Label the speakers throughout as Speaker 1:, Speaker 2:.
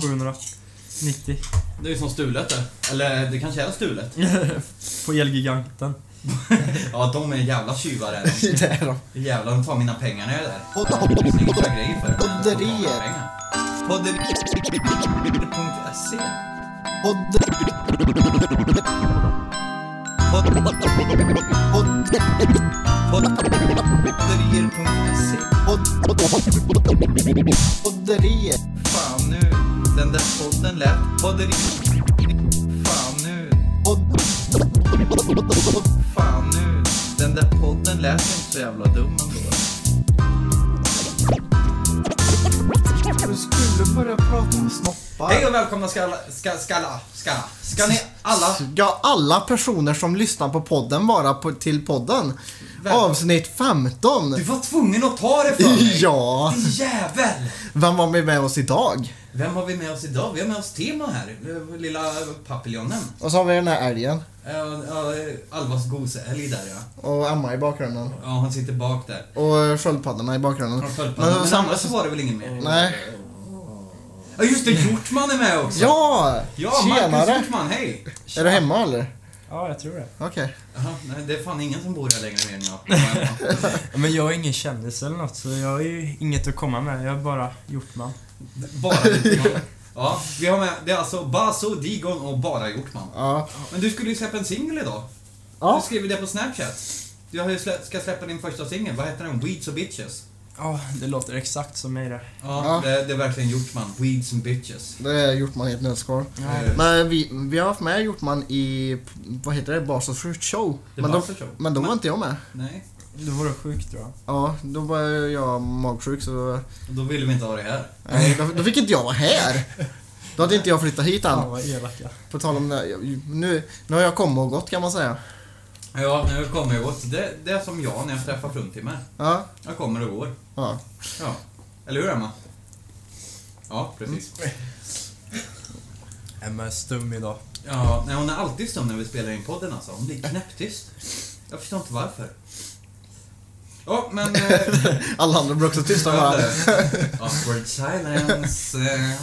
Speaker 1: 2790.
Speaker 2: Det är ju som stulet det. Eller det kanske är stulet.
Speaker 1: På Elgiganten.
Speaker 2: Ja, de är jävla tjuvar är de.
Speaker 3: Det är de.
Speaker 2: Jävlar, de tar mina pengar när jag är där. Snygga grejer för mig.
Speaker 3: Podderier.
Speaker 2: Podderier.se
Speaker 3: Podd-
Speaker 2: Podderier.se
Speaker 3: podd- Podderier.
Speaker 2: Fan nu, den där podden lät podderier. Fan nu,
Speaker 3: Podd-
Speaker 2: fan nu. Den där podden lät inte så jävla dum ändå.
Speaker 3: Du skulle börja prata om snoppar.
Speaker 2: Hej och välkomna ska alla, ska, ska alla, ska, ska ni alla
Speaker 3: Ska alla personer som lyssnar på podden vara på, till podden?
Speaker 2: Vem?
Speaker 3: Avsnitt 15.
Speaker 2: Du var tvungen att ta det för mig!
Speaker 3: Ja.
Speaker 2: Din jävel!
Speaker 3: Vem var med, med oss idag?
Speaker 2: Vem har vi med oss idag? Vi har med oss Timo här, lilla papiljonen.
Speaker 3: Och så har vi den här älgen.
Speaker 2: Eh, eh, Alvas goseälg där ja.
Speaker 3: Och Emma i bakgrunden.
Speaker 2: Ja, han sitter bak där.
Speaker 3: Och sköldpaddorna i bakgrunden.
Speaker 2: Från
Speaker 3: Men,
Speaker 2: sköldpaddan. Men
Speaker 3: sam-
Speaker 2: annars så var det väl ingen mer?
Speaker 3: Nej.
Speaker 2: Ja just det, Hjortman är med också!
Speaker 3: Ja!
Speaker 2: Ja, Marcus
Speaker 3: Tjenare!
Speaker 2: Hjortman, hej!
Speaker 3: Är du hemma eller?
Speaker 1: Ja, jag tror det.
Speaker 3: Okej.
Speaker 2: Jaha, nej, det är fan ingen som bor här längre ner än jag.
Speaker 1: Men jag är ingen kändis eller något, så jag har ju inget att komma med. Jag är bara Hjortman.
Speaker 2: Bara Hjortman. Ja, vi har med, det är alltså Baso, Digon och bara Hjortman.
Speaker 3: Ja.
Speaker 2: Men du skulle ju släppa en singel idag. Du
Speaker 3: Ja.
Speaker 2: skrev ju det på Snapchat. Du har ju slä, ska släppa din första singel, vad heter den? Weeds och bitches.
Speaker 1: Ja, det låter exakt som mig det.
Speaker 2: Ja,
Speaker 3: Ja.
Speaker 2: Det, det är verkligen Hjortman. Weeds and bitches.
Speaker 3: Det är Hjortman i ett nötskal.
Speaker 2: Eh,
Speaker 3: Men vi, vi har haft med Hjortman i, vad heter det, Basel Fruit Show.
Speaker 2: The
Speaker 3: Men då,
Speaker 2: Buster Show.
Speaker 3: men då var inte jag med.
Speaker 2: Nej,
Speaker 1: Då var du sjuk tror jag.
Speaker 3: Ja, då var jag magsjuk så
Speaker 2: och då ville vi inte ha det här.
Speaker 3: nej, då, då fick inte jag vara här. Då hade inte jag flyttat hit
Speaker 1: Fan
Speaker 3: än.
Speaker 1: vad elaka.
Speaker 3: På tal om det, jag- nu, nu har jag kommit och gått kan man säga.
Speaker 2: Ja, nu kommer jag åt. Det, det är som jag när jag träffar fruntimmer.
Speaker 3: Ja,
Speaker 2: Jag kommer och går.
Speaker 3: ja.
Speaker 2: Ja. Eller hur Emma? Ja, precis.
Speaker 1: Emma är stum idag.
Speaker 3: Mm.
Speaker 2: Ja, nej, hon är alltid stum när vi spelar in podden alltså. Hon blir knäpptyst. Jag förstår inte varför. Ja, men... eh,
Speaker 3: Alla andra blir också tysta bara.
Speaker 2: Awkward silence. Eh,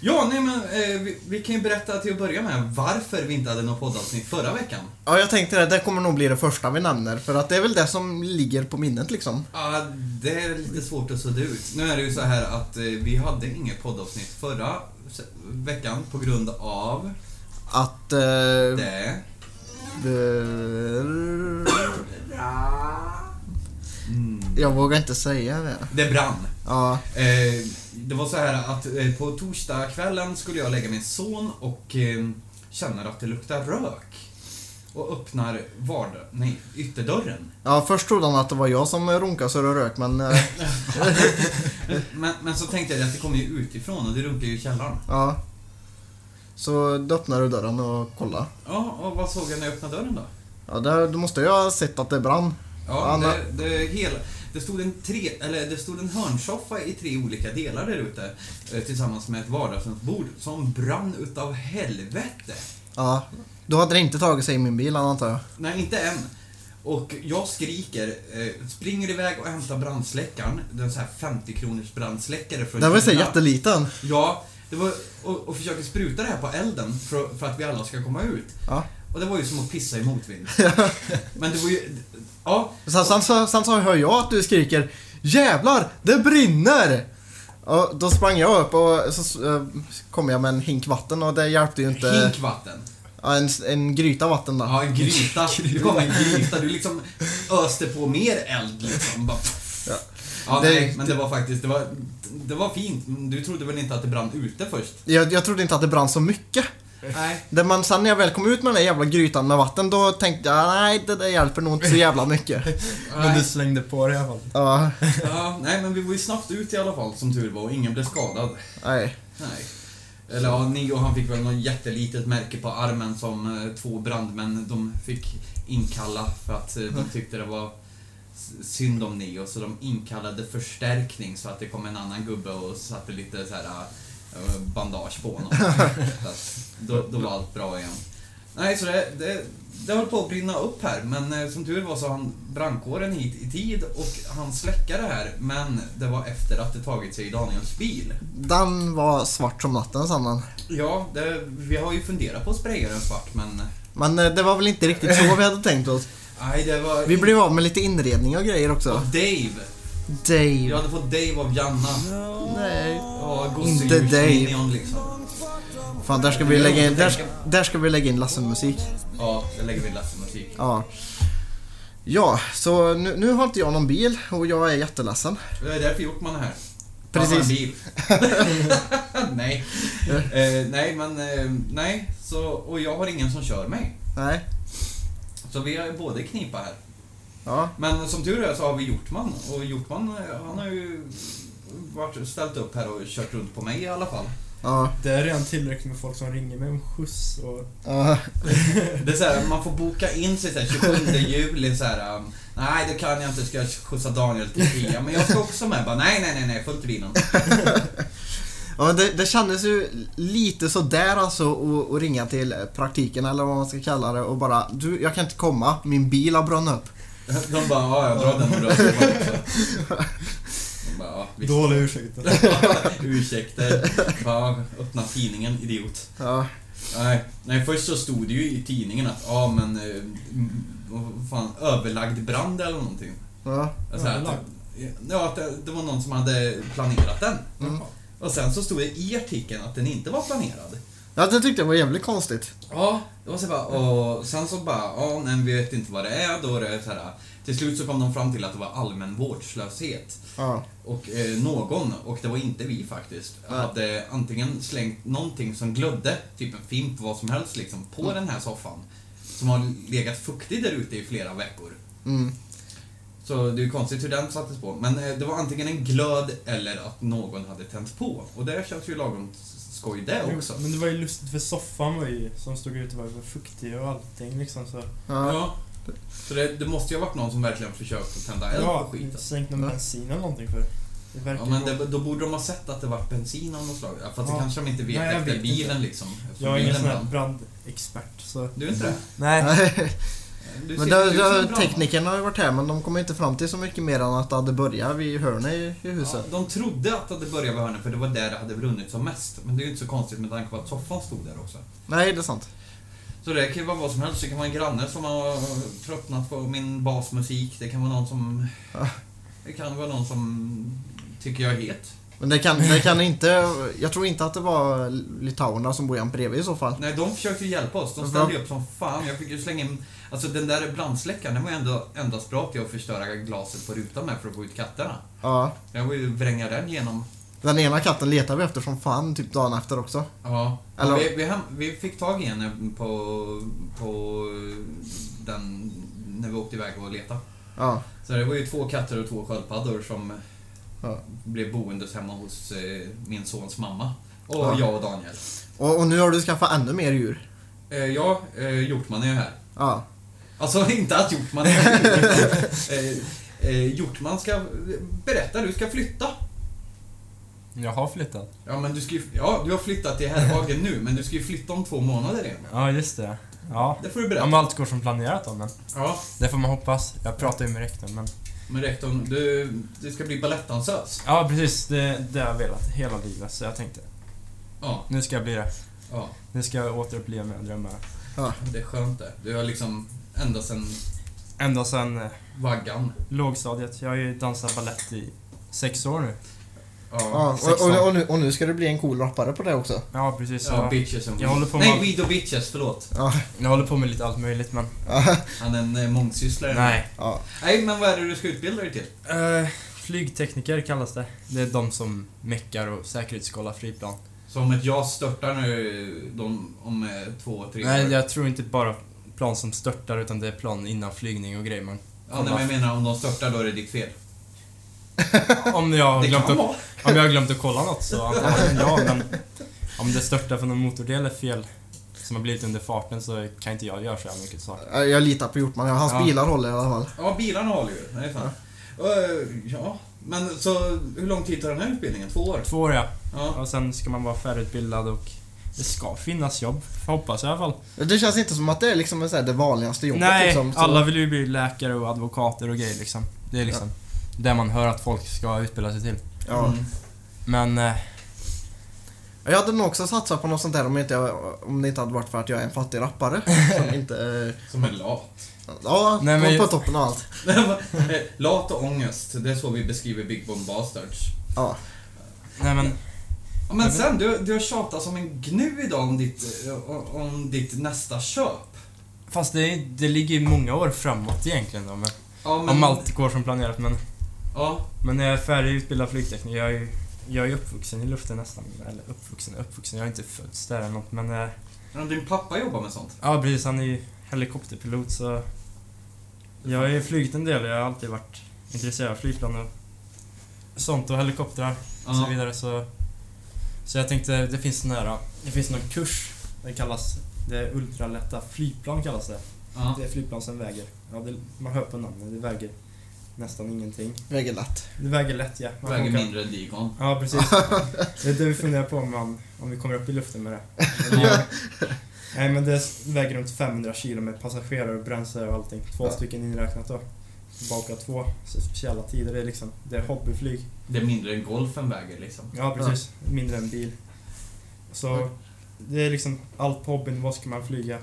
Speaker 2: Ja, nej men eh, vi, vi kan ju berätta till att börja med varför vi inte hade något poddavsnitt förra veckan.
Speaker 3: Ja, jag tänkte det, det kommer nog bli det första vi nämner. För att det är väl det som ligger på minnet liksom.
Speaker 2: Ja, det är lite svårt att sudda ut. Nu är det ju så här att eh, vi hade inget poddavsnitt förra se- veckan på grund av
Speaker 3: Att... Eh,
Speaker 2: det.
Speaker 3: eh, jag vågar inte säga det.
Speaker 2: Mm. Det brann.
Speaker 3: Ja.
Speaker 2: Eh, det var så här att eh, på torsdagskvällen skulle jag lägga min son och eh, känner att det luktar rök. Och öppnar vard nej, ytterdörren.
Speaker 3: Ja, först trodde han att det var jag som runkade så det rök, men... eh,
Speaker 2: Men, men så tänkte jag att det kommer ju utifrån och det runkar ju i källaren.
Speaker 3: ja. Så då öppnade du dörren och kollade.
Speaker 2: Ja, och vad såg jag när jag öppnade dörren då?
Speaker 3: Ja, där, då måste jag ha sett att det brann.
Speaker 2: Ja,
Speaker 3: Anna-
Speaker 2: det, det, hela, det, stod en tre, eller det stod en hörnsoffa i tre olika delar där ute eh, tillsammans med ett vardagsrumsbord som brann utav helvete.
Speaker 3: Ja. Då hade det inte tagit sig i min bil, antar jag.
Speaker 2: Nej, inte än. Och jag skriker, eh, springer iväg och hämtar brandsläckaren, den så här 50 kronors brandsläckare från
Speaker 3: Den var ju så
Speaker 2: Kina.
Speaker 3: jätteliten.
Speaker 2: Ja, det var, och, och försöker spruta det här på elden för, för att vi alla ska komma ut.
Speaker 3: Ja.
Speaker 2: Och det var ju som att pissa i motvind. Men det var ju, ja,
Speaker 3: Sen, sen, sen, sen så hör jag att du skriker Jävlar, det brinner! Och då sprang jag upp och så eh, kom jag med en hink vatten och det hjälpte ju inte.
Speaker 2: hinkvatten.
Speaker 3: Ja, en, en gryta vatten då.
Speaker 2: Ja, en gryta. Det kom en gryta. Du liksom öste på mer eld liksom. Bara...
Speaker 3: Ja.
Speaker 2: Ja,
Speaker 3: Det-
Speaker 2: nej, men det var faktiskt, det var, det var fint. Du trodde väl inte att det brann ute först?
Speaker 3: Jag, jag trodde inte att det brann så mycket.
Speaker 2: Nej.
Speaker 3: Det, men sen när jag väl kom ut med den där jävla grytan med vatten då tänkte jag nej det där hjälper nog inte så jävla mycket.
Speaker 1: Men du slängde på det i alla fall.
Speaker 3: Ja,
Speaker 2: Ja, nej, men vi var ju snabbt ut i alla fall som tur var och ingen blev skadad.
Speaker 3: nej.
Speaker 2: Nej. Eller ja, Neo han fick väl något jättelitet märke på armen som eh, två brandmän de fick inkalla för att eh, de tyckte det var s- synd om Neo så de inkallade förstärkning så att det kom en annan gubbe och satte lite så här eh, bandage på honom. så att, då, då var allt bra igen. Nej, så det, det, det höll på att brinna upp här, men eh, som tur var så hann brandkåren hit i tid och han släcka det här, men det var efter att det tagit sig Daniels bil.
Speaker 3: Den var svart som natten sa man.
Speaker 2: Ja, det, vi har ju funderat på att spraya den svart, men...
Speaker 3: Men eh, det var väl inte riktigt så vi hade tänkt oss.
Speaker 2: Nej, det var...
Speaker 3: Vi blev av med lite inredning och grejer
Speaker 2: Av
Speaker 3: också.
Speaker 2: Dave! Jag
Speaker 3: Dave.
Speaker 2: hade fått Dave av Janna.
Speaker 3: Nej.
Speaker 2: Ja,
Speaker 3: Inte Dave.
Speaker 2: gosedjursminion liksom.
Speaker 3: Fan, där ska vi lägga in, där, där ska vi lägga in Lasse-musik.
Speaker 2: Ja, jag lägger till ledsen musik.
Speaker 3: Ja. Ja, så nu, nu har inte jag någon bil och jag är jätteledsen.
Speaker 2: Det är därför Hjortman är här.
Speaker 3: Precis.
Speaker 2: Han har en bil. nej. Eh, nej, men eh, nej. Så, och jag har ingen som kör mig.
Speaker 3: Nej.
Speaker 2: Så vi är båda i knipa här.
Speaker 3: Ja.
Speaker 2: Men som tur är så har vi Hjortman och Hjortman eh, han har ju varit, ställt upp här och kört runt på mig i alla fall.
Speaker 3: Ja.
Speaker 1: Det är redan tillräckligt med folk som ringer mig om skjuts och...
Speaker 3: ja.
Speaker 2: Det är så här, man får boka in sig så här, 27 juli så här. um, Nej, det kan jag inte. Ska jag skjutsa Daniel till Kia? Men jag ska också med. Bara, nej, nej, nej, nej. Fullt i bilen.
Speaker 3: Ja, men det, det kändes ju lite sådär alltså att- att ringa till praktiken eller vad man ska kalla det och bara du, jag kan inte komma, min bil har brunnit upp.
Speaker 2: De bara, ja, jag drar den och drar den också. De bara, ja, visst.
Speaker 1: Dålig ursäkt.
Speaker 2: Ursäkter. Bara, öppna tidningen, idiot.
Speaker 3: Ja,
Speaker 2: Nej, nej, först så stod det ju i tidningen att, ja men, eh, m- vad fan, överlagd brand eller någonting.
Speaker 3: ja,
Speaker 2: Alltså, att,
Speaker 1: Överlagd?
Speaker 2: ja, att det, det var någon som hade planerat den.
Speaker 3: Mm.
Speaker 2: Och sen så stod det i artikeln att den inte var planerad.
Speaker 3: ja det tyckte jag var jävligt konstigt.
Speaker 2: Ja, det var så bara, och sen så bara, ja nej, vi vet inte vad det är då. Det är så här, till slut så kom de fram till att det var allmän vårdslöshet.
Speaker 3: Ja,
Speaker 2: Och eh, någon, och det var inte vi faktiskt,
Speaker 3: Nej.
Speaker 2: hade antingen slängt någonting som glödde, typ en fimp, vad som helst liksom, på den här soffan. Som har legat fuktig där ute i flera veckor.
Speaker 3: mm,
Speaker 2: Så det är ju konstigt hur den sattes på. Men eh, det var antingen en glöd eller att någon hade tänt på. Och det känns ju lagom skoj det också.
Speaker 1: Men det var ju lustigt för soffan var ju, som stod ute var ju fuktig och allting liksom så.
Speaker 3: ja.
Speaker 2: Ja. Så det, det måste ju ha varit någon som verkligen försökt att tända eld på
Speaker 1: alltså. Ja,
Speaker 2: skiten.
Speaker 1: sänkt någon
Speaker 3: Ja.
Speaker 1: bensin eller någonting för. Det verkar
Speaker 2: Ja,
Speaker 1: ju
Speaker 2: men
Speaker 1: vara-
Speaker 2: det, då borde de ha sett att det var bensin av något slag. Ja, Fast det
Speaker 1: Ja.
Speaker 2: kanske de inte vet
Speaker 1: Nej, jag
Speaker 2: efter
Speaker 1: vet
Speaker 2: bilen liksom. Efter
Speaker 1: Jag är ingen
Speaker 2: bilen
Speaker 1: sån här
Speaker 2: brann.
Speaker 1: brandexpert så...
Speaker 2: Du är inte det?
Speaker 1: Nej.
Speaker 2: Du
Speaker 3: Men
Speaker 2: ser
Speaker 3: det,
Speaker 2: inte ut som en
Speaker 3: det,
Speaker 2: brandman.
Speaker 3: teknikerna har ju varit här men de kom inte fram till så mycket mer än att det hade börjat vid hörnet i, i
Speaker 2: Ja,
Speaker 3: huset.
Speaker 2: de trodde att det hade börjat vid hörnet för det var där det hade brunnit som mest. Men det är ju inte så konstigt med tanke på att soffan stod där också.
Speaker 3: Nej, det är sant.
Speaker 2: Så det kan ju vara vad som helst. Det kan vara en granne som har tröttnat på min basmusik. Det kan vara någon som...
Speaker 3: Ja.
Speaker 2: Det kan vara någon som tycker jag är het.
Speaker 3: Men det kan, det kan inte, jag tror inte att det var litauerna som bor jämt bredvid i så fall.
Speaker 2: Nej, de försökte ju hjälpa oss. De ställde ju upp som fan. Jag fick ju slänga in... Alltså den där brandsläckaren, den var ju ändå endast bra till att förstöra glaset på rutan med för att få ut katterna.
Speaker 3: Ja.
Speaker 2: Jag vill ju vränga den genom...
Speaker 3: Den ena katten letar vi efter som fan typ dagen efter också.
Speaker 2: Ja.
Speaker 3: Eller-
Speaker 2: Och vi, vi, hem, vi fick tag i henne på, på eh, den... När vi åkte iväg och letade.
Speaker 3: Ja.
Speaker 2: Så det var ju två katter och två sköldpaddor som
Speaker 3: Ja.
Speaker 2: blev boendes hemma hos eh, min sons mamma. Och
Speaker 3: Ja.
Speaker 2: jag och Daniel.
Speaker 3: Och, och nu har du skaffat ännu mer djur.
Speaker 2: Eh, ja, eh, Hjortman är här.
Speaker 3: Ja.
Speaker 2: Alltså inte att Hjortman är här. eh, eh, Hjortman ska... Berätta, du ska flytta.
Speaker 1: Jag har flyttat.
Speaker 2: Ja, men du ska ju, Ja, du har flyttat till Herrhagen nu, men du ska ju flytta om två månader igen.
Speaker 1: Ja, just det. Ja.
Speaker 2: Det får du
Speaker 1: Om
Speaker 2: berätta.
Speaker 1: allt går som planerat då men.
Speaker 2: Ja,
Speaker 1: Det får man hoppas. Jag pratar ju med rektorn men...
Speaker 2: men rektorn, du, du ska bli balettdansös.
Speaker 1: Ja, precis. Det, det har jag velat hela livet så jag tänkte,
Speaker 2: Ja,
Speaker 1: nu ska jag bli det.
Speaker 2: ja.
Speaker 1: Nu ska jag återuppleva mina drömmar.
Speaker 2: Det är skönt det. Du har liksom ända sedan
Speaker 1: Ända sedan eh,
Speaker 2: vaggan.
Speaker 1: lågstadiet. Jag har ju dansat ballett i sex år nu.
Speaker 3: Ja,
Speaker 2: Ja,
Speaker 3: och, och, och, nu, och nu ska du bli en cool rappare på det också.
Speaker 1: Ja, precis.
Speaker 2: Ja,
Speaker 1: Jag,
Speaker 2: bitches and
Speaker 1: Jag håller på
Speaker 2: Nej,
Speaker 1: med-
Speaker 2: weed och bitches, förlåt.
Speaker 3: Ja,
Speaker 1: jag håller på med lite allt möjligt men...
Speaker 3: ja,
Speaker 2: Han är en eh, mångsysslare.
Speaker 1: Nej.
Speaker 3: ja.
Speaker 2: Nej, men vad är det du ska utbilda dig till?
Speaker 1: Eh, flygtekniker kallas det. Det är de som meckar och säkerhetskollar flygplan.
Speaker 2: Så om ett jag störtar nu de, om eh, två, tre
Speaker 1: Nej,
Speaker 2: år?
Speaker 1: jag tror inte bara plan som störtar utan det är plan innan flygning och grejer man...
Speaker 2: Ja, nej, men jag menar om de störtar då är det ditt fel.
Speaker 1: Om jag har
Speaker 2: det
Speaker 1: glömt att,
Speaker 2: vara.
Speaker 1: om jag har glömt att kolla något så antagligen ja, men... Om det störtar från någon motordel är fel som har blivit under farten så kan inte jag göra så jävla mycket saker.
Speaker 3: Ja, Jag litar på Hjortman. Ja, Hans
Speaker 1: Ja.
Speaker 3: bilar håller i alla fall.
Speaker 2: Ja, bilarna håller ju. Nej, fan. Eh, ja, men så hur lång tid tar den här utbildningen? Två år?
Speaker 1: Två år ja.
Speaker 2: Ja.
Speaker 1: Och sen ska man vara färdigutbildad och det ska finnas jobb, hoppas jag i alla fall.
Speaker 3: Det känns inte som att det är liksom så här, det vanligaste jobbet
Speaker 1: Nej,
Speaker 3: liksom. så-
Speaker 1: alla vill ju bli läkare och advokater och grejer liksom. Det är liksom det man hör att folk ska utbilda sig till.
Speaker 3: Ja.
Speaker 2: Mm.
Speaker 1: Men... Eh,
Speaker 3: Jag hade nog också satsat på något sånt där om, inte jag, om det inte hade varit för att jag är en fattig rappare. som inte... eh,
Speaker 2: Som en lat.
Speaker 3: Ja,
Speaker 1: Nej, men-
Speaker 3: på toppen av allt.
Speaker 2: Eh, lat och ångest, det är så vi beskriver Big Bomb Bastards.
Speaker 3: Ja.
Speaker 1: nej men...
Speaker 2: Ja, men sen, du, du har tjatat som en gnu idag om ditt, eh, om ditt nästa köp.
Speaker 1: Fast det, det ligger ju många år framåt egentligen då, men,
Speaker 2: Ja, men,
Speaker 1: Om allt går som planerat men...
Speaker 2: Ja,
Speaker 1: Men när jag är färdigutbildad flygtekniker, jag är ju jag är ju uppvuxen i luften nästan. Eller uppvuxen uppvuxen, jag har inte fötts där eller något men... eh,
Speaker 2: men din pappa jobbar med sånt.
Speaker 1: Ja precis, han är ju helikopterpilot så... Jag har ju flugit en del, jag har alltid varit intresserad av flygplan och sånt och helikoptrar och så
Speaker 2: Ja.
Speaker 1: vidare så... Så jag tänkte, det finns nära, det finns någon kurs, det kallas, det är ultralätta flygplan kallas det.
Speaker 2: Ja.
Speaker 1: Det är flygplan som väger, ja det, man hör på namnet, det väger nästan ingenting.
Speaker 3: Väger lätt.
Speaker 1: Det väger lätt ja. Man
Speaker 2: Väger
Speaker 1: kan-
Speaker 2: mindre än Digon.
Speaker 1: Ja, precis. Det är det vi funderar på om, man, om vi kommer upp i luften med det. Men det- Nej, men det väger runt 500 kilo med passagerare och bränsle och allting. Två
Speaker 3: Ja.
Speaker 1: stycken inräknat då. Baka två så speciella tider. Det är liksom, det är hobbyflyg.
Speaker 2: Det är mindre än golfen väger liksom.
Speaker 1: Ja, precis. Mindre än bil. Så det är liksom allt på hobbyn. Vad ska man flyga?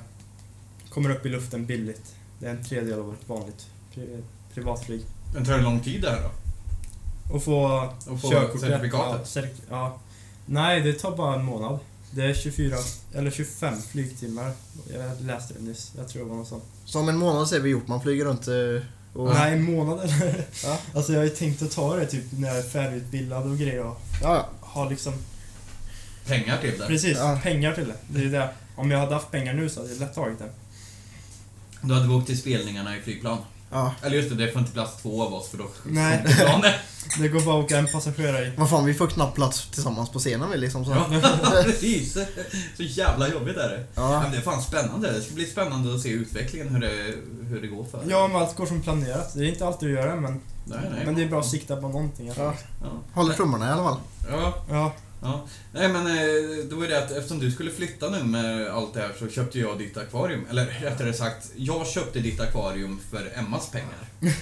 Speaker 1: Kommer upp i luften billigt. Det är en tredjedel av ett vanligt pri- privatflyg.
Speaker 2: Men tar det lång tid där då?
Speaker 1: Och få
Speaker 2: Och få
Speaker 1: körkortet.
Speaker 2: certifikatet?
Speaker 1: Ja, cerk- ja. Nej, det tar bara en månad. Det är 24, eller 25 flygtimmar. Jag läste det nyss. Jag tror det var något sånt.
Speaker 3: Så om en månad ser vi gjort man flyger runt eh, och...
Speaker 1: Nej, en månad eller?
Speaker 3: Ja.
Speaker 1: Alltså jag har ju tänkt att ta det typ när jag är färdigutbildad och grejer och
Speaker 3: Ja,
Speaker 1: ha liksom,
Speaker 2: Pengar till det?
Speaker 1: precis,
Speaker 3: Ja.
Speaker 1: pengar till det. Det är det. Om jag hade haft pengar nu så hade jag lätt tagit det.
Speaker 2: Då hade vi åkt till spelningarna i flygplan.
Speaker 3: ja.
Speaker 2: Eller just det, det får inte plats två av oss för då
Speaker 1: Nej.
Speaker 2: planet.
Speaker 1: Det går bara att åka en passagerare i.
Speaker 3: Vad fan, vi får knappt plats tillsammans på scenen vi liksom. Så.
Speaker 2: Ja, precis. Så jävla jobbigt är det. Ja.
Speaker 3: Ja.
Speaker 2: Men det är fan spännande. Det ska bli spännande att se utvecklingen, hur det, hur det går för
Speaker 1: Ja, om allt går som planerat. Det är inte alltid att göra men,
Speaker 2: Nej, nej.
Speaker 1: men det är bra att sikta på någonting. i alla fall.
Speaker 2: Ja.
Speaker 3: Håller tummarna i alla fall.
Speaker 2: ja,
Speaker 1: Ja,
Speaker 2: Ja. Nej men eh, det var ju det att eftersom du skulle flytta nu med allt det här så köpte jag ditt akvarium. Eller rättare sagt, jag köpte ditt akvarium för Emmas pengar.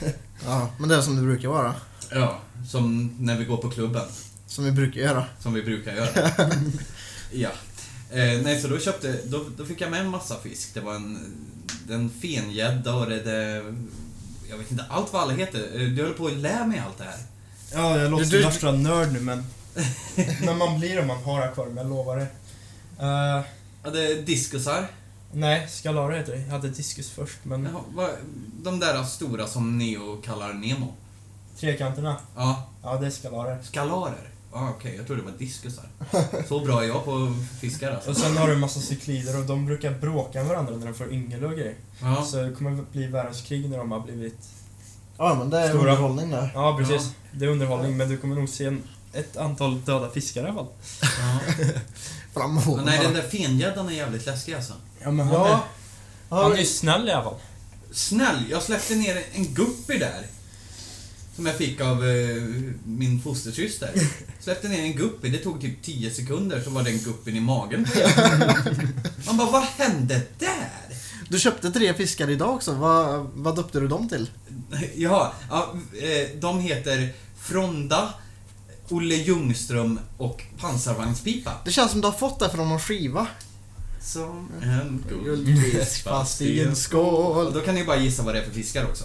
Speaker 3: Ja, men det är som det brukar vara.
Speaker 2: Ja. Som när vi går på klubben,
Speaker 3: Som vi brukar göra.
Speaker 2: som vi brukar göra. ja. Eh, nej, så då köpte, då, då fick jag med en massa fisk. Det var en, en fengädda och det, det, jag vet inte allt vad alla heter. Eh, Du höll på att lä mig allt det här.
Speaker 1: ja jag låter
Speaker 3: Du- du-
Speaker 1: som värsta nörd nu men när man blir om man har akvarium, jag lovar det. Eh,
Speaker 2: Ja, det är diskusar.
Speaker 1: nej, skalara heter det. Jag hade diskus först men
Speaker 2: Jaha, vad- De där stora som Neo kallar Nemo.
Speaker 1: trekanterna,
Speaker 2: Ja,
Speaker 1: ja det är skalarer.
Speaker 2: Skalarer? Ja, ah, okej. Jag trodde det var diskusar. Så bra är jag på fiskar alltså.
Speaker 1: Och sen har du en massa cyklider och de brukar bråka med varandra när de får yngel och grejer.
Speaker 2: Ja.
Speaker 1: Så det kommer bli världens krig när de har blivit...
Speaker 3: Ja, men det är
Speaker 1: Stora.
Speaker 3: underhållning där.
Speaker 1: Ja precis, det är underhållning men du kommer nog se en, ett antal döda fiskar i alla fall.
Speaker 2: ja.
Speaker 3: Fram och
Speaker 2: Men nej, den där fengäddan är jävligt läskig alltså.
Speaker 1: Ja men
Speaker 3: han är-
Speaker 1: han är ju snäll i alla fall.
Speaker 2: Snäll, jag släppte ner en guppy där. Som jag fick av eh, min fostersyster. Släppte ner en guppy, det tog typ 10 sekunder så var den guppyn i magen på er. Man bara, vad hände där?
Speaker 3: Du köpte tre fiskar idag också. Vad, vad döpte du dem till?
Speaker 2: Jaha, ja, eh, de heter Fronda, Olle Ljungström och Pansarvagnspipa.
Speaker 3: Det känns som du har fått det från någon skiva.
Speaker 2: Som en
Speaker 3: Guldfisk fast i en
Speaker 2: Och
Speaker 3: skål.
Speaker 2: Ehm, då kan ni bara gissa vad det är för fiskar också.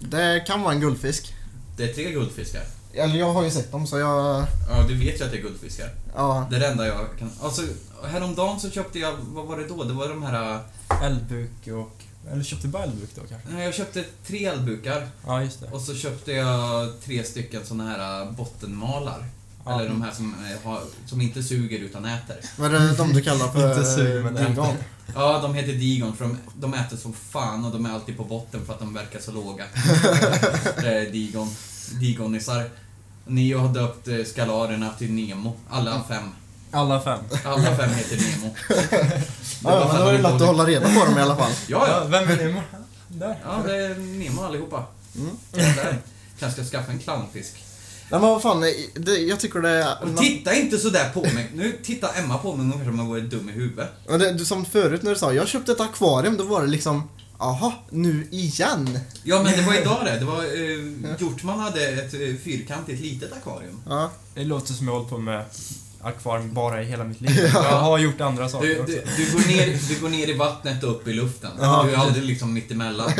Speaker 3: Det kan vara en guldfisk.
Speaker 2: Det är tre guldfiskar.
Speaker 3: Eller jag har ju sett dem så jag...
Speaker 2: Ja, du vet ju att det är guldfiskar.
Speaker 3: Ja.
Speaker 2: Det är det enda jag kan... Alltså, häromdagen så köpte jag... Vad var det då? Det var de här... äh,
Speaker 1: Eldbuk och... Eller köpte bara eldbuk då kanske?
Speaker 2: nej, eh, Jag köpte tre albukar
Speaker 1: Ja just det.
Speaker 2: och så köpte jag tre stycken såna här äh, bottenmalar.
Speaker 1: Ja.
Speaker 2: Eller de här som, äh, har, som inte suger utan äter.
Speaker 3: Var det de du kallar för...
Speaker 1: Inte sugen, men
Speaker 3: Ding dong?
Speaker 2: Ja, de heter Digon för de, de äter som fan och de är alltid på botten för att de verkar så låga. det är Digon. Digonisar. Neo har döpt eh, skalarerna till Nemo. Alla fem.
Speaker 1: Alla fem.
Speaker 2: Alla fem heter Nemo. Det är bara
Speaker 3: Ja,
Speaker 2: för
Speaker 3: men då
Speaker 2: han
Speaker 3: är det
Speaker 2: är
Speaker 3: lätt att
Speaker 2: dålig.
Speaker 3: hålla reda på dem i alla fall.
Speaker 2: Ja, ja.
Speaker 1: vem är Nemo? Där.
Speaker 2: Ja, det är Nemo allihopa.
Speaker 3: Mm.
Speaker 2: Där. Kanske ska skaffa en clownfisk.
Speaker 3: Nej men vad fan, det, jag tycker det är...
Speaker 2: Och titta inte sådär på mig. Nu tittar Emma på mig ungefär som om jag vore dum i huvudet.
Speaker 3: Men det, du, som förut när du sa jag köpte ett akvarium, då var det liksom Aha, nu igen?
Speaker 2: Ja, men det var idag det. Det var eh, Hjortman hade ett eh, fyrkantigt litet akvarium.
Speaker 3: Ja.
Speaker 1: Det låter som jag har hållit på med akvarium bara i hela mitt liv. Jag har gjort andra saker
Speaker 2: Du,
Speaker 1: också.
Speaker 2: du, du, går ner, du går ner i vattnet och upp i luften.
Speaker 3: Ja,
Speaker 2: du är aldrig liksom mittemellan.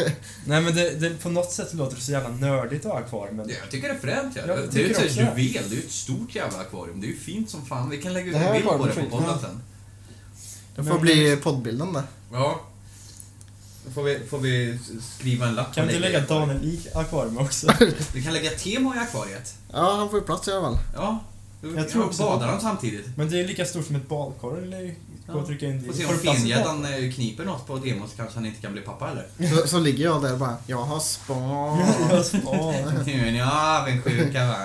Speaker 1: Nej men det, det, på något sätt låter det så jävla nördigt att ha akvarium. Men
Speaker 2: Jag tycker det är fränt. Ja.
Speaker 1: Jag
Speaker 2: Det är
Speaker 1: tycker
Speaker 2: ju ett
Speaker 1: också
Speaker 2: sånt
Speaker 1: det.
Speaker 2: juvel. Det är ju ett stort jävla akvarium. Det är ju fint som fan. Vi kan lägga ut
Speaker 3: Det här
Speaker 2: en bild på det
Speaker 3: akvariet är
Speaker 2: på
Speaker 3: fint.
Speaker 2: podden
Speaker 3: Ja.
Speaker 2: sen.
Speaker 3: Det får
Speaker 1: Men-
Speaker 3: bli poddbilden där.
Speaker 2: Ja. Då får vi, får vi skriva en lapp
Speaker 1: kan
Speaker 2: och
Speaker 1: vi inte
Speaker 2: lägga
Speaker 1: lägga
Speaker 2: i akvariet.
Speaker 1: Daniel i akvarium också?
Speaker 2: Vi kan lägga Temo i akvariet.
Speaker 3: Ja, han får ju plats i alla fall.
Speaker 2: Ja.
Speaker 1: Jag tror
Speaker 2: Ja,
Speaker 1: också-
Speaker 2: badar de samtidigt.
Speaker 1: Men det är lika stort som ett badkar. Eller gå och trycka in dit.
Speaker 2: Får se
Speaker 1: Har
Speaker 2: om
Speaker 1: du plats i badkar?
Speaker 2: fingäddan eh, kniper något på demo så kanske han inte kan bli pappa eller?
Speaker 3: Så, så ligger jag där bara, jag har spa.
Speaker 1: Jag spar.
Speaker 2: Nu är ni avundsjuka va?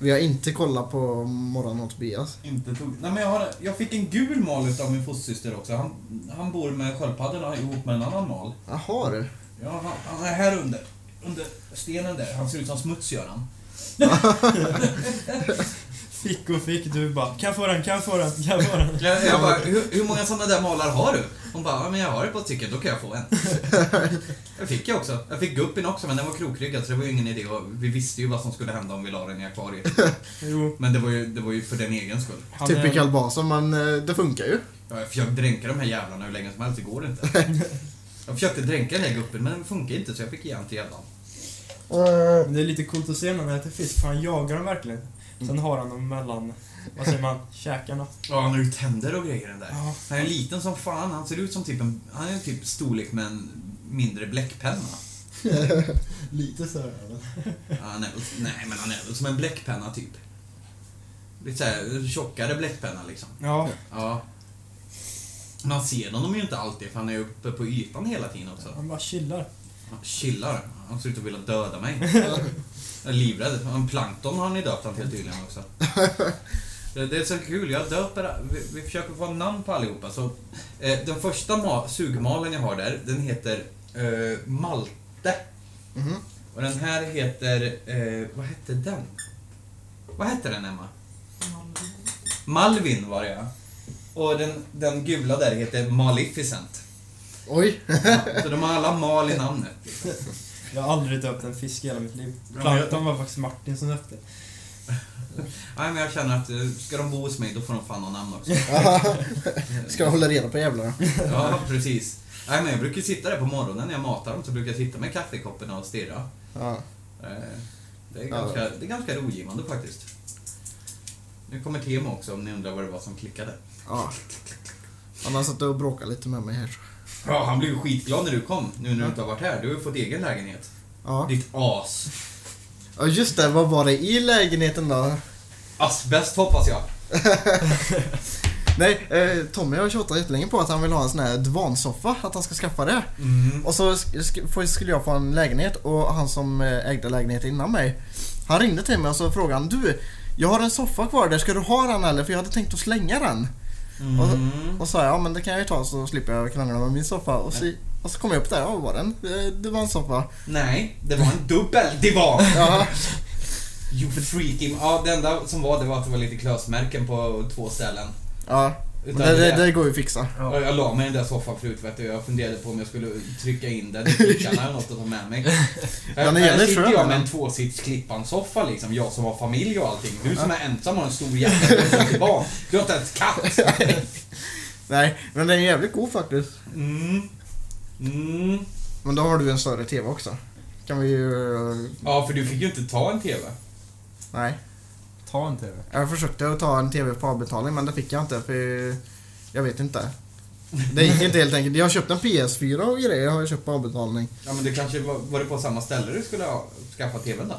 Speaker 3: Vi har inte kollat på morgon och Tobias.
Speaker 2: Inte tog... Nej, men jag, har, jag fick en gul mal utav min fostersyster också. Han, han bor med sköldpaddorna ihop med en annan mal.
Speaker 3: Jaha du.
Speaker 2: Ja, han, han är här under. Under stenen där. Han ser ut som smuts gör han.
Speaker 1: Fick och fick. Du bara, kan jag få den, kan jag få den, kan jag få den?
Speaker 2: Jag, jag bara, hur, hur många sådana där malar har du? Hon bara, ja, men jag har ett par stycken, då kan jag få en. Det fick jag också. Jag fick guppin också, men den var krokryggad så det var ju ingen idé. Och vi visste ju vad som skulle hända om vi la den i akvariet.
Speaker 1: Jo.
Speaker 2: Men det var ju, det var ju för den egen skull.
Speaker 1: Han är,
Speaker 3: Typical Basel, typ men eh, det funkar ju.
Speaker 2: Jag har försökt dränka de här jävlarna hur länge som helst, det går inte. Jag försökte dränka den här guppen, men det funkar inte så jag fick ge den till jävlan.
Speaker 1: men det är lite coolt att se när han äter fisk, för han jagar dem verkligen. Sen har han dem mellan, vad säger man, käkarna.
Speaker 2: Ja, han har ju tänder och grejer den där.
Speaker 1: Ja.
Speaker 2: Han är liten som fan, han ser ut som typ en... Han är typ storlek med en mindre bläckpenna.
Speaker 1: Lite så här. eller?
Speaker 2: Ja, Han är, väl- nej, men han är väl som en bläckpenna typ. Lite såhär tjockare bläckpenna liksom.
Speaker 1: Ja.
Speaker 2: Ja. Man ser honom ju inte alltid för han är uppe på ytan hela tiden också.
Speaker 1: Han bara chillar.
Speaker 2: Han chillar. Han ser ut att vilja döda mig. Jag är livrädd. Men Plankton har han ju döpt han till tydligen också. Det, det är så kul. Jag döper... Vi, vi försöker få namn på allihopa. Så, eh, den första ma- sugmalen jag har där, den heter eh, Malte.
Speaker 3: Mhm.
Speaker 2: Och den här heter... Eh, vad hette den? Vad hette den, Emma? Malvin var det, ja. Och den, den gula där heter Maleficent.
Speaker 3: Oj.
Speaker 2: Ja, så de har alla mal i namnet.
Speaker 1: Jag har aldrig döpt en fisk i hela mitt liv.
Speaker 2: men jag-
Speaker 1: Plankton var faktiskt Martin som döpte.
Speaker 2: Nej, men jag känner att eh, ska de bo hos mig, då får de fan ha namn också.
Speaker 3: Ska jag hålla reda på jävlarna.
Speaker 2: Ja, precis. Nej, men jag brukar sitta där på morgonen när jag matar dem, så brukar jag sitta med kaffekopparna och stirra.
Speaker 3: Ja.
Speaker 2: Eh, Det är
Speaker 3: Ja.
Speaker 2: ganska, det är ganska rogivande faktiskt. Nu kommer Temo också, om ni undrar vad det var som klickade.
Speaker 3: ja. Han har suttit och bråkat lite med mig här. så.
Speaker 2: Ja, han blev ju skitglad när du kom, nu när du inte har varit här. Du har ju fått egen lägenhet.
Speaker 3: Ja.
Speaker 2: Ditt as.
Speaker 3: ja, just det. Vad var det i lägenheten då?
Speaker 2: Asbest hoppas jag.
Speaker 3: Nej, eh, Tommy har tjatat jättelänge på att han vill ha en sån här dvansoffa, att han ska skaffa det. Och så sk- sk- får- skulle jag få en lägenhet och han som eh, ägde lägenheten innan mig, han ringde till mig och så frågade han du, jag har en soffa kvar där, ska du ha den eller? För jag hade tänkt att slänga den.
Speaker 2: Mm.
Speaker 3: Och så sa jag, ja men det kan jag ju ta så slipper jag knälla med min soffa. Och så, och så kom jag upp där, ja vad var den? Eh, Det var en soffa.
Speaker 2: Nej, det var en dubbel divan.
Speaker 3: Ja,
Speaker 2: You freaking... Ja, det enda som var det var att det var lite klösmärken på två ställen.
Speaker 3: ja. Men
Speaker 2: Utan
Speaker 3: Det,
Speaker 2: det-
Speaker 3: det, det går ju att fixa.
Speaker 2: Ja. Jag la mig i den där soffan förut vet du. Jag funderade på om jag skulle trycka in den i fickan eller något och ta med mig.
Speaker 3: Den är
Speaker 2: Här- här
Speaker 3: jävligt
Speaker 2: sitter
Speaker 3: skön,
Speaker 2: jag med
Speaker 3: den.
Speaker 2: en tvåsits klippansoffa liksom. Jag som har familj och allting. Du som är ensam har en stor jävla dosa till barn. Du har inte ens katt.
Speaker 3: Nej, men den är jävligt god faktiskt.
Speaker 2: Mm. Mm.
Speaker 3: Men då har du en större TV också. Kan vi ju... eh,
Speaker 2: Ja, för du fick ju inte ta en TV.
Speaker 3: Nej.
Speaker 1: Ta en TV.
Speaker 3: Jag försökte att ta en TV på avbetalning men det fick jag inte för jag vet inte. Det gick inte helt enkelt. Jag har köpt en PS4 och grejer jag har jag köpt på avbetalning.
Speaker 2: Ja, men det kanske var, var det på samma ställe du skulle ha, skaffa TVn då?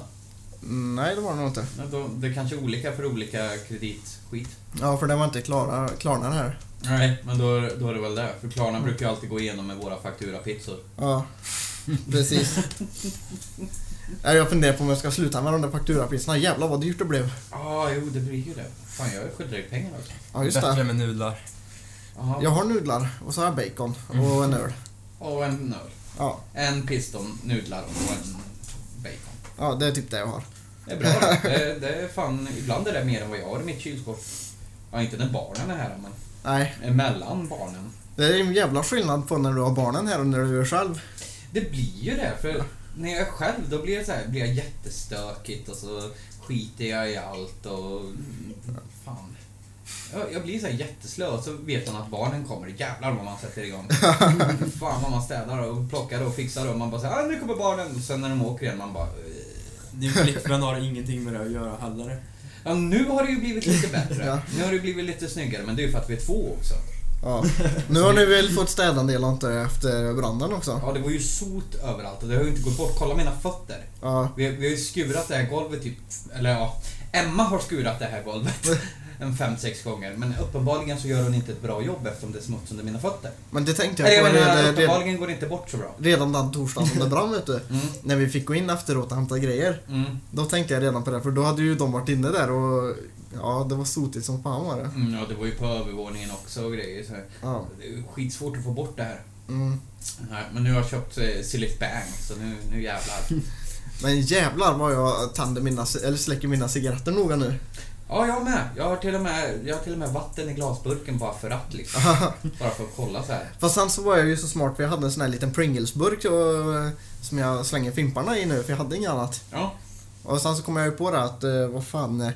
Speaker 3: Mm, Nej, det var det nog inte.
Speaker 2: Ja, då- Det kanske är olika för olika kreditskit.
Speaker 3: Ja, för den var inte klara, klarna här.
Speaker 2: Nej, men då, då är det väl det. För Klarna brukar ju alltid gå igenom med våra fakturapizzor.
Speaker 3: Ja, precis. Nej, Jag funderar på om jag ska sluta med de där fakturapriserna. Jävlar vad dyrt det blev.
Speaker 2: Ja, ah, jo, det blir ju det. Fan, jag är skyldig dig pengar alltså. också.
Speaker 3: Ja, just
Speaker 1: Bättre
Speaker 3: det.
Speaker 1: med nudlar.
Speaker 2: Aha.
Speaker 3: Jag har nudlar och så har jag bacon och en öl.
Speaker 2: Och en öl.
Speaker 3: Ja,
Speaker 2: En piston, nudlar och en bacon.
Speaker 3: ja det är typ det jag har.
Speaker 2: Det är bra. Det, det är fan, ibland är det mer än vad jag har i mitt kylskåp. Ja, inte när barnen är här, men
Speaker 3: Nej,
Speaker 2: mellan barnen.
Speaker 3: det är en jävla skillnad på när du har barnen här och när du är själv.
Speaker 2: Det blir ju det, för när jag är själv då blir det så här, blir jag jättestökigt och så skiter jag i allt och... mm, Fan. Jag, jag blir så här jätteslö och så vet man att barnen kommer. Jävlar vad man sätter igång. Fan vad man städar och plockar och fixar och man bara säger ah, nu kommer barnen. Och sen när de åker igen man bara... "Eh."
Speaker 1: Din flickvän har ingenting med det att göra heller.
Speaker 2: Ja, nu har det ju blivit lite bättre.
Speaker 3: Ja.
Speaker 2: Nu har det blivit lite snyggare, men det är ju för att vi är två också.
Speaker 3: Ja. Nu har ni väl fått städa en del antar jag, efter branden också?
Speaker 2: Ja, det var ju sot överallt och det har ju inte gått bort. Kolla mina fötter.
Speaker 3: Ja.
Speaker 2: Vi, vi har ju skurat det här golvet typ, eller ja, Emma har skurat det här golvet en fem, sex gånger. Men uppenbarligen så gör hon inte ett bra jobb eftersom det är smuts under mina fötter.
Speaker 3: Men det tänkte
Speaker 2: Eller
Speaker 3: jag
Speaker 2: jag
Speaker 3: på
Speaker 2: menar,
Speaker 3: redan, redan,
Speaker 2: uppenbarligen går det inte bort så bra.
Speaker 3: redan den torsdagen som det brann vet du.
Speaker 2: Mm,
Speaker 3: När vi fick gå in efteråt och hämta grejer.
Speaker 2: mm,
Speaker 3: Då tänkte jag redan på det för då hade ju de varit inne där och ja, det var sotigt som fan var det.
Speaker 2: mm, ja, det var ju på övervåningen också och grejer. Så
Speaker 3: Ja.
Speaker 2: det är ju skitsvårt att få bort det här.
Speaker 3: Mm.
Speaker 2: Nej, men nu har jag köpt eh, Silix Bang, så nu, nu jävlar.
Speaker 3: Men jävlar vad jag tänder mina, eller släcker mina cigaretter noga nu.
Speaker 2: Ja, jag med. Jag har till och med, jag har till och med vatten i glasburken bara för att liksom. Bara för att kolla så här.
Speaker 3: Fast sen så var jag ju så smart för jag hade en sån här liten Pringles-burk och, som jag slänger fimparna i nu för jag hade inget annat.
Speaker 2: Ja,
Speaker 3: Och sen så kom jag ju på det att, eh, vad fan, eh,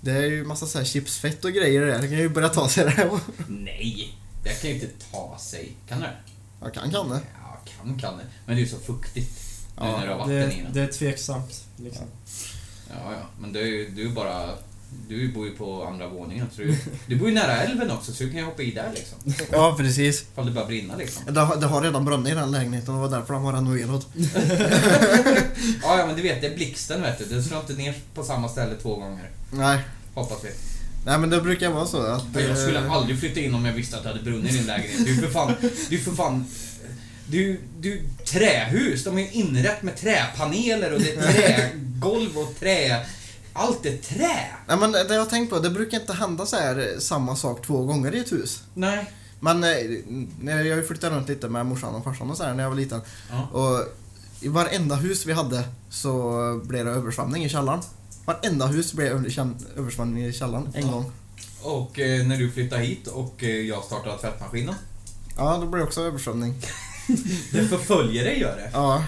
Speaker 3: det är ju massa så här chipsfett och grejer i det. Det kan ju börja ta sig det.
Speaker 2: Nej, det kan ju inte ta sig. Kan det?
Speaker 3: Jag kan kan det.
Speaker 2: Ja, kan kan det. Men det är ju så fuktigt nu
Speaker 3: Ja,
Speaker 2: när du har vatten i
Speaker 1: Det,
Speaker 2: den.
Speaker 1: det är tveksamt. Liksom.
Speaker 2: Ja, ja. Men det är ju, du är ju bara... Du bor ju på andra våningen. Så du, du bor ju nära älven också, så du kan ju hoppa i där liksom.
Speaker 3: Ja, precis.
Speaker 2: Ifall det börjar brinna liksom.
Speaker 3: Det har, det har redan brunnit i den lägenheten och det var därför den var renoverad.
Speaker 2: Ja, ja, men du vet, det är blixten vet du. Den slår inte ner på samma ställe två gånger.
Speaker 3: Nej.
Speaker 2: Hoppas vi.
Speaker 3: Nej men det brukar vara så att...
Speaker 2: Ja, Jag skulle
Speaker 3: eh,
Speaker 2: aldrig flytta in om jag visste att det hade brunnit i din lägenhet. Du är för fan... Du är för fan... Du, du, trähus, de är ju inrett med träpaneler och det är trägolv och trä... Allt är trä!
Speaker 3: Nej men det jag har tänkt på, det brukar inte hända så här eh, samma sak två gånger i ett hus.
Speaker 2: Nej.
Speaker 3: Men eh, när jag har ju flyttat runt lite med morsan och farsan och så här när jag var liten.
Speaker 2: Ja.
Speaker 3: Och i varenda hus vi hade så blev det översvämning i källaren. Varenda hus blev underkän- översvämning i källaren en
Speaker 2: Ja.
Speaker 3: gång.
Speaker 2: Och eh, när du flyttade hit och eh, jag startade tvättmaskinen.
Speaker 3: Ja, då blev det också översvämning.
Speaker 2: Det förföljer dig gör det.
Speaker 3: Ja.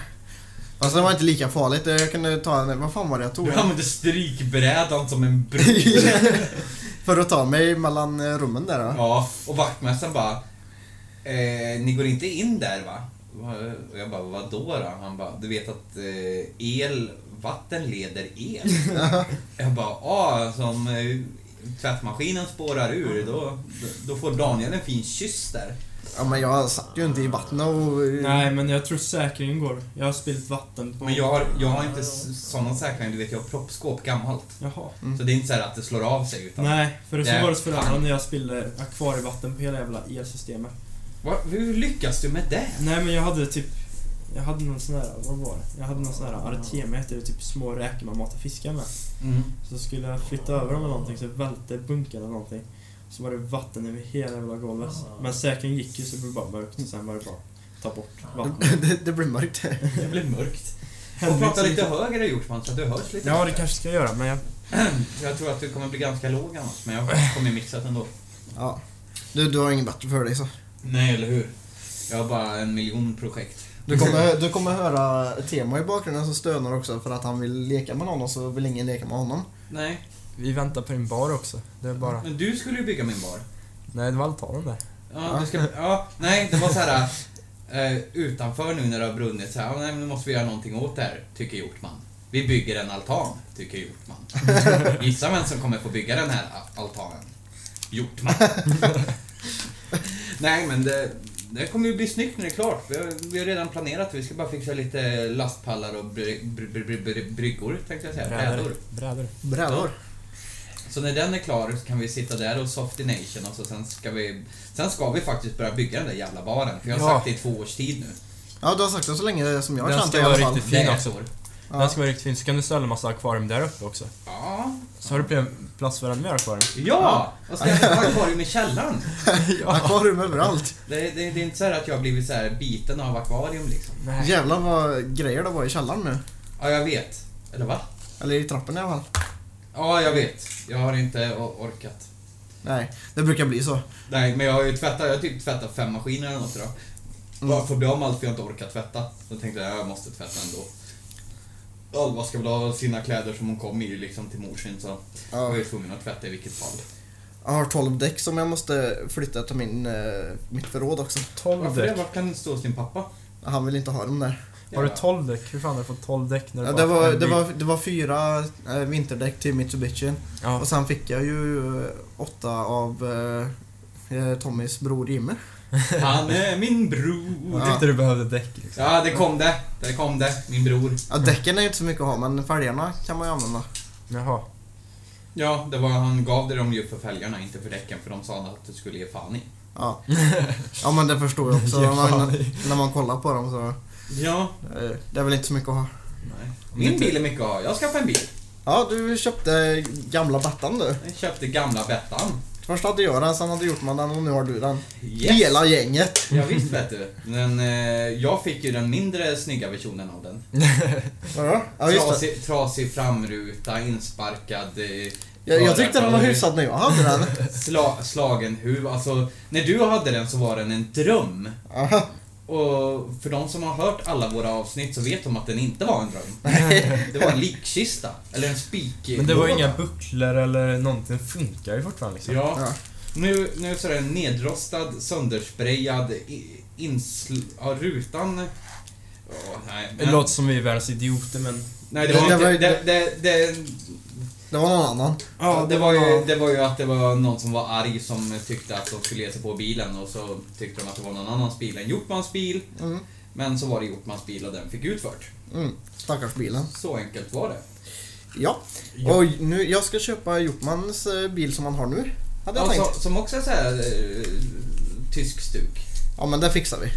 Speaker 3: Fast det var inte lika farligt. Jag kunde ta en, vad fan var det jag tog?
Speaker 2: Du använder strykbrädan som en bro.
Speaker 3: För att ta mig mellan eh, rummen där då.
Speaker 2: Ja, och vaktmästaren bara eh, Ni går inte in där va? Va- Och jag bara, vadå då? Han bara, du vet att eh, el, vatten leder el. jag bara, ja, som eh, tvättmaskinen spårar ur, då, då får Daniel en fin kyss där.
Speaker 3: Ja, men jag satt ju inte i vattnet och...
Speaker 1: Nej, men jag tror säkringen går. Jag har spillt vatten på...
Speaker 2: Men jag har, jag har inte s- sådana säkringar, du vet jag har proppskåp gammalt.
Speaker 1: Jaha.
Speaker 3: Mm.
Speaker 2: Så det är inte så här att det slår av sig utan...
Speaker 1: Nej, för
Speaker 2: Nej.
Speaker 1: så var det föräldrar när jag spillde akvarievatten på hela jävla elsystemet.
Speaker 2: Va, hur lyckas du med det?
Speaker 1: Nej, men jag hade typ... Jag hade någon sån här, vad var det? Jag hade någon sån här artema heter det, typ små räkor man matar fiskar med. Så skulle jag flytta över dem eller någonting så välte bunken eller någonting. Så var det vatten över hela jävla golvet.
Speaker 4: Ah.
Speaker 1: Men säkringen gick ju så det blev bara mörkt och sen var det bara ta bort vattnet.
Speaker 3: det, det blir mörkt.
Speaker 2: Det blev mörkt.
Speaker 1: Hände
Speaker 2: Och prata
Speaker 1: inte så
Speaker 2: lite
Speaker 1: mycket.
Speaker 2: högre Hjortman så att du hörs lite
Speaker 1: Ja, det
Speaker 2: bättre.
Speaker 1: kanske ska jag göra, men jag...
Speaker 2: Jag tror att du kommer bli ganska låg annars, men jag kommer mixa det ändå.
Speaker 3: Ja. Du, du har inget bättre för dig så.
Speaker 2: Nej, eller hur? Jag har bara en miljon projekt.
Speaker 3: Du kommer, du kommer höra Tema i bakgrunden som stönar också för att han vill leka med någon och så vill ingen leka med honom.
Speaker 2: Nej,
Speaker 1: Vi väntar på din bar också. Det är bara...
Speaker 2: men du skulle ju bygga min bar.
Speaker 1: Nej, det var altanen där.
Speaker 2: Ja, du ska, ja nej, det var så här eh, utanför nu när det har brunnit så här, ja, nej, men nu måste vi göra någonting åt det här, tycker Hjortman. Vi bygger en altan, tycker Hjortman. Gissa vem som kommer få bygga den här a- altanen? Hjortman. nej, men det, det kommer ju bli snyggt när det är klart. Vi har, vi har redan planerat det. Vi ska bara fixa lite lastpallar och bry, bry, bry, bry, bry, bryggor, tänkte jag säga. Brädor.
Speaker 1: Brädor.
Speaker 3: Brädor.
Speaker 2: Så när den är klar så kan vi sitta där och Softy Nation och så sen ska vi... Sen ska vi faktiskt börja bygga den där jävla baren, för jag har
Speaker 1: Ja.
Speaker 2: sagt det i två års tid nu.
Speaker 3: Ja, du har sagt det så länge som jag har
Speaker 1: Den
Speaker 3: känt
Speaker 1: ska
Speaker 3: dig i alla
Speaker 1: vara
Speaker 3: fall.
Speaker 1: riktigt Fin
Speaker 2: Det är
Speaker 1: också.
Speaker 2: ett år.
Speaker 3: Ja.
Speaker 1: Den ska vara riktigt fin, så kan du ställa en massa akvarium där uppe också.
Speaker 2: Ja.
Speaker 1: Så har du pl- plats för ännu mer akvarium.
Speaker 2: Ja! Och ska jag ha akvarium i källaren?
Speaker 3: Akvarium överallt.
Speaker 2: Det, det, det är inte så här att jag har blivit så här biten av akvarium liksom.
Speaker 1: Nej.
Speaker 3: Jävlar vad grejer det var i källaren nu.
Speaker 2: Ja, jag vet. Eller va?
Speaker 3: Eller i trappen i alla fall.
Speaker 2: Ja, jag vet. Jag har inte o- orkat.
Speaker 3: Nej, det brukar bli så.
Speaker 2: Nej, men jag har ju tvättat. Jag har typ tvättat fem maskiner eller något idag.
Speaker 4: Mm.
Speaker 2: Bara för att bli av med allt för jag inte orkar tvätta. Så tänkte jag, jag måste tvätta ändå. Alva ska väl ha sina kläder som hon kom i liksom till morsin så jag var
Speaker 3: Ja.
Speaker 2: ju tvungen att tvätta i vilket fall.
Speaker 3: Jag har 12 däck som jag måste flytta till min, eh, mitt förråd också.
Speaker 4: 12
Speaker 2: Varför det?
Speaker 4: däck.
Speaker 2: Varför kan det stå hos din pappa?
Speaker 3: Han vill inte ha dem där.
Speaker 4: Har du 12 däck? Hur fan har du fått 12 däck när du
Speaker 3: Ja,
Speaker 4: bara
Speaker 3: det, var,
Speaker 4: en
Speaker 3: det,
Speaker 4: bil?
Speaker 3: var, det var fyra eh, vinterdäck till Mitsubishi.
Speaker 4: Ja.
Speaker 3: Och sen fick jag ju eh, åtta av eh, eh, Tommys bror Jimmy.
Speaker 2: Han är min bror.
Speaker 4: Jag tyckte du behövde däck liksom.
Speaker 2: Ja, det kom det. Det kom det. Min bror.
Speaker 3: Ja, däcken är ju inte så mycket att ha, men fälgarna kan man ju använda.
Speaker 4: Jaha.
Speaker 2: Ja, det var han gav det dem ju för fälgarna, inte för däcken, för de sa att du skulle ge fan i.
Speaker 3: Ja, ja men det förstår jag också.
Speaker 4: Ge
Speaker 3: när,
Speaker 4: fan
Speaker 3: man,
Speaker 4: i.
Speaker 3: när man kollar på dem så...
Speaker 2: Ja.
Speaker 3: eh, Det är väl inte så mycket att ha.
Speaker 2: Nej. Min bil är mycket att ha. Jag skaffade en bil.
Speaker 3: Ja, du köpte gamla Bettan du.
Speaker 2: Jag köpte gamla Bettan.
Speaker 3: Först hade jag den, sen hade Hjortman den och nu har du den.
Speaker 2: Yes.
Speaker 3: Hela gänget!
Speaker 2: Ja, visst vet du. Men eh, jag fick ju den mindre snygga versionen av den.
Speaker 3: Ja, ja just det.
Speaker 2: trasig, trasig framruta, insparkad... Eh,
Speaker 3: Jag, jag tyckte den var
Speaker 2: förarfärg,
Speaker 3: hyfsad när jag hade den.
Speaker 2: Sla, slagen huv. Alltså, när du hade den så var den en dröm.
Speaker 3: Aha.
Speaker 2: Och för de som har hört alla våra avsnitt så vet de att den inte var en dröm.
Speaker 3: Nej.
Speaker 2: Det var en likkista. Eller en spik.
Speaker 4: Men det var inga bucklor eller någonting. Det funkar ju fortfarande liksom.
Speaker 2: Ja.
Speaker 3: Ja.
Speaker 2: Nu, nu så är den nedrostad, söndersprejad, i- insl... Ja, rutan... Åh, nej,
Speaker 4: Det låter som vi är världens idioter men...
Speaker 2: nej, det var
Speaker 3: Det- det
Speaker 2: inte...
Speaker 3: var-
Speaker 2: Det, det, det,
Speaker 3: Det var någon annan.
Speaker 2: ja, det, var ju, det var ju att det var någon som var arg som tyckte att de skulle ge sig på bilen och så tyckte de att det var någon annans bil än Hjortmans bil.
Speaker 3: Mm.
Speaker 2: Men så var det Hjortmans bil och den fick utfört.
Speaker 3: Mm. Stackars bilen.
Speaker 2: Så enkelt var det.
Speaker 3: Ja.
Speaker 2: Ja.
Speaker 3: Och nu, jag ska köpa Hjortmans eh, bil som han har nu. Hade jag
Speaker 2: Ja,
Speaker 3: tänkt.
Speaker 2: så, som också är så här, eh, tysk stuk.
Speaker 3: Ja men det fixar vi.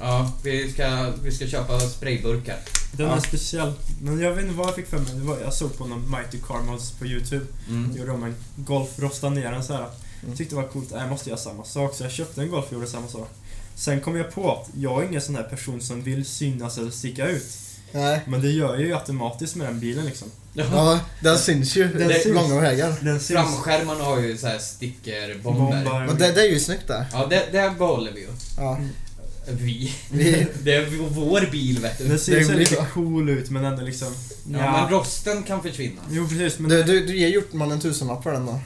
Speaker 2: Ja, vi ska, vi ska köpa sprayburkar.
Speaker 1: Den
Speaker 3: Ja.
Speaker 1: är speciell. Men jag vet inte vad jag fick för mig. Det var, jag såg på någon Mighty Carmels på YouTube.
Speaker 2: Mm.
Speaker 1: Gjorde de en golf, rostade ner den så här.
Speaker 3: Mm.
Speaker 1: Tyckte det var coolt. Äh, Jag måste göra samma sak. Så jag köpte en golf och gjorde samma sak. Sen kom jag på att jag är ingen sån här person som vill synas eller sticka ut.
Speaker 3: Nej.
Speaker 1: Men det gör jag ju automatiskt med den bilen liksom.
Speaker 3: Ja, den syns ju.
Speaker 1: Den
Speaker 3: Det är
Speaker 1: syns.
Speaker 3: långa vägar.
Speaker 1: Den syns.
Speaker 2: Framskärmarna har ju så här stickerbomber.
Speaker 1: Bombar.
Speaker 3: Men det, det är ju snyggt där.
Speaker 2: Ja, det, det behåller vi ju.
Speaker 3: Ja.
Speaker 2: Vi.
Speaker 3: Vi,
Speaker 2: Det är vår bil, vet du.
Speaker 1: Den ser så
Speaker 3: blir bra.
Speaker 1: lite cool ut men ändå liksom...
Speaker 2: Ja,
Speaker 1: nja.
Speaker 2: men rosten kan försvinna.
Speaker 1: Jo precis, men
Speaker 3: du, du, du ger Hjortman en tusenlapp för den då.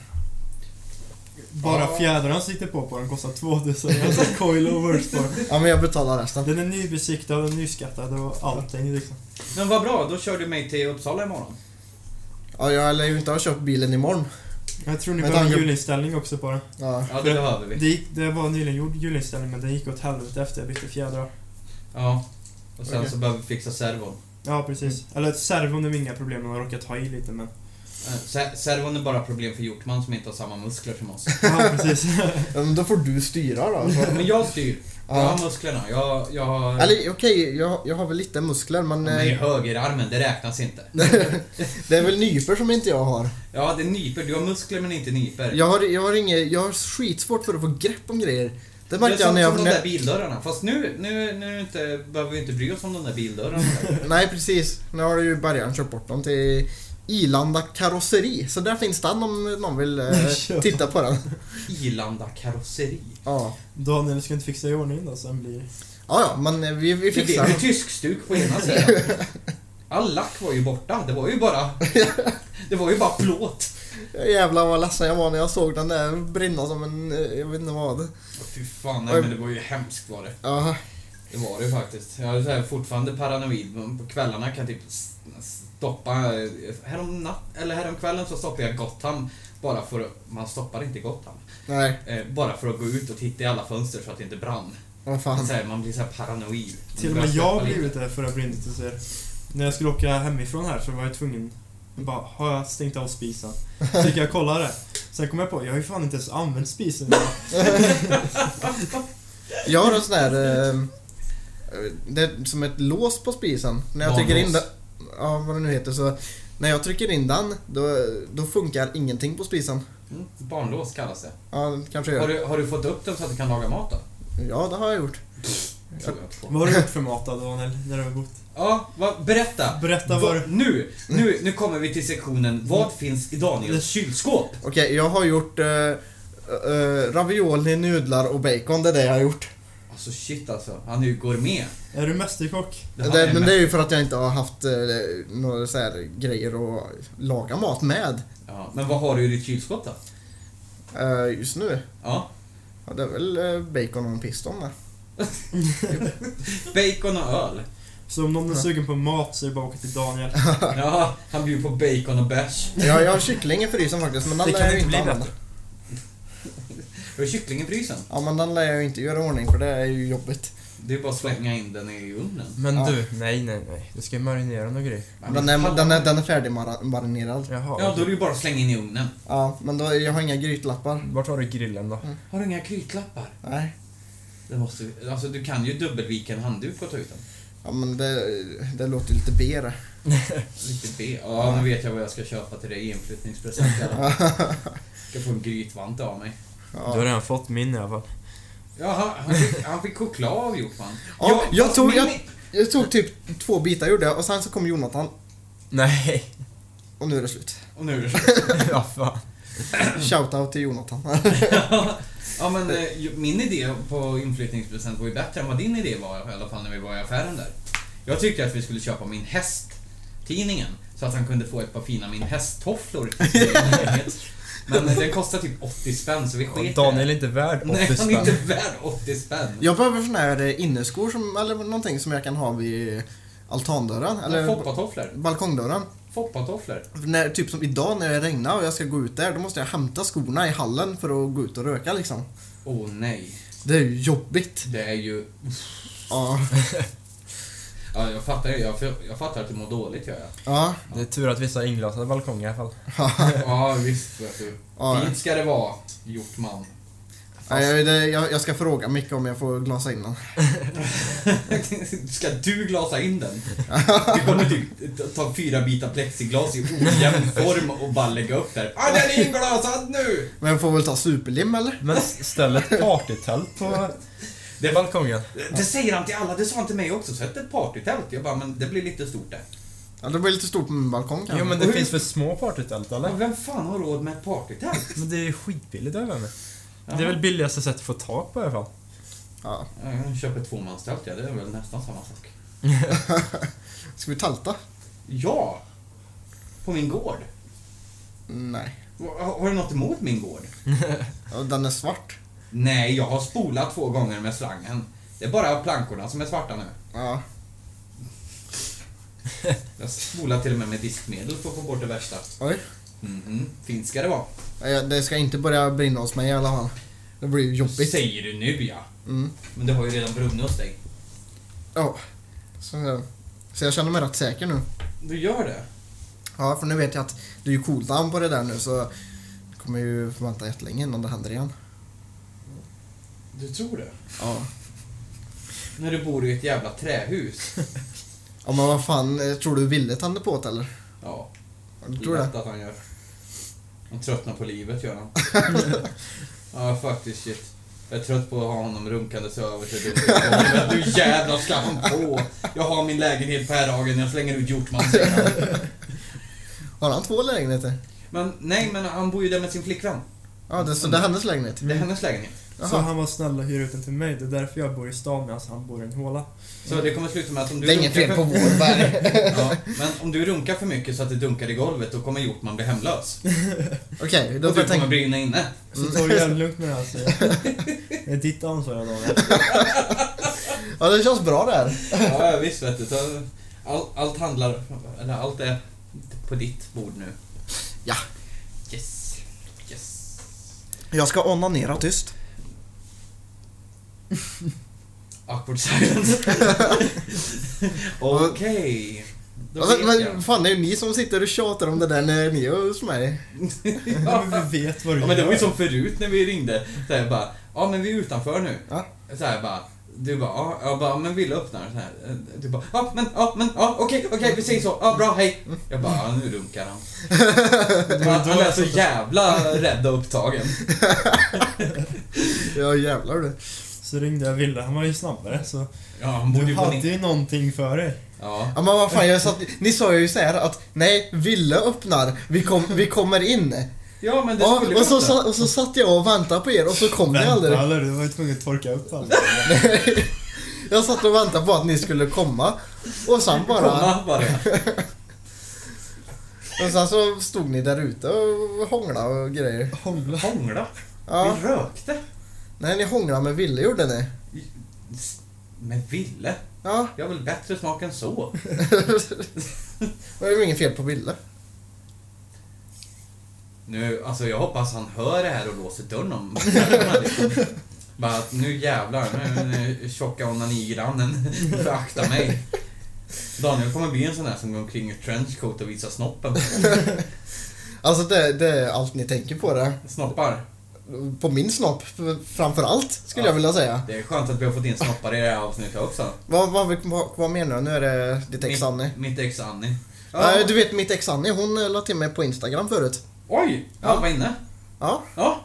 Speaker 1: bara fjädrarna sitter på på den kostar 2000. Jag har coilovers på den.
Speaker 3: Ja men jag betalar resten.
Speaker 1: Den är nybesiktad och nyskattad och allting liksom.
Speaker 2: Men vad bra, då kör du mig till Uppsala imorgon.
Speaker 3: Ja, jag lär ju inte ha köpt bilen imorgon.
Speaker 1: Jag tror ni
Speaker 3: Men
Speaker 1: behöver en
Speaker 3: tanke-
Speaker 1: julinställning också på den.
Speaker 3: Ja.
Speaker 2: Ja, det behöver vi.
Speaker 1: Det, gick, det var en nyligen gjord julinställning men den gick åt helvete efter jag bytte
Speaker 2: Mm.
Speaker 1: fjädrar.
Speaker 2: Ja. Och sen
Speaker 3: Okej.
Speaker 2: så behöver vi fixa servon.
Speaker 1: Ja
Speaker 2: Mm.
Speaker 1: precis. Eller servon är inga problem, man har råkat ha i lite men...
Speaker 2: Eh, se- Servon är bara problem för Hjortman som inte har samma muskler som oss.
Speaker 1: Ja precis.
Speaker 3: Ja, men då får du styra då. Så.
Speaker 2: Men jag styr. Jag
Speaker 3: Ja.
Speaker 2: har musklerna. Jag, jag har...
Speaker 3: Eller okej, jag, jag har väl lite muskler men...
Speaker 2: Men i
Speaker 3: eh,
Speaker 2: högerarmen, det räknas inte.
Speaker 3: det är väl nyper som inte jag har.
Speaker 2: Ja, det är nyper. Du har muskler men inte nyper.
Speaker 3: Jag har, jag har inget, jag har skitsvårt för att få grepp om grejer. Det
Speaker 2: Det är
Speaker 3: märkte jag
Speaker 2: som,
Speaker 3: när jag...
Speaker 2: som
Speaker 3: när-
Speaker 2: de där bildörrarna. Fast nu, nu, nu är det inte, behöver vi inte bry oss om de där bildörrarna.
Speaker 3: Nej precis, nu har ju bärgaren kört bort dem till Ilanda karosseri. Så där finns den om någon vill eh,
Speaker 1: Ja.
Speaker 3: titta på den.
Speaker 2: Ilanda karosseri.
Speaker 3: Ja,
Speaker 1: Daniel, ska inte fixa i ordning då så den blir...
Speaker 3: ja, ja men eh, vi, vi
Speaker 2: Det blev
Speaker 3: fixar
Speaker 2: ju
Speaker 3: den.
Speaker 2: tyskstuk på ena sidan. All lack var ju borta. Det var ju bara... Det var ju bara plåt.
Speaker 3: Jävlar vad ledsen jag var när jag såg den där brinna som en... eh, Jag vet inte vad.
Speaker 2: Fy fan, nej, men det var ju hemskt var det.
Speaker 3: Ja,
Speaker 2: Det var det ju faktiskt. Jag är så här fortfarande paranoid, men på kvällarna kan jag typ s- stoppa... Härom, natt, eller härom kvällen så stoppade jag Gotham bara för att... Man stoppar inte Gotham.
Speaker 3: nej.
Speaker 2: Eh, bara för att gå ut och titta i alla fönster så att det inte brann.
Speaker 3: Vad
Speaker 2: Man,
Speaker 3: fan.
Speaker 2: så här, man blir så här paranoid. Man
Speaker 1: Till och
Speaker 2: börjar
Speaker 1: med jag
Speaker 2: stoppa
Speaker 1: har
Speaker 2: lite.
Speaker 1: blivit det för att jag blivit hos er. När jag skulle åka hemifrån här så var jag tvungen bara, har jag stängt av spisen? Så gick jag och kollade. Sen kom jag på, jag har ju fan inte ens använt spisen idag.
Speaker 3: Jag har en sån här... Eh, det är som ett lås på spisen. När jag trycker in den...
Speaker 2: Barnlås.
Speaker 3: Ja, vad det nu heter. Så när jag trycker in den, då, då funkar ingenting på spisen.
Speaker 2: Mm, barnlås kallas det.
Speaker 3: Ja, det kanske jag
Speaker 2: Har
Speaker 3: gör.
Speaker 2: du, har du fått upp den så att du kan laga mat då?
Speaker 3: Ja, det har jag gjort.
Speaker 2: ögat
Speaker 1: Vad
Speaker 2: på.
Speaker 1: har du gjort för mat då, Daniel, när du har bott?
Speaker 2: Ja, vad- berätta!
Speaker 1: Berätta vad
Speaker 2: Va,
Speaker 1: du...
Speaker 2: nu, nu, nu kommer vi till sektionen Vad finns i Daniels
Speaker 1: Mm.
Speaker 2: kylskåp?
Speaker 3: Okej, jag har gjort eh, eh, ravioli, nudlar och bacon. Det är det jag har gjort.
Speaker 2: Alltså shit alltså, han är ju gourmet.
Speaker 1: Är du mästerkock?
Speaker 2: här
Speaker 3: det, men det är
Speaker 2: mest-
Speaker 3: ju för att jag inte har haft eh, några så här grejer att laga mat med
Speaker 2: ja, men vad har du i ditt kylskåp då?
Speaker 3: eh, just nu.
Speaker 2: Ja,
Speaker 3: Ja, det är väl eh, bacon och en piston där.
Speaker 2: bacon och öl.
Speaker 1: Så om någon är sugen på mat så är det bara att åka till Daniel.
Speaker 2: Ja, han bjuder på bacon och bärs.
Speaker 3: Jag, jag har kyckling i frysen faktiskt, men den
Speaker 1: Det
Speaker 3: lär
Speaker 1: kan
Speaker 3: jag ju
Speaker 1: inte
Speaker 3: inte
Speaker 1: bli
Speaker 3: använda.
Speaker 2: Har du kyckling i frysen?
Speaker 3: Ja, men den lär jag ju inte göra i ordning för det är ju jobbigt.
Speaker 2: Det är bara att slänga in den i ugnen.
Speaker 4: Men
Speaker 3: Ja.
Speaker 4: du, nej, nej, nej. Du ska ju marinera några grejer.
Speaker 2: Ja,
Speaker 3: Den är, den är, den är färdigmarinerad.
Speaker 4: Jaha.
Speaker 2: Ja, då är det ju bara att slänga in i ugnen.
Speaker 3: Ja, men då, jag har inga grytlappar.
Speaker 4: Vart har du grillen då?
Speaker 2: Har du inga krytlappar?
Speaker 3: Nej.
Speaker 2: Det måste, alltså, du kan ju dubbelvika en handduk och ta ut den.
Speaker 3: Ja, men det, det låter ju lite B det.
Speaker 2: Riktigt B. Ja, nu vet jag vad jag ska köpa till dig i inflyttningspresent. Jag ska få en grytvante av mig.
Speaker 4: Du har
Speaker 3: Ja.
Speaker 4: redan fått min i alla fall.
Speaker 2: Jaha, han fick, han fick choklad av Johan.
Speaker 3: Ja, jag
Speaker 2: fast
Speaker 3: tog-
Speaker 2: min-
Speaker 3: jag- Jag tog typ två bitar gjorde jag och sen så kom Jonathan
Speaker 4: Nej,
Speaker 3: och nu är det slut.
Speaker 2: Och nu är det slut.
Speaker 4: ja, fan.
Speaker 3: Shoutout till Jonathan.
Speaker 2: Ja, men eh, ju- min idé på inflyttningspresent var ju bättre än vad din idé var i alla fall när vi var i affären där. Jag tyckte att vi skulle köpa Min Häst-tidningen så att han kunde få ett par fina Min Häst-tofflor. i sin lägenhet. men eh, den kostar typ 80 spänn så vi
Speaker 4: Och
Speaker 2: sket i det.
Speaker 4: Daniel är inte värd 80
Speaker 2: Nej, han är
Speaker 4: spänn.
Speaker 2: inte värd 80 spänn.
Speaker 3: Jag behöver såna här eh, inneskor som, eller någonting som jag kan ha vid altandörren eller
Speaker 2: Foppatofflor.
Speaker 3: balkongdörren.
Speaker 2: Foppatofflor.
Speaker 3: När, typ som idag när det regnar och jag ska gå ut där, då måste jag hämta skorna i hallen för att gå ut och röka liksom.
Speaker 2: Åh oh, nej.
Speaker 3: Det är ju jobbigt.
Speaker 2: Det är ju...
Speaker 3: Ja.
Speaker 2: Ja, jag fattar ju. Jag, jag fattar att du mår dåligt, gör jag.
Speaker 3: Ja.
Speaker 4: Det är tur att vissa har inglasade balkonger i alla fall.
Speaker 2: Ja, visst. Vet du.
Speaker 3: Ja.
Speaker 2: Fint ska det vara, Hjortman.
Speaker 3: Ja, jag, det, jag, jag ska fråga Micke om jag får glasa in den.
Speaker 2: Ska du glasa in den? Du kommer typ ta fyra bitar plexiglas i ojämn form och bara lägga upp där. Ah, den är inglasad nu!
Speaker 3: Men jag får väl ta superlim eller?
Speaker 4: Men ställ ett partytält på
Speaker 2: Det, var,
Speaker 4: balkongen.
Speaker 2: det säger han till alla, det sa han till mig också. Sätt ett partytält. Jag bara, men det blir lite stort det.
Speaker 3: Ja, det blir lite stort på min balkong kanske.
Speaker 4: Jo men det finns för små partytält eller?
Speaker 2: Men vem fan har råd med ett partytält?
Speaker 4: Men det är ju skitbilligt över mig.
Speaker 2: Ja.
Speaker 4: Det är väl billigaste sättet att få tag på i alla fall.
Speaker 3: Ja.
Speaker 2: Jag köper ett tvåmanstält, ja. Det är väl nästan samma sak.
Speaker 3: Ska vi tälta?
Speaker 2: Ja! På min gård.
Speaker 3: Nej.
Speaker 2: Har har du något emot min gård?
Speaker 3: Ja, den är svart.
Speaker 2: Nej, jag har spolat två gånger med slangen. Det är bara plankorna som är svarta nu.
Speaker 3: Ja.
Speaker 2: Jag spolar till och med med diskmedel för att få bort det värsta.
Speaker 3: Oj.
Speaker 2: Mhm, fint ska det vara.
Speaker 3: Ja, Det ska inte börja brinna hos mig i alla fall. Det blir ju jobbigt.
Speaker 2: Säger du nu ja.
Speaker 3: Mm.
Speaker 2: Men det har ju redan brunnit hos dig.
Speaker 3: Ja. Så, så jag känner mig rätt säker nu.
Speaker 2: Du gör det?
Speaker 3: Ja, för nu vet jag att det är ju cooldown på det där nu så det kommer ju få vänta jättelänge innan det händer igen.
Speaker 2: Du tror det?
Speaker 3: Ja.
Speaker 2: När du bor i ett jävla trähus.
Speaker 3: Ja men vad fan, eh, tror du Ville tänder på det eller?
Speaker 2: Ja,
Speaker 3: Ja, Du tror det?
Speaker 2: lätt att han gör. Han tröttnar på livet gör han. ja, faktiskt shit. Jag är trött på att ha honom runkandes över sig. Du, du jävlar ska han på! Jag har min lägenhet på Herrhagen, jag slänger ut Hjortman säger han.
Speaker 3: Har han två lägenheter?
Speaker 2: Men nej, men han bor ju där med sin flickvän.
Speaker 3: Ja, det, så det är hennes lägenhet?
Speaker 2: Det är hennes lägenhet.
Speaker 1: Så
Speaker 3: Jaha.
Speaker 1: han var snäll och hyrde ut den till mig. Det är därför jag bor i stan medan han bor i en håla.
Speaker 2: Så det kommer sluta med att om du
Speaker 3: Det är inget
Speaker 2: dunkar
Speaker 3: fel på
Speaker 2: för-
Speaker 3: vår berg.
Speaker 2: Ja, men om du runkar för mycket så att det dunkar i golvet, då kommer Hjortman bli hemlös.
Speaker 3: Okej, då
Speaker 2: Och du
Speaker 3: får jag
Speaker 2: kommer
Speaker 3: tänka...
Speaker 2: brinna inne.
Speaker 1: Så ta det jävligt lugnt med det här säger jag. Det är ditt ansvar Daniel.
Speaker 3: Ja, det känns bra det här.
Speaker 2: Ja, visst vet du. Så all- Allt handlar, eller allt är på ditt bord nu.
Speaker 3: Ja.
Speaker 2: Yes. Yes.
Speaker 3: Jag ska onanera tyst.
Speaker 2: Awkward silence. Okej. Då
Speaker 3: Alltså,
Speaker 2: vet
Speaker 3: men
Speaker 2: jag.
Speaker 3: fan, det är ju ni som sitter och tjatar om det där när ni är hos mig.
Speaker 1: Ja, men vi vet vad du
Speaker 2: Ja, men det var ju
Speaker 1: gör.
Speaker 2: som förut när vi ringde. Så här bara, ja men vi är utanför nu.
Speaker 3: Ja.
Speaker 2: Så här bara, du bara, ja, jag bara, men vill öppna den så här. Du bara, ja men, ja men, ja okej, okej, vi säger så, ja bra, hej. Jag bara, ja nu runkar han. Han han är så jävla rädd och upptagen.
Speaker 3: Ja, jävlar du.
Speaker 1: Så ringde jag Wille, han var ju snabbare så
Speaker 2: Ja, han borde
Speaker 1: du
Speaker 2: ju på
Speaker 1: hade
Speaker 2: ni-
Speaker 1: ju någonting för dig.
Speaker 2: Ja.
Speaker 3: Ja men vad fan, jag satt, ni sa ju så här att nej, Ville öppnar, vi, kom, vi kommer in.
Speaker 2: ja, men det
Speaker 3: Ja,
Speaker 2: skulle
Speaker 3: och, så,
Speaker 2: jag inte.
Speaker 3: sa- och så satt jag och väntade på er och så kom ni aldrig.
Speaker 1: Vänta, eller? Du var ju tvungen att torka upp allt.
Speaker 3: Jag satt och väntade på att ni skulle komma. Och sen bara,
Speaker 2: Komma bara.
Speaker 3: och sen så stod ni där ute och hånglade och grejer.
Speaker 1: Hångla.
Speaker 2: Hångla?
Speaker 3: Ja.
Speaker 2: Vi rökte.
Speaker 3: Nej, ni hånglade med Ville gjorde ni.
Speaker 2: Men Ville?
Speaker 3: Ja,
Speaker 2: Jag har väl bättre smak än så?
Speaker 3: det var ju inget fel på Ville.
Speaker 2: Nu, alltså jag hoppas han hör det här och låser dörren om. Bara att nu jävlar, nu är den tjocka onanigrannen föraktar mig. Daniel kommer bli en sån där som går omkring i trenchcoat och visar snoppen.
Speaker 3: Alltså det, det är allt ni tänker på det.
Speaker 2: Snoppar.
Speaker 3: På min snopp f- framför allt, skulle
Speaker 2: Ja.
Speaker 3: jag vilja säga.
Speaker 2: Det är skönt att vi har fått in snoppar i det här avsnittet också.
Speaker 3: Vad, vad, vad, vad menar du? Nu är det ditt ex Annie.
Speaker 2: Mitt, mitt ex Annie.
Speaker 3: Nej, Eh, Du vet mitt ex Annie, hon eh, la till mig på Instagram förut.
Speaker 2: Oj! Halva inne.
Speaker 3: Ja,
Speaker 2: Ja.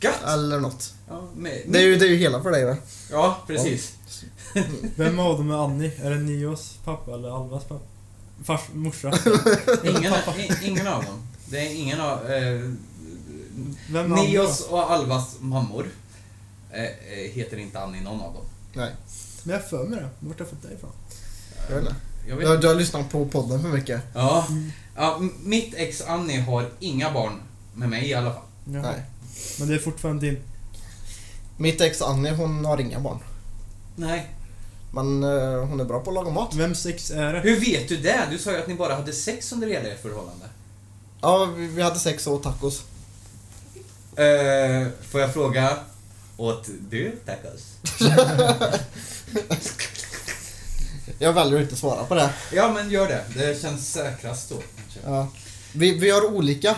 Speaker 2: Gött!
Speaker 3: eller något.
Speaker 2: Ja, med,
Speaker 3: Det är ju, det är ju hela för dig va?
Speaker 2: ja precis.
Speaker 1: Vem av dem är Annie? Är det Nios pappa eller Alvas pappa? Fars, morsa?
Speaker 2: Ingen, i- ingen av dem. Det är ingen av... Eh,
Speaker 1: Vem är Annie då?
Speaker 2: Nios och Alvas mammor eh, eh, heter inte Annie någon av dem.
Speaker 3: Nej,
Speaker 1: Men jag har för mig det. Vart har jag fått det ifrån?
Speaker 3: jag vet inte.
Speaker 2: Jag
Speaker 3: Du, har-
Speaker 2: vet.
Speaker 3: du har lyssnat på podden för mycket.
Speaker 2: Ja. ja, m- mitt ex Annie har inga barn med mig i alla fall.
Speaker 1: Jaha.
Speaker 3: Nej.
Speaker 1: Men det är fortfarande din...
Speaker 3: Mitt ex Annie, hon har inga barn.
Speaker 2: Nej.
Speaker 3: Men eh, hon är bra på att laga mat.
Speaker 1: Vems sex är det?
Speaker 2: Hur vet du det? Du sa ju att ni bara hade sex under hela ert förhållande.
Speaker 3: Ja, vi, vi hade sex och tacos.
Speaker 2: Eh, får jag fråga? Åt du tacos?
Speaker 3: Jag väljer att inte svara på det.
Speaker 2: Ja, men gör det. Det känns säkrast då.
Speaker 3: Ja. Vi, vi har olika.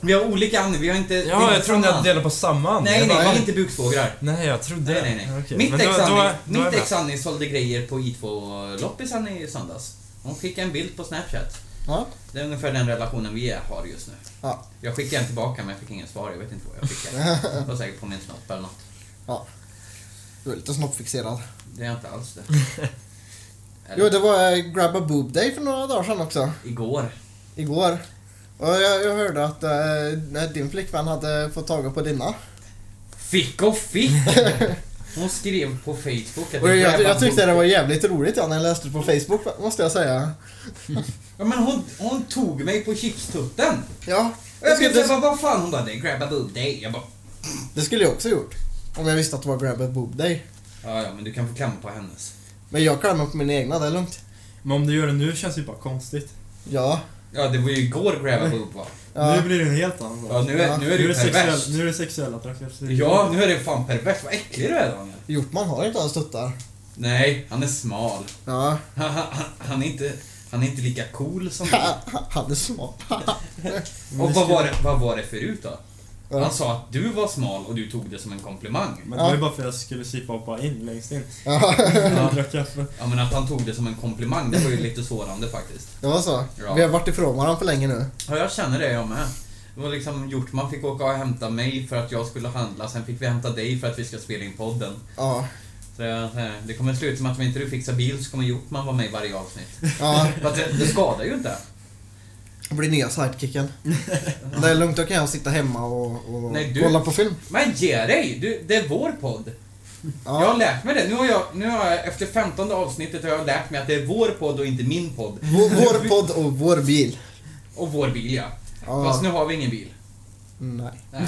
Speaker 2: Vi har olika Annie, vi har inte... vi
Speaker 4: Ja,
Speaker 2: har
Speaker 4: jag trodde
Speaker 2: samma.
Speaker 4: jag delade på samma Annie.
Speaker 2: Nej,
Speaker 4: Jag
Speaker 2: nej,
Speaker 4: bara,
Speaker 2: vi är inte buksvågrar.
Speaker 4: Nej, jag trodde
Speaker 2: Nej, nej, nej.
Speaker 4: Okej,
Speaker 2: Mitt
Speaker 4: men då-
Speaker 2: ex
Speaker 4: då-
Speaker 2: Annie,
Speaker 4: då är jag
Speaker 2: mitt
Speaker 4: med.
Speaker 2: ex Annie sålde grejer på I2-loppisen i söndags. Hon skickade en bild på Snapchat.
Speaker 3: Ja.
Speaker 2: Det är ungefär den relationen vi har just nu.
Speaker 3: Ja.
Speaker 2: Jag skickade en tillbaka men jag fick ingen svar. Jag vet inte vad jag skickade. Det var säkert på min snopp eller något.
Speaker 3: ja. Du är lite snoppfixerad.
Speaker 2: Det är jag inte alls det.
Speaker 3: Jo,
Speaker 2: Eller,
Speaker 3: det var eh, Grab a Boob Day för några dagar sedan också.
Speaker 2: Igår.
Speaker 3: Igår. Och jag, jag hörde att eh, din flickvän hade fått tag på dina.
Speaker 2: Fick och fick! Hon skrev på Facebook att
Speaker 3: Och jag,
Speaker 2: grabbar
Speaker 3: jag tyckte det
Speaker 2: borde-
Speaker 3: var jävligt roligt ja, när jag läste det på Facebook, måste jag säga.
Speaker 2: Ja, men hon, hon tog mig på chipstutten!
Speaker 3: Ja.
Speaker 2: Och jag
Speaker 3: Det
Speaker 2: tänkte
Speaker 3: skulle,
Speaker 2: bara, vad fan? Hon bara, det är grab a boob day. Jag bara,
Speaker 3: det skulle jag också gjort. Om jag visste att det var Grab a Boob Day.
Speaker 2: ja, ja, men du kan få klämma på hennes.
Speaker 3: Men jag klämmer på mina egna, det är lugnt.
Speaker 1: Men om du gör det nu känns det ju bara konstigt.
Speaker 3: Ja.
Speaker 2: Ja, det var ju igår grab a boob va?
Speaker 3: ja.
Speaker 1: Nu blir det en helt annan sak.
Speaker 2: Ja, nu är, nu
Speaker 1: nu, är
Speaker 2: är det ju
Speaker 1: det sexuell,
Speaker 2: perverst.
Speaker 1: nu är det sexuell attraktion.
Speaker 2: Ja, nu är det fan perverst. Vad äcklig du är Daniel.
Speaker 3: Hjortman har inte ens tuttar.
Speaker 2: Nej, han är smal.
Speaker 3: Ja.
Speaker 2: Han är inte, han är inte lika cool som du.
Speaker 3: Han är smart.
Speaker 2: Och vad var, det, vad var det förut då?
Speaker 3: Ja.
Speaker 2: Han sa att du var smal och du tog det som en komplimang.
Speaker 1: Men det var ju bara för att jag skulle supa och hoppa in längst in.
Speaker 3: Ja,
Speaker 1: Jag drack kaffe.
Speaker 2: Ja men att han tog det som en komplimang, det var ju lite sårande faktiskt.
Speaker 3: det var så.
Speaker 2: Ja.
Speaker 3: Vi har varit ifrån varandra för länge nu.
Speaker 2: Ja, jag känner det jag med. Det var liksom gjort, man fick åka och hämta mig för att jag skulle handla, sen fick vi hämta dig för att vi ska spela in podden.
Speaker 3: Ja.
Speaker 2: Så jag, så här, det kommer sluta med att om inte du fixar bil så kommer Hjortman vara med i varje avsnitt.
Speaker 3: ja.
Speaker 2: För att det, det skadar ju inte.
Speaker 3: Det blir nya sidekicken. Det är lugnt, då kan jag sitta hemma och, och
Speaker 2: Nej, du-
Speaker 3: kolla på film.
Speaker 2: Men ge dig! Du, det är vår podd. Jag har
Speaker 3: Ja.
Speaker 2: lärt mig det. Nu har jag, nu har jag, efter 15 avsnittet har jag lärt mig att det är vår podd och inte min podd.
Speaker 3: Vår, vår podd och vår bil.
Speaker 2: Och vår bil ja.
Speaker 3: Ja.
Speaker 2: Fast nu har vi ingen bil.
Speaker 3: Nej.
Speaker 2: Nej.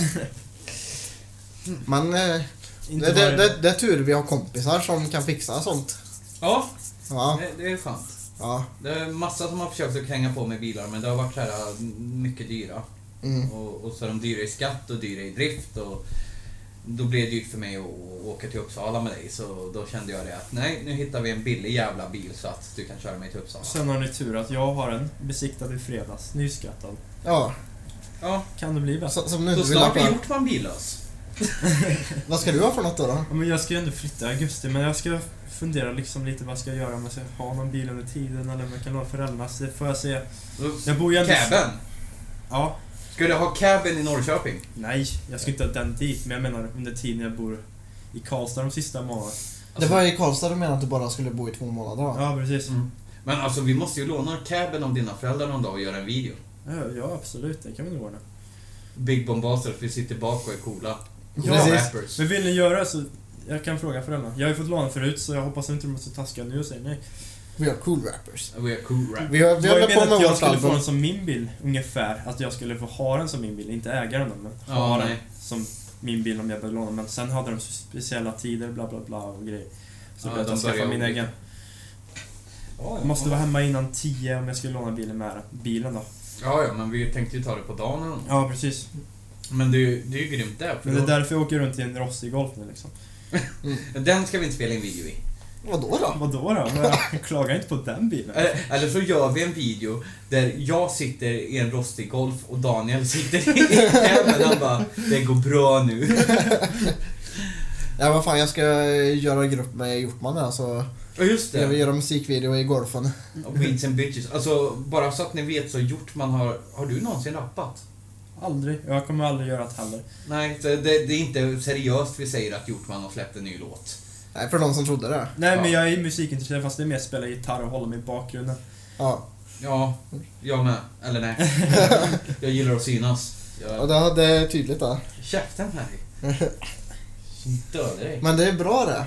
Speaker 3: Men eh,
Speaker 1: Inte
Speaker 3: det,
Speaker 1: varje-
Speaker 3: det, det, det är tur vi har kompisar som kan fixa sånt.
Speaker 2: Ja,
Speaker 3: Ja.
Speaker 2: det, det är skönt.
Speaker 3: Ja.
Speaker 2: Det är massa som har försökt att kränga på mig bilar men det har varit så här äh, mycket dyra.
Speaker 3: Mm.
Speaker 2: Och, och så är de dyra i skatt och dyra i drift och då blev det dyrt för mig att å- åka till Uppsala med dig så då kände jag det att nej, nu hittar vi en billig jävla bil så att du kan köra mig till Uppsala.
Speaker 1: Sen har ni tur att jag har en besiktad i fredags. Nyskattad.
Speaker 3: Ja.
Speaker 2: Ja,
Speaker 1: Kan det bli bättre?
Speaker 3: Så, som nu
Speaker 2: så
Speaker 3: inte vill ha
Speaker 2: snart är
Speaker 3: kvar.
Speaker 2: Hjortman billös.
Speaker 3: Vad ska du ha för något då? då?
Speaker 1: Ja, men jag ska ju ändå flytta i augusti, men jag ska fundera liksom lite vad jag ska göra. Om jag ska ha någon bil under tiden eller om jag kan låna föräldrarnas. Det får jag se. Jag bor ju ändå...
Speaker 2: Caben.
Speaker 1: Ja.
Speaker 2: Ska du ha caben i Norrköping?
Speaker 1: Nej, jag ska inte ha den dit, men jag menar under tiden jag bor i Karlstad de sista månaderna.
Speaker 2: Alltså,
Speaker 3: Det var i Karlstad du menade att du bara skulle bo i två månader va?
Speaker 1: Ja, precis.
Speaker 2: Mm. Men alltså vi måste ju låna caben av dina föräldrar någon dag och göra en video.
Speaker 1: Ja, ja, absolut. Det kan vi nog ordna.
Speaker 2: Big Bombaster, för vi sitter bak och är coola. Coola
Speaker 1: Ja,
Speaker 3: Precis.
Speaker 2: rappers.
Speaker 1: Men vill ni göra så... Jag kan fråga föräldrarna. Jag har ju fått låna förut, så jag hoppas inte de är så taskiga nu och säger nej.
Speaker 3: Vi har cool rappers.
Speaker 2: We are cool rap.
Speaker 3: Vi har, vi
Speaker 1: Jag
Speaker 3: har
Speaker 1: menar
Speaker 3: hållit på
Speaker 1: att
Speaker 3: med
Speaker 1: jag
Speaker 3: vårt
Speaker 1: skulle få
Speaker 3: album.
Speaker 1: den som min bil, ungefär. Att jag skulle få ha den som min bil, inte äga den, men
Speaker 2: Ja,
Speaker 1: ha den
Speaker 2: nej.
Speaker 1: som min bil om jag behövde låna. Men sen hade de speciella tider, bla bla bla och grejer. Så
Speaker 2: Ja,
Speaker 1: ja,
Speaker 2: de
Speaker 1: jag skaffa
Speaker 2: börjar
Speaker 1: min
Speaker 2: olika.
Speaker 1: egen.
Speaker 2: Ja,
Speaker 1: Jag måste vara hemma innan 10 om jag skulle låna bilen med bilen då.
Speaker 2: ja, ja, men vi tänkte ju ta det på dagen eller något.
Speaker 1: Ja, precis.
Speaker 2: Men det är ju, det är ju grymt det. här, För
Speaker 1: Men det är
Speaker 2: då-
Speaker 1: därför jag åker runt i en rostig Golf nu liksom.
Speaker 2: Den ska vi inte spela in video i.
Speaker 3: Vadå då?
Speaker 1: Vadå då? Men jag klagar inte på den bilen.
Speaker 2: Eller, eller så gör vi en video där jag sitter i en rostig golf och Daniel sitter i en men han bara Det går bra nu.
Speaker 3: Ja vad fan jag ska göra grupp med Hjortman med alltså.
Speaker 2: Och just
Speaker 3: Jag vill
Speaker 2: det.
Speaker 3: göra musikvideo i golfen.
Speaker 2: Och Weeds and bitches. Alltså, bara så att ni vet så gjort man har... Har du någonsin rappat?
Speaker 1: Aldrig. Jag kommer aldrig göra det heller.
Speaker 2: Nej, så det, det är inte seriöst vi säger att Hjortman har släppt en ny låt.
Speaker 3: Nej, för de som trodde det.
Speaker 1: Nej,
Speaker 2: Ja.
Speaker 1: men jag är musikintresserad fast det är mer spela gitarr och hålla mig i bakgrunden.
Speaker 3: Ja.
Speaker 2: Ja, jag med. Eller nej. Jag gillar att synas.
Speaker 3: Och
Speaker 2: Jag...
Speaker 3: det, det är tydligt det.
Speaker 2: Käften Harry. Döda dig.
Speaker 3: Men det är bra det.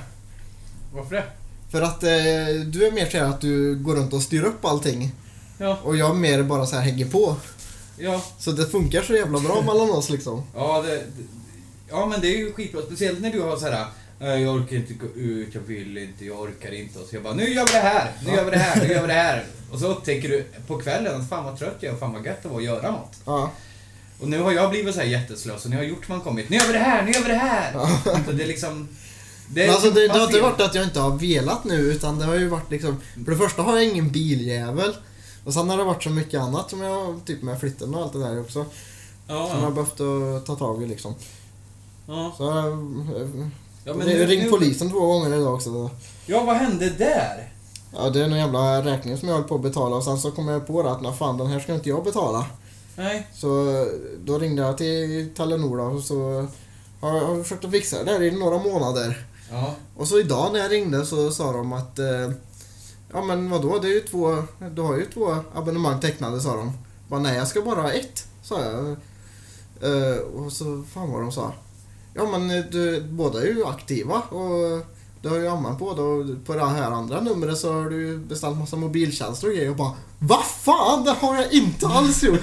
Speaker 2: Varför det?
Speaker 3: För att eh, du är mer så här att du går runt och styr upp allting.
Speaker 2: Ja,
Speaker 3: Och jag mer bara så här hänger på.
Speaker 2: ja.
Speaker 3: Så det funkar så jävla bra mellan oss liksom.
Speaker 2: Ja, det, det- ja, men det är ju skitbra. Speciellt när du har så här. "Eh, Jag orkar inte gå ut, jag vill inte, jag orkar inte. Och så jag bara, nu gör vi det här, nu gör vi det här, nu gör vi det här. Och så upptäcker du på kvällen att fan vad trött jag är, fan vad gött det var att göra något.
Speaker 3: Ja.
Speaker 2: Och nu har jag blivit så här jätteslös och nu har Hjortman kommit, nu gör vi det här, nu gör vi det här. Så det är liksom... Det,
Speaker 3: Men alltså det, det har inte
Speaker 2: passivt.
Speaker 3: varit att jag inte har velat nu utan det har ju varit liksom För det första har jag ingen biljävel Och sen har det varit så mycket annat som jag, typ med flytten och allt det där också Som jag har
Speaker 2: Ja,
Speaker 3: behövt att ta tag i liksom
Speaker 2: ja.
Speaker 3: Så jag eh,
Speaker 2: ja men
Speaker 3: ring-
Speaker 2: nu,
Speaker 3: ringt
Speaker 2: nu,
Speaker 3: polisen två gånger idag också
Speaker 2: ja, vad hände där?
Speaker 3: Ja det är någon jävla räkning som jag höll på att betala och sen så kom jag på det att "Nå fan den här ska inte jag betala
Speaker 2: Nej.
Speaker 3: Så då ringde jag till Telenor då, och så har jag har jag försökt att fixa det där i några månader
Speaker 2: Ja,
Speaker 3: Och så idag när jag ringde så sa de att eh, Ja men vadå, det är ju två, du har ju två abonnemang tecknade sa de. Bara, nej jag ska bara ha ett, sa jag. Eh, och så fan vad de sa. Ja men eh, du, båda är ju aktiva och du har ju använt båda och på det här andra numret så har du ju beställt massa mobiltjänster och grejer och bara Vad fan, det har jag inte alls gjort!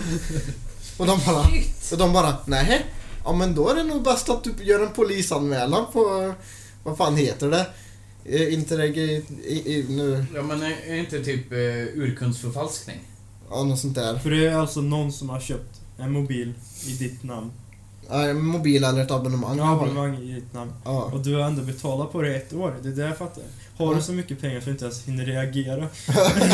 Speaker 3: och de bara, och de bara nej. Ja men då är det nog bäst att du gör en polisanmälan på eh, vad fan heter det? Eh, Interreg... I, i, i, nu...
Speaker 2: ja men är är inte typ eh, urkundsförfalskning?
Speaker 3: Ja, något sånt där.
Speaker 1: För det är alltså någon som har köpt en mobil i ditt namn.
Speaker 3: Ja, en mobil eller ett abonnemang.
Speaker 1: En abonnemang i ditt namn.
Speaker 3: Ja.
Speaker 1: Och du har ändå betalat på det i ett år. Det är det jag fattar. Har du så mycket pengar så du inte ens hinner reagera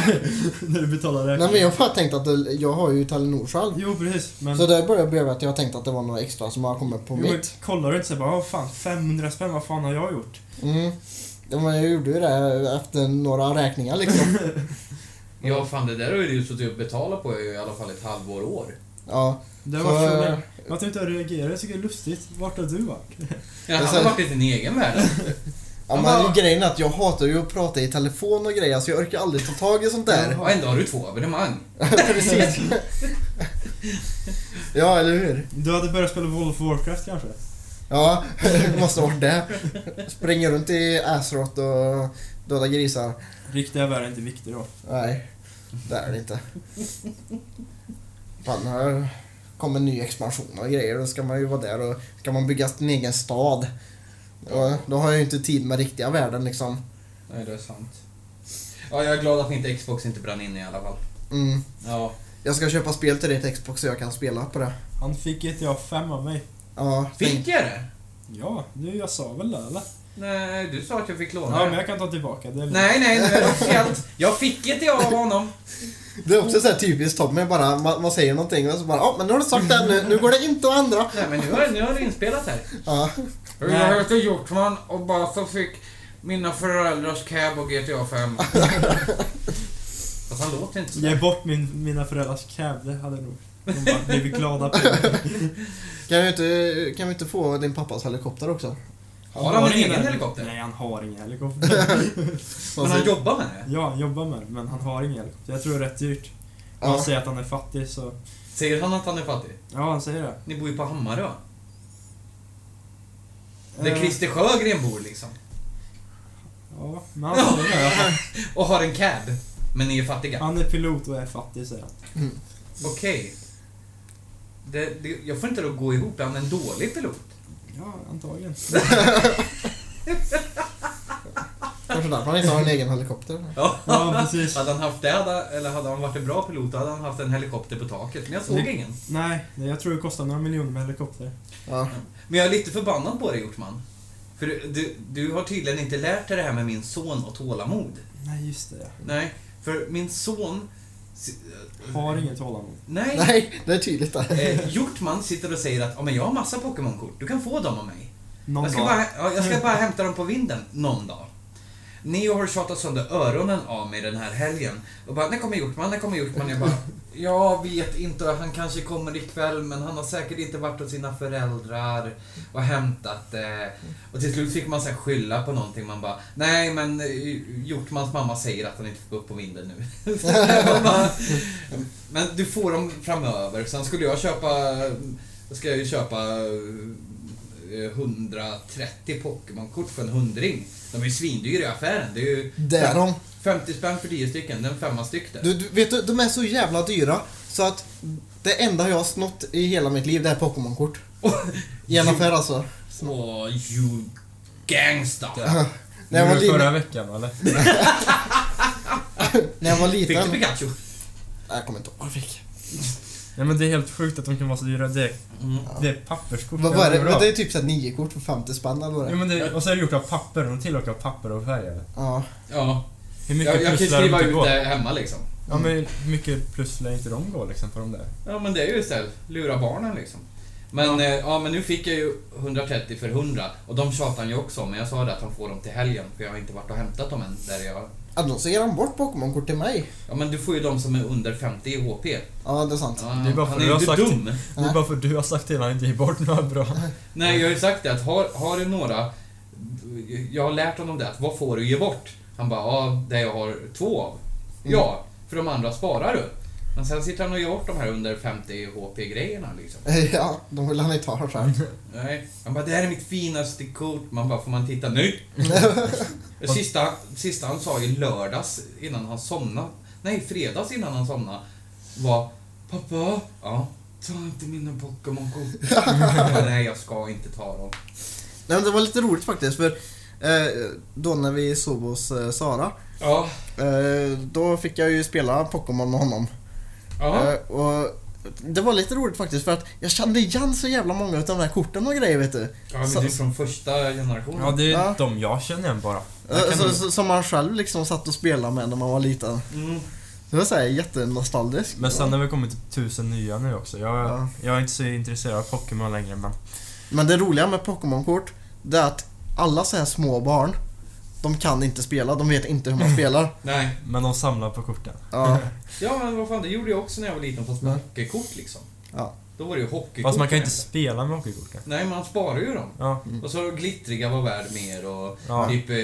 Speaker 1: när du betalar räkningen?
Speaker 3: Nej men jag har bara tänkt att det, jag har ju Telenor själv.
Speaker 1: Jo, precis. Men...
Speaker 3: Så det börjar bli att jag har tänkt att det var några extra som har kommit på
Speaker 1: Jo, men
Speaker 3: mitt.
Speaker 1: kollar du inte så här bara, "Åh, fan, 500 spänn, vad fan har jag gjort?
Speaker 3: Mm. Ja, men jag gjorde ju det efter några räkningar liksom.
Speaker 2: Ja, fan det där har ju du suttit och betalat på i alla fall ett halvår år.
Speaker 3: Ja.
Speaker 1: Det
Speaker 3: Så,
Speaker 1: var så
Speaker 3: eh,
Speaker 1: länge. Men Att du inte har reagerat, jag tycker det är lustigt. Vart har du varit?
Speaker 2: Ja,
Speaker 3: Men
Speaker 2: han har
Speaker 3: sen-
Speaker 2: varit i sin egen värld.
Speaker 3: Ja, men grejen är att jag hatar ju att prata i telefon och grejer så jag orkar aldrig ta tag i sånt där.
Speaker 2: Och ändå har du två abonnemang.
Speaker 3: Precis. ja, eller hur?
Speaker 1: Du hade börjat spela World of Warcraft kanske?
Speaker 3: Ja, det måste ha varit det. Springer runt i Asrot och döda grisar.
Speaker 1: Riktiga världen är inte viktig då.
Speaker 3: Nej, det är det inte. Fan, här kommer en ny expansion och grejer. Då ska man ju vara där och ska man bygga sin egen stad. Och då har jag ju inte tid med riktiga världen liksom.
Speaker 2: Nej, det är sant. Ja, jag är glad att inte Xbox inte brann in i alla fall.
Speaker 3: Mm.
Speaker 2: Ja.
Speaker 3: Jag ska köpa spel till ditt Xbox så jag kan spela på det.
Speaker 1: Han fick GTA 5 av mig.
Speaker 3: Ja,
Speaker 2: Fick jag det?
Speaker 1: Ja, det jag sa väl det eller?
Speaker 2: Nej, du sa att jag fick låna
Speaker 1: Ja, men
Speaker 2: det.
Speaker 1: jag kan ta tillbaka det.
Speaker 2: Nej, nej, nu är det officiellt. Jag fick inte jag av honom.
Speaker 3: Det är också så här typiskt Tommy, bara, man, man säger någonting och så bara ja men nu har du sagt det, här nu, nu går det inte att ändra.
Speaker 2: Nej, men nu har, nu har det inspelat här.
Speaker 3: Ja,
Speaker 1: Nej.
Speaker 2: Jag heter Hjortman och bara så fick mina föräldrars cab och GTA 5. Fast han låter inte
Speaker 1: Ge
Speaker 2: sådär.
Speaker 1: bort min, mina föräldrars cab, det hade nog de bara blivit glada på.
Speaker 3: kan, vi inte, kan vi inte få din pappas helikopter också?
Speaker 2: Har han en egen
Speaker 1: helik-
Speaker 2: helikopter?
Speaker 1: Nej, han har ingen helikopter.
Speaker 2: Men
Speaker 3: Alltså,
Speaker 2: han jobbar med det.
Speaker 1: ja, han jobbar med det, men han har ingen helikopter. Jag tror det är rätt dyrt. Om
Speaker 3: Ja.
Speaker 1: Han säger att han är fattig, så...
Speaker 2: Säger han att han är fattig?
Speaker 1: Ja, han säger det.
Speaker 2: Ni bor ju på Hammarö. Där
Speaker 1: Eh,
Speaker 2: Christer Sjögren bor liksom.
Speaker 1: Ja, men han säger det. i alla fall.
Speaker 2: Och har en cab. Men ni är fattiga.
Speaker 1: Han är pilot och är fattig, säger han.
Speaker 2: Okej. Det, det, jag får inte det att gå ihop. Är han en dålig pilot?
Speaker 1: Ja, antagligen.
Speaker 3: Kanske därför han inte har en egen helikopter.
Speaker 1: Ja, precis.
Speaker 2: Hade han haft det, hade- eller hade han varit en bra pilot, hade han haft en helikopter på taket. Men jag såg
Speaker 1: Mm.
Speaker 2: ingen.
Speaker 1: Nej, det- jag tror det kostar några miljoner med helikopter.
Speaker 3: Ja.
Speaker 2: Men jag är lite förbannad på dig, Hjortman. För du, du, du har tydligen inte lärt dig det här med min son och tålamod.
Speaker 1: Nej, just det.
Speaker 2: Nej, för min son...
Speaker 1: Jag har inget tålamod.
Speaker 2: Nej.
Speaker 3: Nej, det är tydligt där.
Speaker 2: Eh, Hjortman sitter och säger att ja men jag har massa Pokémon-kort, du kan få dem av mig.
Speaker 1: Någon
Speaker 2: Jag ska,
Speaker 1: dag. Mm.
Speaker 2: bara, ja, jag ska bara hämta dem på vinden någon dag. Neo har tjatat sönder öronen av mig den här helgen. Och bara, när kommer Hjortman, när kommer Hjortman? Jag bara, jag vet inte, han kanske kommer ikväll men han har säkert inte varit hos sina föräldrar och hämtat det. eh, Och till slut fick man så här skylla på någonting. Man bara, nej men eh, Hjortmans mamma säger att han inte får gå upp på vinden nu. Så jag bara, men du får dem framöver. Sen skulle jag köpa, då ska jag ju köpa eh, 130 Pokémon-kort för en hundring. De är ju svindyra i affären. Det är ju
Speaker 3: Det är de.
Speaker 2: 50 spänn för 10 stycken, den femma styck där.
Speaker 3: Du, du, vet du, de är så jävla dyra så att det enda jag har snott i hela mitt liv det är Pokémon-kort. I en affär alltså.
Speaker 2: Åh, you gangsta!
Speaker 3: När jag,
Speaker 4: Nu
Speaker 3: var li-
Speaker 4: förra veckan eller?
Speaker 3: när jag var
Speaker 2: Fick
Speaker 3: liten...
Speaker 2: du Pikachu?
Speaker 3: Nej, jag kommer inte ihåg vad jag fick.
Speaker 4: Nej men det är helt sjukt att de kan vara så dyra. Det är,
Speaker 2: Mm.
Speaker 4: det är papperskort.
Speaker 3: Vad var det?
Speaker 4: Ja,
Speaker 3: Men det är typ såhär nio kort för 50 spänn eller vad det
Speaker 4: Ja,
Speaker 3: är.
Speaker 4: men det, och så är det gjort av papper. De tillverkar av papper och färger.
Speaker 3: Ja.
Speaker 2: Ja,
Speaker 4: Hur mycket
Speaker 2: jag, jag kan
Speaker 4: plus lär de
Speaker 2: skriva
Speaker 4: inte
Speaker 2: ut
Speaker 4: gå?
Speaker 2: det hemma liksom.
Speaker 4: Ja, men hur mycket plus lär inte de gå liksom på de där?
Speaker 2: Ja, men det är ju istället, lura barnen liksom. Men, ja. ja, men nu fick jag ju 130 för 100 och de tjatar han ju också om, men jag sa det att han får dem till helgen för jag har inte varit och hämtat dem än. Där jag...
Speaker 3: Annonserar han bort Pokémon-kort till mig?
Speaker 2: Ja, men du får ju de som är under 50 i HP.
Speaker 3: Ja, det är sant.
Speaker 2: Ja,
Speaker 4: Det är bara för
Speaker 2: han
Speaker 4: du
Speaker 2: är ju
Speaker 4: har
Speaker 2: inte
Speaker 4: sagt-
Speaker 2: dum.
Speaker 4: Det är bara för att du har sagt till honom att inte ge bort några bra.
Speaker 2: Nej, jag har ju sagt det att har, har du några... Jag har lärt honom det att vad får du ge bort? Han bara, ja, det jag har två av.
Speaker 4: Mm.
Speaker 2: Ja, för de andra sparar du. Men sen sitter han och ger bort de här under 50 HP-grejerna liksom.
Speaker 3: Ja, de vill han inte ha själv.
Speaker 2: Nej. Han bara, det här är mitt finaste kort. Man bara, får man titta nu? Det sista, sista han sa i lördags innan han somnade, nej fredags innan han somnade, var Pappa, ja, ta inte mina Pokémon-kort. Jag bara, nej, jag ska inte ta dem.
Speaker 3: Nej, men det var lite roligt faktiskt för eh, då när vi sov hos eh, Sara,
Speaker 2: Ja,
Speaker 3: eh, då fick jag ju spela Pokémon med honom.
Speaker 2: ja.
Speaker 3: Eh, och det var lite roligt faktiskt för att jag kände igen så jävla många av de här korten och grejer vet du.
Speaker 2: Ja, men
Speaker 3: Så-
Speaker 2: det är från första generationen.
Speaker 4: Ja, det är
Speaker 3: Ja.
Speaker 4: de jag känner igen bara. Jag
Speaker 3: Eh,
Speaker 4: kan
Speaker 3: så,
Speaker 4: nog-
Speaker 3: så, som man själv liksom satt och spelade med när man var liten.
Speaker 2: Mm.
Speaker 3: Det var såhär jättenostalgiskt.
Speaker 4: Men sen har vi kommit till tusen nya nu också. Jag,
Speaker 3: Ja.
Speaker 4: jag är inte så intresserad av Pokémon längre men...
Speaker 3: Men det roliga med Pokémon-kort, det är att alla så här små barn, de kan inte spela, de vet inte hur man spelar.
Speaker 2: Nej.
Speaker 4: Men de samlar på korten.
Speaker 3: Ja,
Speaker 2: Ja, men vad fan, det gjorde jag också när jag var liten, fast med
Speaker 3: Ja.
Speaker 2: hockeykort liksom.
Speaker 3: ja.
Speaker 2: Då var det ju hockeykort.
Speaker 4: Fast man kan inte
Speaker 2: med.
Speaker 4: spela med hockeykorten.
Speaker 2: Nej, man sparar ju dem.
Speaker 4: Ja.
Speaker 2: Och så glittriga var värd mer och
Speaker 4: Ja.
Speaker 2: typ eh,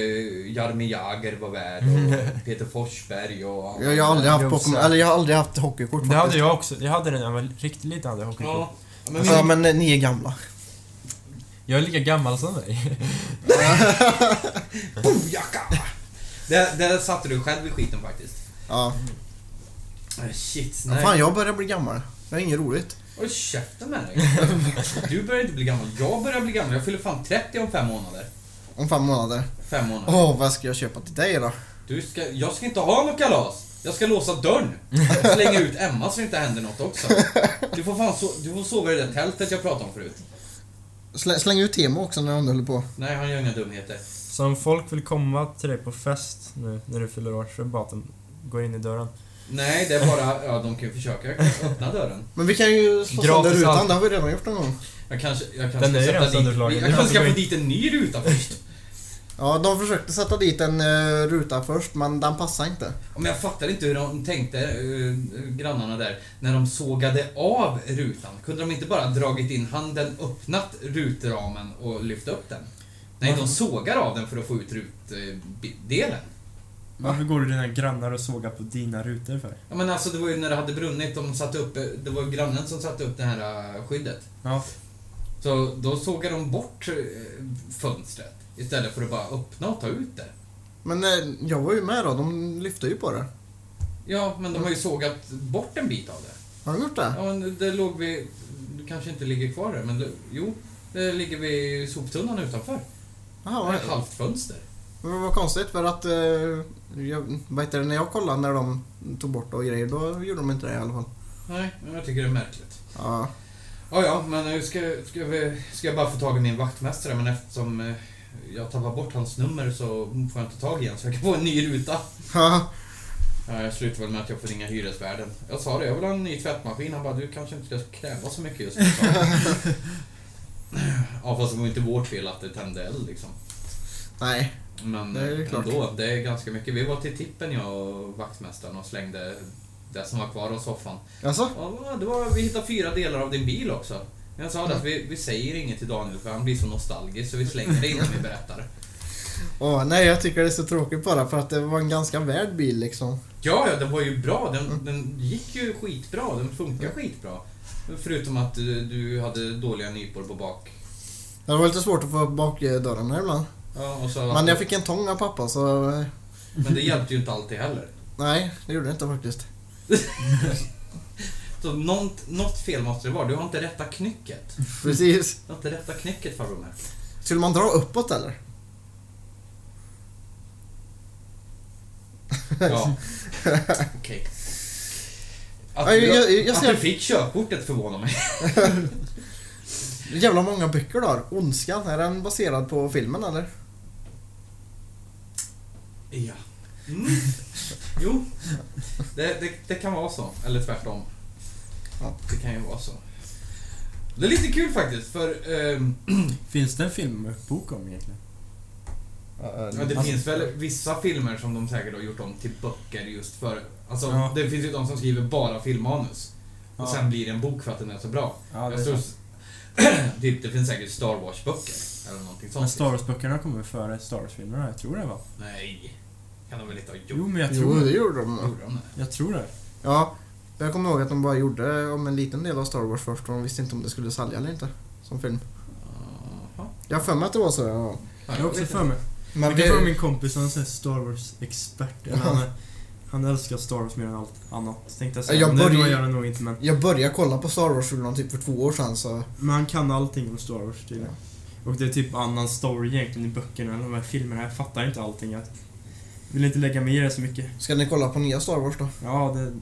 Speaker 2: Jarmi Jagr var värd och Peter Forsberg och...
Speaker 3: Mm. Jag, jag har aldrig haft
Speaker 4: Josef.
Speaker 3: Pokémon, eller jag har aldrig haft hockeykort
Speaker 4: Det hade jag också. Jag hade den när jag var riktigt liten. Hade jag, hockeykort.
Speaker 2: Ja, men min,
Speaker 3: Ja, men eh, ni är gamla.
Speaker 4: jag är lika gammal som dig.
Speaker 2: Bojaka! Där, där satte du själv i skiten faktiskt.
Speaker 3: Ja.
Speaker 2: Ah, Shit,
Speaker 3: Nej.
Speaker 2: nej.
Speaker 3: Fan, jag börjar bli gammal. Det är inget roligt.
Speaker 2: Håll käften med dig. Du börjar inte bli gammal. Jag börjar bli gammal. Jag fyller fan 30 om fem månader.
Speaker 3: Om fem månader.
Speaker 2: Fem månader.
Speaker 3: Åh, vad ska jag köpa till dig då?
Speaker 2: Du ska, jag ska inte ha något kalas. Jag ska låsa dörren. Slänga ut Emma så det inte händer något också. Du får fan so- du får sova i det där tältet jag pratade om förut.
Speaker 3: Slä, släng ut Temo också när hon håller på.
Speaker 2: Nej, han gör inga dumheter.
Speaker 4: Så om folk vill komma till dig på fest nu när du fyller år så är det bara att de går in i dörren.
Speaker 2: Nej, det är bara... Ja, de kan ju försöka öppna dörren.
Speaker 3: Men vi kan ju slå sönder
Speaker 4: Gratis
Speaker 3: rutan,
Speaker 4: allt.
Speaker 3: det har vi redan gjort någon gång.
Speaker 2: Jag kanske... Jag kanske
Speaker 4: Den är ju
Speaker 2: ska
Speaker 4: redan
Speaker 2: sätta dit,
Speaker 4: sönderslagen.
Speaker 2: Jag
Speaker 4: Det är
Speaker 2: kanske ska
Speaker 4: bara
Speaker 2: få
Speaker 4: att gå
Speaker 2: dit en ny ruta först.
Speaker 3: Ja, de försökte sätta dit en eh, ruta först, men den passade inte.
Speaker 2: Men jag fattar inte hur de tänkte, eh, grannarna där, när de sågade av rutan. Kunde de inte bara dragit in handen, öppnat rutramen och lyft upp den? Nej, de sågar av den för att få ut rutdelen.
Speaker 4: Varför går du dina grannar och sågar på dina rutor för?
Speaker 2: Ja, men alltså, det var ju när det hade brunnit, de satte upp, eh, det var ju grannen som satte upp det här eh, skyddet.
Speaker 4: Ja.
Speaker 2: Så då sågade de bort eh, fönstret istället för att bara öppna och ta ut det.
Speaker 3: Men eh, jag var ju med då, de lyfte ju på det.
Speaker 2: Ja, men de har ju sågat bort en bit av det.
Speaker 3: Har de gjort det?
Speaker 2: Ja, men det låg vid... Det kanske inte ligger kvar där, men det, jo. Det ligger vid soptunnan utanför.
Speaker 3: Jaha,
Speaker 2: Ett
Speaker 3: vad-
Speaker 2: halvt fönster.
Speaker 3: men vad konstigt för att... Eh, jag, vad heter det, när jag kollade när de tog bort och grejer, då gjorde de inte det i alla fall.
Speaker 2: Nej, men jag tycker det är märkligt.
Speaker 3: Ja.
Speaker 2: Ja, ja, men nu ska, ska, vi, ska jag bara få tag i min vaktmästare, men eftersom eh, jag tappar bort hans nummer så får jag inte tag i honom, så jag kan få en ny ruta. Ja, jag slutar väl med att jag får ringa hyresvärden. Jag sa det, jag vill ha en ny tvättmaskin. Han bara, du kanske inte ska kräva så mycket just nu. sa han. ja, fast det var ju inte vårt fel att det tände eld liksom.
Speaker 3: Nej.
Speaker 2: Men eh,
Speaker 3: Det är ju klart.
Speaker 2: ändå, det är ganska mycket. Vi var till tippen jag och vaktmästaren och slängde det som var kvar av soffan.
Speaker 3: Alltså?
Speaker 2: Ja, det var, vi hittade fyra delar av din bil också. Men Jag sa
Speaker 3: Mm.
Speaker 2: det att vi, vi säger inget till Daniel för han blir så nostalgisk så vi slänger det innan vi berättar.
Speaker 3: Åh, nej, jag tycker det är så tråkigt bara för att det var en ganska värd bil liksom.
Speaker 2: Ja, ja, den var ju bra.
Speaker 3: Mm.
Speaker 2: Den, den gick ju skitbra. Den funkar skitbra. Förutom att eh, du hade dåliga nypor på bak.
Speaker 3: Det var lite svårt att få upp bakdörrarna ibland.
Speaker 2: Ja, och så,
Speaker 3: Men jag fick en tång av pappa så... eh,
Speaker 2: men det hjälpte ju inte alltid heller.
Speaker 3: Nej, det gjorde det inte faktiskt.
Speaker 2: Så något, något fel måste det vara. Du har inte rätta knycket.
Speaker 3: Precis.
Speaker 2: Du har inte rätta knycket farbror med.
Speaker 3: Skulle man dra uppåt eller?
Speaker 2: Ja. Okej. Att,
Speaker 3: Ja, jag- jag-
Speaker 2: du-
Speaker 3: jag
Speaker 2: att
Speaker 3: ser-
Speaker 2: du fick körkortet förvånar mig.
Speaker 3: Jävla många böcker du har. Ondskan, är den baserad på filmen eller?
Speaker 2: Ja. Mm. Jo, det, det, det kan vara så. Eller tvärtom.
Speaker 3: Ja.
Speaker 2: Det kan ju vara så. Det är lite kul faktiskt, för ehm,
Speaker 4: Finns det en filmbok om egentligen?
Speaker 2: ja, det
Speaker 3: Alltså-
Speaker 2: finns väl vissa filmer som de säkert har gjort om till böcker just för... Alltså,
Speaker 4: Ja.
Speaker 2: det finns ju de som skriver bara filmmanus. Och
Speaker 4: Ja.
Speaker 2: sen blir det en bok för att den är så bra.
Speaker 4: Ja,
Speaker 2: Jag tror, typ, det finns säkert Star Wars-böcker eller någonting sånt.
Speaker 4: Men Star Wars-böckerna kommer före Star Wars-filmerna, jag tror det va?
Speaker 2: Nej, kan de väl inte ha gjort?
Speaker 4: Jo, men jag
Speaker 3: Jo,
Speaker 4: tror
Speaker 3: det
Speaker 4: det.
Speaker 3: gjorde de.
Speaker 2: Gjorde de det?
Speaker 4: Jag tror det.
Speaker 3: Ja, jag kommer ihåg att de bara gjorde om en liten del av Star Wars först och de visste inte om det skulle sälja eller inte. Som film.
Speaker 2: Jaha.
Speaker 3: Jag har för mig att det var så. Ja.
Speaker 2: Ja,
Speaker 4: Jag har också
Speaker 2: vet
Speaker 4: för mig.
Speaker 3: Men
Speaker 4: jag kan fråga
Speaker 3: det,
Speaker 4: min kompis, han är en Star Wars-expert. Eller Han, är- han älskar Star Wars mer än allt annat. Tänkte jag säga,
Speaker 3: Jag
Speaker 4: men det
Speaker 3: börjar-
Speaker 4: gör han nog inte. Men,
Speaker 3: jag började kolla på Star Wars för någon typ för två år sedan så...
Speaker 4: men han kan allting om Star Wars tydligen. Och det är typ annan story egentligen i böckerna än de här filmerna. Jag fattar inte allting. Jag vill inte lägga mig i det så mycket.
Speaker 3: Ska ni kolla på nya Star Wars då?
Speaker 4: Ja, det...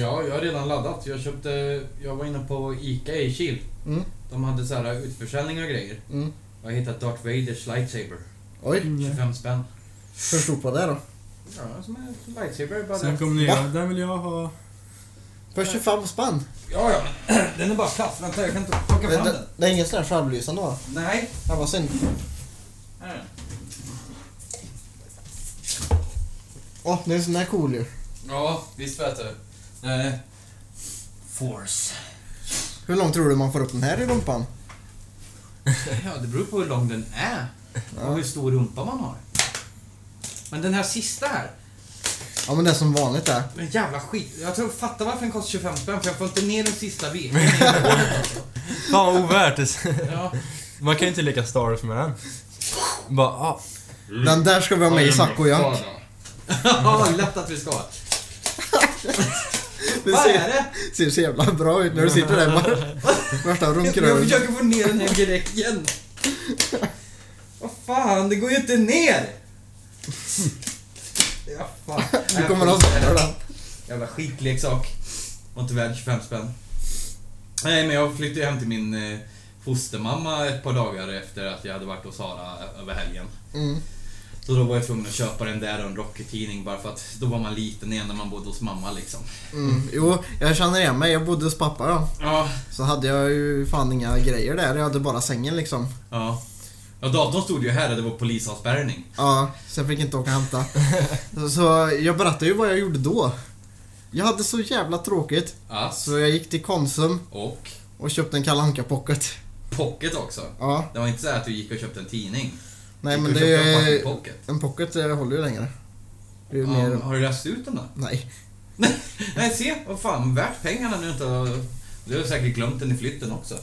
Speaker 2: Ja, jag har redan laddat. Jag köpte... Jag var inne på ICA i Kil.
Speaker 3: Mm.
Speaker 2: De hade så här utförsäljning och grejer.
Speaker 3: Mm.
Speaker 2: Jag har hittat Darth Vaders
Speaker 4: Mm,
Speaker 2: lightsaber.
Speaker 3: Oj,
Speaker 1: Mm,
Speaker 4: Inga.
Speaker 2: 25 spänn.
Speaker 3: hur stort var det då?
Speaker 2: Ja, som en lightsaber. Bara
Speaker 4: Sen kom
Speaker 3: Va?
Speaker 4: nya. Den vill jag ha.
Speaker 3: För 25 spänn?
Speaker 2: Ja, ja. men Den är bara platt. Vänta, jag kan inte plocka
Speaker 3: Det,
Speaker 2: fram
Speaker 3: det,
Speaker 2: den.
Speaker 3: det är ingen sån här självlysande va?
Speaker 2: Nej.
Speaker 3: Ja, vad synd.
Speaker 2: Här är den.
Speaker 3: Åh, det är en sån här cool ju.
Speaker 2: Ja, visst vet du. Eh, force.
Speaker 3: Hur långt tror du man får upp den här i rumpan?
Speaker 2: Ja, det beror på hur lång den är. Och hur stor rumpa man har. Men den här sista här.
Speaker 3: Ja men det är som vanligt där.
Speaker 2: Men jävla skit. Jag tror, fattar varför den kostar 25 spänn, för jag får inte ner den sista veken.
Speaker 4: Fan vad ovärt det
Speaker 2: Ja.
Speaker 4: Man kan ju inte leka Star Wars med den. Bara, ah.
Speaker 2: Mm.
Speaker 3: Den där ska vi ha med i Sack och Jank.
Speaker 2: Ja, lätt att vi ska.
Speaker 3: Det
Speaker 2: Vad är
Speaker 3: ser,
Speaker 2: det?
Speaker 3: ser så jävla bra ut när du sitter där bara. Värsta
Speaker 2: Jag
Speaker 3: runkröven.
Speaker 2: försöker få ner den här grejen. Vad fan, det går ju inte ner! Ja, fan.
Speaker 3: Du kommer ha sönder den.
Speaker 2: Jävla skitleksak. Var inte värd 25 spänn. Nej, men jag flyttade hem till min eh, fostermamma ett par dagar efter att jag hade varit hos Sara över helgen.
Speaker 3: Mm.
Speaker 2: Så då var jag tvungen att köpa den där och en Rocky-tidning bara för att då var man liten igen när man bodde hos mamma liksom.
Speaker 3: Mm. Jo, jag känner igen mig. Jag bodde hos pappa då.
Speaker 2: Ja,
Speaker 3: Så hade jag ju fan inga grejer där. Jag hade bara sängen liksom.
Speaker 2: ja. Ja, datorn stod ju här och det var polisavspärrning.
Speaker 3: Ja, så jag fick inte åka och hämta. Så- Så jag berättade ju vad jag gjorde då. Jag hade så jävla tråkigt.
Speaker 2: Ja,
Speaker 3: Så jag gick till Konsum
Speaker 2: och
Speaker 3: och köpte en Kalle Anka pocket.
Speaker 2: pocket också.
Speaker 3: Ja.
Speaker 2: Det var inte så här att du gick och köpte en tidning.
Speaker 3: Nej
Speaker 2: Du
Speaker 3: men
Speaker 2: kan
Speaker 3: det
Speaker 2: köpa en
Speaker 3: är...
Speaker 2: fucking pocket.
Speaker 3: En pocket eh, håller ju längre. Det är ju
Speaker 2: Ja,
Speaker 3: mer...
Speaker 2: Har du läst ut den då?
Speaker 3: Nej.
Speaker 2: Nej, se! Vad fan, värt pengarna nu inte har- Du har säkert glömt den i flytten också.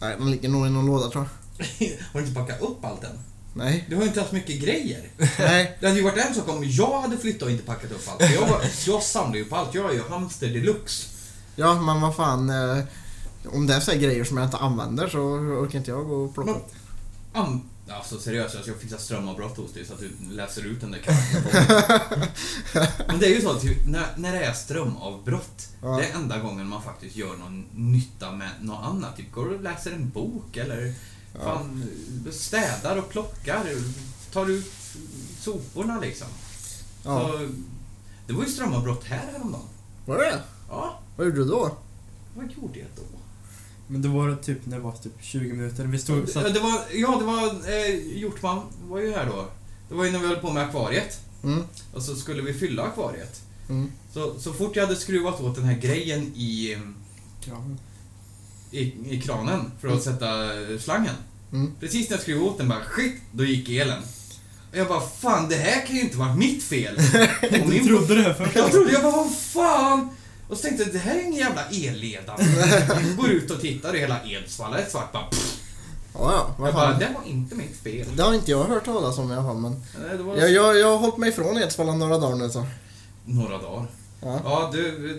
Speaker 3: Nej, den ligger nog i någon låda tror jag.
Speaker 2: Har du inte packat upp allt än?
Speaker 3: Nej.
Speaker 2: Du har ju inte haft mycket grejer.
Speaker 3: Nej.
Speaker 2: Det hade ju varit en sak om jag hade flyttat och inte packat upp allt. För Jag, var, jag samlar ju på allt. Jag är ju hamster deluxe.
Speaker 3: Ja, men vad fan. Eh, om det är så här grejer som jag inte använder så orkar inte jag gå och plocka
Speaker 2: Men-
Speaker 3: upp.
Speaker 2: Am, alltså seriöst, alltså, jag fixar strömavbrott hos dig så att du läser ut den där katten. Men det är ju så, typ, när, när det är strömavbrott,
Speaker 3: Ja.
Speaker 2: det är enda gången man faktiskt gör någon nytta med något annat. Typ går och läser en bok eller fan, städar och plockar. Tar ut soporna liksom.
Speaker 3: Ja.
Speaker 2: Så, det var ju strömavbrott här häromdagen.
Speaker 3: Var det
Speaker 2: Ja,
Speaker 3: Vad gjorde du då?
Speaker 2: vad gjorde jag då?
Speaker 1: Men det var typ, när det var typ 20 minuter. Vi stod,
Speaker 2: Ja,
Speaker 1: satt,
Speaker 2: det var, ja, det var eh, Hjortman var ju här då. Det var ju när vi höll på med akvariet.
Speaker 3: Mm.
Speaker 2: Och så skulle vi fylla akvariet.
Speaker 3: Mm.
Speaker 2: Så, så fort jag hade skruvat åt den här grejen i,
Speaker 1: kraven.
Speaker 2: i, i kranen för att sätta eh, slangen.
Speaker 3: Mm.
Speaker 2: Precis när jag skruvade åt den bara, skit, då gick elen. Och jag bara, fan det här kan ju inte vara mitt fel. Och
Speaker 1: Du
Speaker 2: min-
Speaker 1: trodde det först?
Speaker 2: Jag trodde, jag bara, vad fan? Och så tänkte jag, det här är ingen jävla elleda. Går ut och tittar och hela Edsvalla är svart. Bara, pff.
Speaker 3: Ja, ja. Vad
Speaker 2: jag bara,
Speaker 3: fan.
Speaker 2: det var inte mitt fel.
Speaker 3: Det har inte jag hört talas om i alla fall, men...
Speaker 2: Nej, det var
Speaker 3: Jag, jag, jag har hållit mig ifrån Edsvalla några dagar nu så.
Speaker 2: några dagar.
Speaker 3: Ja.
Speaker 2: Ja, du, eh,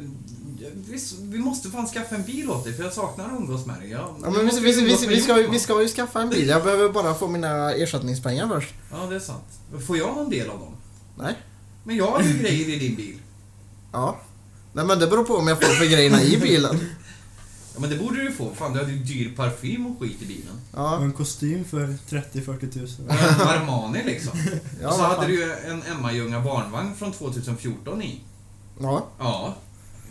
Speaker 2: vi, vi måste fan skaffa en bil åt dig för jag saknar att umgås med dig. Jag,
Speaker 3: Ja, men vi,
Speaker 2: måste
Speaker 3: vi, vi,
Speaker 2: umgås
Speaker 3: vi,
Speaker 2: med
Speaker 3: vi, ska, ju-
Speaker 2: Johan.
Speaker 3: vi ska ju skaffa en bil. Jag behöver bara få mina ersättningspengar först.
Speaker 2: Ja, det är sant. Får jag någon del av dem?
Speaker 3: Nej.
Speaker 2: Men jag har ju grejer i din bil.
Speaker 3: Ja. Nej men det beror på om jag får för grejerna i bilen.
Speaker 2: Ja, men det borde du få. Fan, du hade ju dyr parfym och skit i bilen.
Speaker 1: Och
Speaker 3: Ja.
Speaker 1: en kostym för 30-40 tusen.
Speaker 2: En Armani liksom.
Speaker 3: Ja,
Speaker 2: och så
Speaker 3: vad
Speaker 2: hade
Speaker 3: fan.
Speaker 2: du ju en Emma barnvagn från 2014 i.
Speaker 3: Ja,
Speaker 2: Ja.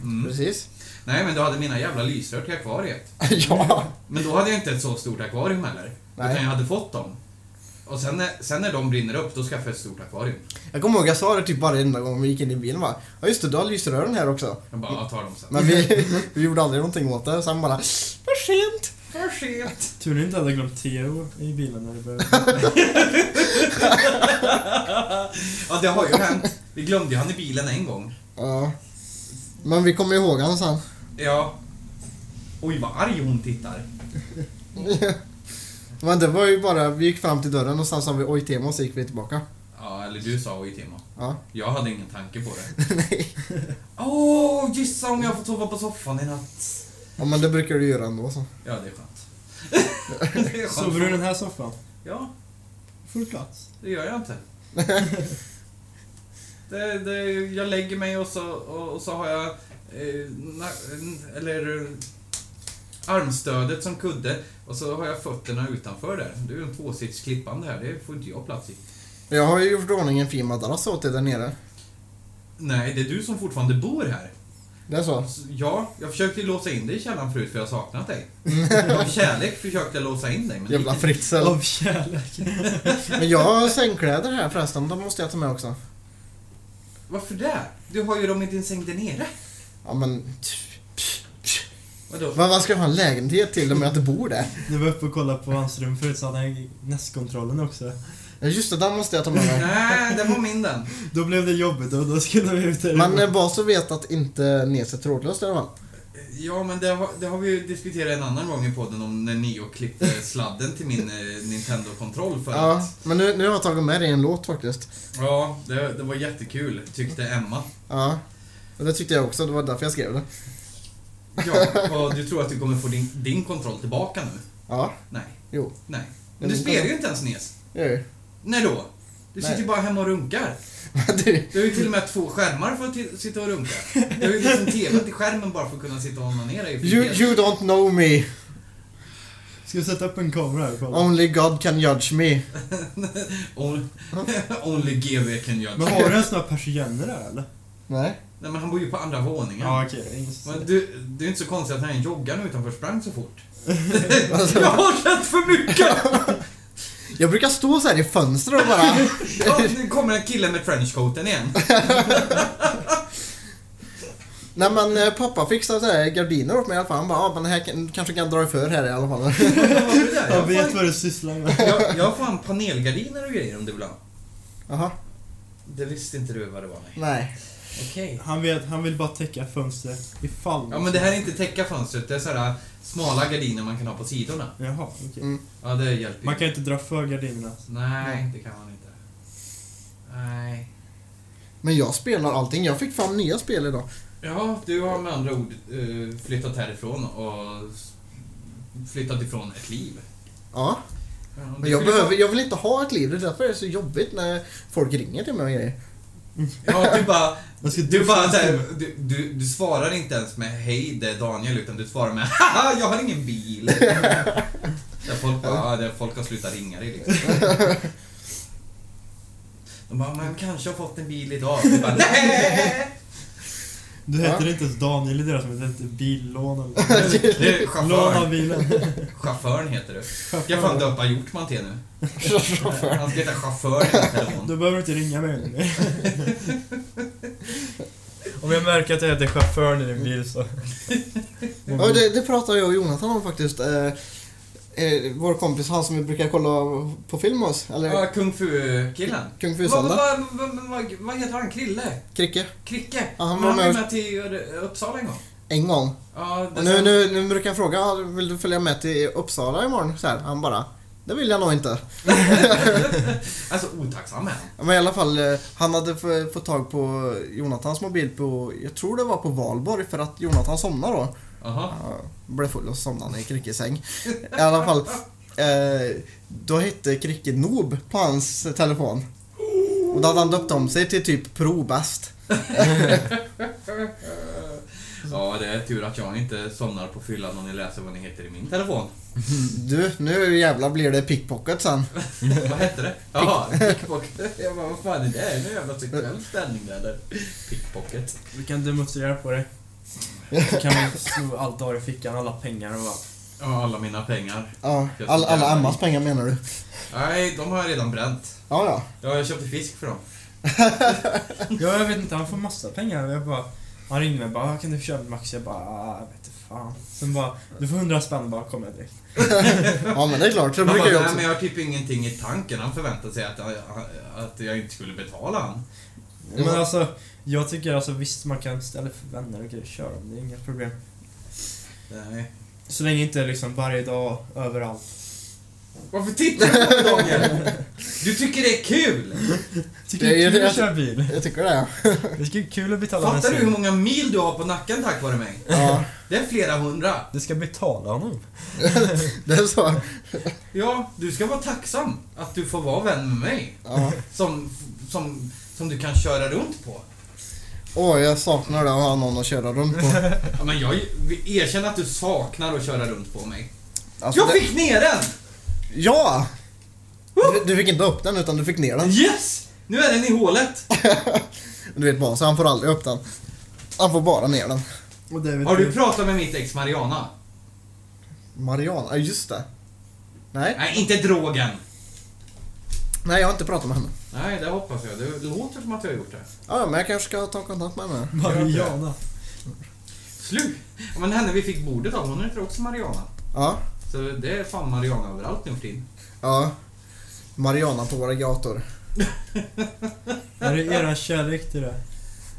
Speaker 2: Mm.
Speaker 3: precis.
Speaker 2: Nej, men du hade mina jävla lysrör till akvariet.
Speaker 3: ja.
Speaker 2: Men då hade jag inte ett så stort akvarium heller.
Speaker 3: Nej.
Speaker 2: Utan jag hade fått dem. Och sen när, sen när de brinner upp, då skaffade jag ett stort akvarium.
Speaker 3: Jag kommer ihåg jag sa det typ varenda gång vi gick in i bilen va. Ja just det, du har lysrören här också.
Speaker 2: Jag bara, jag tar dem sen.
Speaker 3: Men vi, vi gjorde aldrig någonting åt det. Sen bara, för sent.
Speaker 2: För sent.
Speaker 1: Tur ni inte hade glömt Theo i bilen när det började.
Speaker 2: Ja, det har ju hänt. Vi glömde ju han i bilen en gång.
Speaker 3: Ja. Men vi kommer ihåg honom sen.
Speaker 2: Ja. Oj, vad arg hon tittar.
Speaker 3: Men det var ju bara, vi gick fram till dörren och sen sa vi oj tema och så gick vi tillbaka.
Speaker 2: Ja, eller du sa oj, Timo.
Speaker 3: Ja.
Speaker 2: Jag hade ingen tanke på det.
Speaker 3: Nej.
Speaker 2: Åh, gissa om jag får sova på soffan i natt.
Speaker 3: Ja men det brukar du göra ändå så.
Speaker 2: Ja, det är skönt. det är skönt.
Speaker 1: Sover du i den här soffan?
Speaker 2: Ja,
Speaker 1: Full plats.
Speaker 2: det gör jag inte. det, det, jag lägger mig och så, och, och så har jag eh, na, eller, eh, armstödet som kudde och så har jag fötterna utanför där. Det är ju en tvåsits klippande här, det får inte jag plats i.
Speaker 3: Jag har ju gjort i ordning en fin madrass åt dig där nere.
Speaker 2: Nej, det är du som fortfarande bor här.
Speaker 3: Det är så?
Speaker 2: Så- Ja, jag försökte ju låsa in dig i källaren förut för jag har saknat dig. Av kärlek försökte jag låsa in dig, men det gick
Speaker 3: Jävla
Speaker 2: inte.
Speaker 3: fritzel.
Speaker 1: Av kärlek.
Speaker 3: Men jag har sängkläder här förresten, de måste jag ta med också.
Speaker 2: Varför det? Du har ju dem i din säng där nere.
Speaker 3: Ja men...
Speaker 2: Vadå?
Speaker 3: Vad vad ska jag ha en lägenhet till om jag inte bor där?
Speaker 1: När vi var uppe och kollade på hans rum förut så hade han nästkontrollen också.
Speaker 3: Ja, Just det, den måste jag ta med mig.
Speaker 2: Nej, den var min den.
Speaker 1: Då blev det jobbigt och då skulle vi ut
Speaker 3: Men
Speaker 1: därifrån.
Speaker 3: eh, bara så vet att inte näset är trådlöst i alla fall.
Speaker 2: Ja, men det har, det har vi ju diskuterat en annan gång i podden om när Neo klippte sladden till min eh, Nintendo-kontroll för
Speaker 3: Ja,
Speaker 2: att...
Speaker 3: men nu, nu har jag tagit med det i en låt faktiskt.
Speaker 2: Ja, det, det var jättekul, tyckte Emma.
Speaker 3: Ja. Och det tyckte jag också, det var därför jag skrev det.
Speaker 2: Ja, och du tror att du kommer få din, din kontroll tillbaka nu?
Speaker 3: Ja,
Speaker 2: Nej,
Speaker 3: jo.
Speaker 2: nej. Men
Speaker 3: Men
Speaker 2: du
Speaker 3: det-
Speaker 2: spelar ju inte ens NES.
Speaker 3: det gör jag ju.
Speaker 2: När då? Du sitter ju
Speaker 3: Nej.
Speaker 2: bara hemma och runkar.
Speaker 3: Men du,
Speaker 2: Du har ju till och med två skärmar för att ti- sitta och runka. Du har ju liksom TV till skärmen bara för att kunna sitta och onanera i
Speaker 3: you,
Speaker 2: frihet.
Speaker 3: you don't know me,
Speaker 1: Ska vi sätta upp en kamera här och kolla?
Speaker 3: only God can judge me.
Speaker 2: On- Only GV can judge.
Speaker 1: Men har du ens några persienner där eller?
Speaker 3: Nej.
Speaker 2: Nej, men han bor ju på andra våningen.
Speaker 1: Ja okej, det är ingen som
Speaker 2: Men
Speaker 1: ser.
Speaker 2: du, det är ju inte så konstigt att han joggar nu utanför sprang så fort.
Speaker 1: Alltså.
Speaker 2: jag har sett för mycket!
Speaker 3: Jag brukar stå så här i fönstret och bara...
Speaker 2: Ja, nu kommer en kille med trenchcoaten igen.
Speaker 3: Nej men eh, pappa fixade så här gardiner åt mig i alla fall. Han bara, ah, men det här kan, kanske kan dra för här i alla fall.
Speaker 1: Jag
Speaker 2: Jag,
Speaker 1: vet
Speaker 2: fan,
Speaker 1: vad du sysslar med.
Speaker 2: jag, jag har fan panelgardiner och grejer om du vill ha.
Speaker 3: Jaha,
Speaker 2: Det visste inte du vad det var, nej.
Speaker 3: nej.
Speaker 2: Okej.
Speaker 1: Han, vet, han vill bara täcka fönstret ifall...
Speaker 2: Ja, men det här är inte täcka fönstret. Det är sådana smala gardiner man kan ha på sidorna.
Speaker 1: Jaha, okej.
Speaker 2: Ja, det hjälper ju.
Speaker 1: Man kan inte dra för gardinerna.
Speaker 2: Nej, det kan man inte. Nej.
Speaker 3: Men jag spelar allting. Jag fick fram nya spel idag.
Speaker 2: Ja, du har med andra ord eh, flyttat härifrån och s- flyttat ifrån ett liv.
Speaker 3: Ja,
Speaker 2: Ja,
Speaker 3: men
Speaker 2: du
Speaker 3: jag,
Speaker 2: skulle
Speaker 3: behöver, jag vill inte ha ett liv. Det är därför det är så jobbigt när folk ringer till mig och grejer.
Speaker 2: Ja, du bara...
Speaker 1: Jag ska
Speaker 2: Du, bara,
Speaker 1: duscha.
Speaker 2: så här, du, du, du svarar inte ens med hej, det är Daniel, utan du svarar med haha, jag har ingen bil. där folk, bara, ah, där folk har slutat ringa dig liksom. De bara, man kanske har fått en bil idag. Du bara, nej!
Speaker 1: Du heter inte ens Daniel i deras, men det heter billån eller...
Speaker 2: Du,
Speaker 1: Lån av
Speaker 2: chauffören,
Speaker 1: bilen.
Speaker 2: chauffören heter du. Ska jag fan döpa Hjortman till nu? Han ska heta chaufför i min telefon.
Speaker 1: Då behöver du inte ringa mig längre. Om jag märker att jag heter chauffören i din bil så...
Speaker 3: Ja, det, det pratade jag och Jonathan om faktiskt. Eh, eh, vår kompis, han som vi brukar kolla på film med oss. Eller
Speaker 2: Ja, Kung Fu-killen.
Speaker 3: Kung
Speaker 2: Vad
Speaker 3: Fu-Sanna.
Speaker 2: vad- vad- vad- vad heter han? Krille?
Speaker 3: Kricke.
Speaker 2: Kricke?
Speaker 3: Ja, han
Speaker 2: han
Speaker 3: var
Speaker 2: var
Speaker 3: med-
Speaker 2: med till Uppsala en gång.
Speaker 3: En gång.
Speaker 2: Ja, det
Speaker 3: Och nu, nu, nu brukar jag fråga, "Ah, vill du följa med till Uppsala imorgon? Så här, han bara, det vill jag nog inte.
Speaker 2: Alltså otacksam är han.
Speaker 3: Men i alla fall, eh, han hade f- fått tag på Jonathans mobil på, jag tror det var på valborg för att Jonathan somnade då.
Speaker 2: Jaha.
Speaker 3: Ja, blev full och somnade i Krickes säng. I alla fall, eh, då hette Kricke Noob på hans telefon. Och då hade han döpt om sig till typ Probäst.
Speaker 2: Ja, det är tur att jag inte somnar på fyllan om ni läser vad ni heter i min telefon.
Speaker 3: Du, nu jävlar blir det pickpocket sen.
Speaker 2: vad hette det? Jaha, pickpocket. Jag bara, vad fan är det? Är det en jävla sexuell ställning eller? Pickpocket.
Speaker 1: Vi kan demonstrera på det. Så kan man sno allt du har i fickan, alla pengar och allt.
Speaker 2: Ja, alla mina pengar.
Speaker 3: Ja, all, alla Emmas pengar menar du?
Speaker 2: Nej, de har jag redan bränt.
Speaker 3: Ja, ja.
Speaker 2: Ja, jag köpte fisk för dem.
Speaker 1: Ja, jag vet inte, han får massa pengar. Jag bara, han ringde mig och bara, "Ah, kan du köpa en Max? Jag bara, "Ah, jag vet inte fan. Sen bara, du får hundra spänn bara, kommer jag direkt.
Speaker 3: Ja, men det är klart. Det
Speaker 2: Han bara,
Speaker 3: brukar
Speaker 2: nej
Speaker 3: jag också.
Speaker 2: men jag har typ ingenting i tanken. Han förväntade sig att jag, att jag inte skulle betala han.
Speaker 1: Men alltså, jag tycker alltså visst man kan ställa för vänner och grejer, kör dem, det är inga problem.
Speaker 2: Nej.
Speaker 1: Så länge inte liksom varje dag, överallt.
Speaker 2: Varför tittar du på mig Daniel? Du tycker det är kul!
Speaker 1: Tycker det är kul
Speaker 3: det-
Speaker 1: att köra bil.
Speaker 3: Jag tycker det.
Speaker 1: Det ska bli kul att betala
Speaker 2: Fattar du hur
Speaker 1: bensin.
Speaker 2: många mil du har på nacken tack vare mig?
Speaker 3: Ja,
Speaker 2: Det är flera hundra.
Speaker 1: Du ska betala honom.
Speaker 3: det är så.
Speaker 2: Ja, du ska vara tacksam att du får vara vän med mig.
Speaker 3: Ja.
Speaker 2: Som, som, som du kan köra runt på.
Speaker 3: Åh, jag saknar det att ha någon att köra runt på.
Speaker 2: Ja, men jag erkänner att du saknar att köra runt på mig.
Speaker 3: Alltså,
Speaker 2: Jag
Speaker 3: det-
Speaker 2: fick ner den!
Speaker 3: Ja! Du, du fick inte upp den utan du fick ner den.
Speaker 2: Yes! Nu är den i hålet.
Speaker 3: Du vet vad, så han får aldrig upp den. Han får bara ner den.
Speaker 1: Och David,
Speaker 2: Har du pratat med mitt ex Mariana?
Speaker 3: Mariana, ja just det. Nej,
Speaker 2: Nej, inte drogen.
Speaker 3: nej jag har inte pratat med henne.
Speaker 2: Nej, det hoppas jag. Det låter som att jag har gjort det.
Speaker 3: Ja, men jag kanske ska ta kontakt med henne.
Speaker 1: Mariana.
Speaker 2: Slut! Ja, men henne vi fick bordet av, hon heter också Mariana.
Speaker 3: Ja,
Speaker 2: Så det är fan Mariana överallt nu för tiden.
Speaker 3: ja. Mariana på våra gator.
Speaker 1: Är det eran kärlek till det?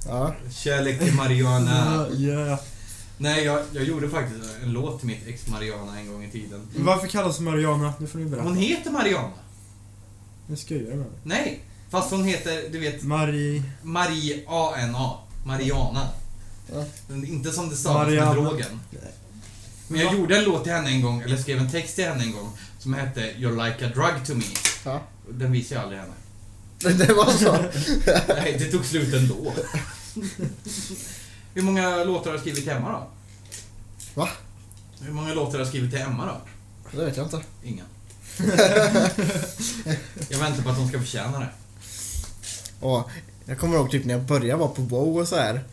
Speaker 3: Ja.
Speaker 2: Kärlek till Mariana.
Speaker 1: ja.
Speaker 2: Nej, jag, jag gjorde faktiskt en låt till mitt ex Mariana en gång i tiden.
Speaker 1: Varför kallas Mariana? Nu får ni berätta.
Speaker 2: Hon heter Mariana.
Speaker 1: Nu skojar jag med dig.
Speaker 2: Nej, fast hon heter, du vet,
Speaker 1: Marie...
Speaker 2: Marie-A-N-A. Mariana.
Speaker 3: Ja.
Speaker 2: Men Inte som det stavas
Speaker 1: Mariana.
Speaker 2: med drogen. Men jag gjorde en låt till henne en gång, eller skrev en text till henne en gång, som hette You're like a drug to me.
Speaker 3: ja.
Speaker 2: Den visade jag aldrig henne.
Speaker 3: Det, det var så.
Speaker 2: Nej, det tog slut ändå. Hur många låtar har du skrivit till Emma då?
Speaker 3: Va?
Speaker 2: Hur många låtar har du skrivit till Emma då?
Speaker 3: Det vet jag inte.
Speaker 2: Inga. jag väntar på att hon ska förtjäna det.
Speaker 3: Och jag kommer ihåg typ när jag började vara på Wow och så här.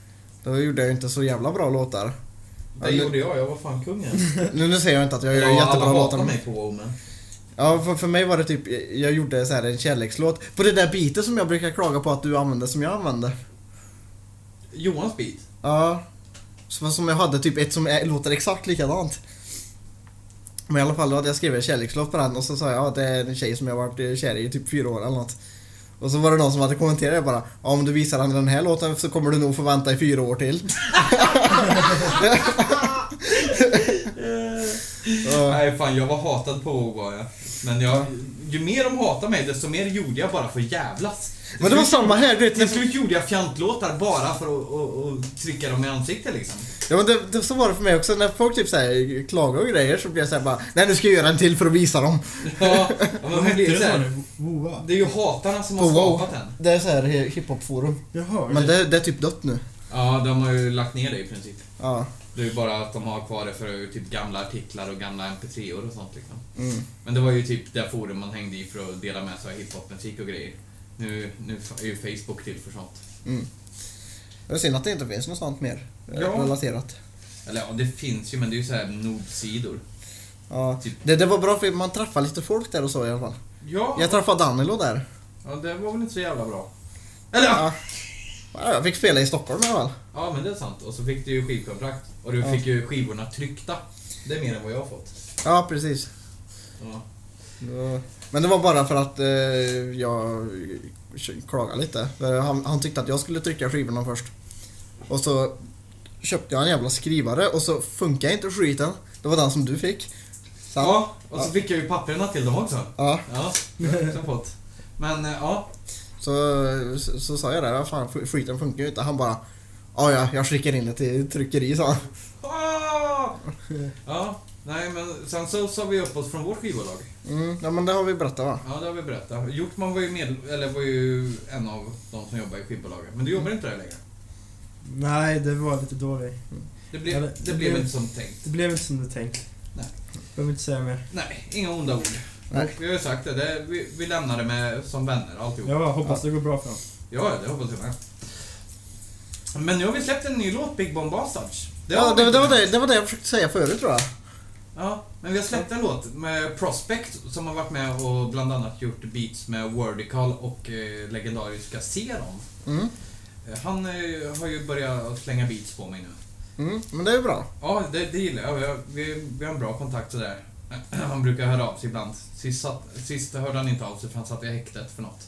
Speaker 3: Då gjorde jag ju inte så jävla bra låtar.
Speaker 2: Det
Speaker 3: Ja,
Speaker 2: gjorde jag, jag var fan kungen.
Speaker 3: Nu, nu säger jag inte att jag gör
Speaker 2: Ja,
Speaker 3: jättebra
Speaker 2: alla
Speaker 3: låtar.
Speaker 2: hatar mig på Woman.
Speaker 3: Ja, för, för mig var det typ, jag gjorde så här en kärlekslåt. På det där beatet som jag brukar klaga på att du använde som jag använde.
Speaker 2: Johans beat.
Speaker 3: Ja, Så som jag hade typ ett som är, låter exakt likadant. Men i alla fall då hade jag skrivit kärlekslåt på den och så sa jag att det är en tjej som jag varit eh, kär i i typ fyra år eller något. Och så var det någon som hade kommenterat det bara ja, om du visar henne den här låten så kommer du nog få vänta i fyra år till. Ja.
Speaker 2: Nej, fan jag var hatad på WoW var jag. Men jag, ju mer de hatade mig, desto mer gjorde jag bara för att jävlas.
Speaker 3: Men det var samma här, du vet.
Speaker 2: Till slut gjorde jag fjantlåtar bara för att och, och trycka dem i ansiktet liksom.
Speaker 3: Ja, men det, det, så var det för mig också. När folk typ så här, klagar och grejer så blir jag såhär bara Nej nu ska jag göra en till för att visa dem.
Speaker 2: Ja, men
Speaker 4: Vad
Speaker 2: det
Speaker 4: hette
Speaker 2: blir
Speaker 4: det
Speaker 2: så
Speaker 4: sa
Speaker 2: här,
Speaker 4: du? Woa?
Speaker 2: Det är ju hatarna som har
Speaker 3: På WoW.
Speaker 2: skapat den.
Speaker 3: Det är såhär hiphopforum.
Speaker 4: Jaha.
Speaker 3: Men det, det är typ dött nu.
Speaker 2: Ja, de har ju lagt ner det i princip.
Speaker 3: Ja.
Speaker 2: Det är ju bara att de har kvar det för typ gamla artiklar och gamla mp3or och sånt liksom.
Speaker 3: Mm.
Speaker 2: Men det var ju typ det forum man hängde i för att dela med sig av hiphopmusik och grejer. Nu, nu är ju Facebook till för sånt.
Speaker 3: Mm. Det är synd att det inte finns något sånt mer eh,
Speaker 2: Ja.
Speaker 3: relaterat.
Speaker 2: Eller ja, det finns ju men det är ju så här nodsidor.
Speaker 3: Ja.
Speaker 2: Typ.
Speaker 3: Det, det var bra för man träffade lite folk där och så i alla fall.
Speaker 2: Ja,
Speaker 3: Jag träffade Danilo där.
Speaker 2: ja, det var väl inte så jävla bra. Eller ja!
Speaker 3: Ja. Ja, Jag fick spela i Stockholm i alla fall.
Speaker 2: Ja, men det är sant. Och så fick du ju skivkontrakt. Och du
Speaker 3: Ja.
Speaker 2: fick ju skivorna tryckta. Det är mer än vad jag har fått.
Speaker 3: Ja, precis.
Speaker 2: Ja.
Speaker 3: Det var- Men det var bara för att eh, jag klagade lite. För Han, han tyckte att jag skulle trycka skivorna först. Och så köpte jag en jävla skrivare och så funkar inte skiten. Det var den som du fick. Så han-
Speaker 2: ja, och så
Speaker 3: Ja.
Speaker 2: fick jag ju papperna till dem också.
Speaker 3: ja.
Speaker 2: Ja, det har jag också fått. Men eh, ja,
Speaker 3: Så, så, så sa jag det, vad fan sk- skiten funkar ju inte. Han bara, ja ja, jag skickar in det till tryckeri sa han.
Speaker 2: Ah! Ja, nej men sen så sa vi upp oss från vårt skivbolag.
Speaker 3: Mm, ja men det har vi berättat va?
Speaker 2: Ja, det har vi berättat. Hjortman var ju med, eller var ju en av de som jobbar i skivbolaget. Men du jobbar inte där längre.
Speaker 1: Nej, det var lite dålig.
Speaker 2: Det blev,
Speaker 1: Ja, det-
Speaker 2: det,
Speaker 1: det
Speaker 2: blev
Speaker 1: blev-
Speaker 2: inte som tänkt.
Speaker 1: Det blev inte som du tänkt.
Speaker 2: Nej.
Speaker 1: Behöver inte säga mer.
Speaker 2: Nej, inga onda ord.
Speaker 3: Nej.
Speaker 2: Vi har ju sagt det, det vi, vi lämnar det med som vänner alltihop. Ja,
Speaker 1: Ja, hoppas det går bra för dem.
Speaker 2: ja det hoppas jag med. Men nu har vi släppt en ny låt, Big Bomb Bastards.
Speaker 3: ja,
Speaker 2: har vi
Speaker 3: det,
Speaker 2: inte
Speaker 3: det, var
Speaker 2: med.
Speaker 3: det, det var det jag försökte säga förut tror jag.
Speaker 2: Ja, men vi har släppt en låt med Prospect som har varit med och bland annat gjort beats med Wordical och eh, legendariska Seron.
Speaker 3: Mm.
Speaker 2: Eh, Han eh, har ju börjat slänga beats på mig nu.
Speaker 3: Mm, men det är ju bra.
Speaker 2: Ja, det, det gillar jag. Vi har, vi, vi har en bra kontakt sådär. Han brukar höra av sig ibland. Sist, satt, sist hörde han inte av sig för han satt i häktet för något.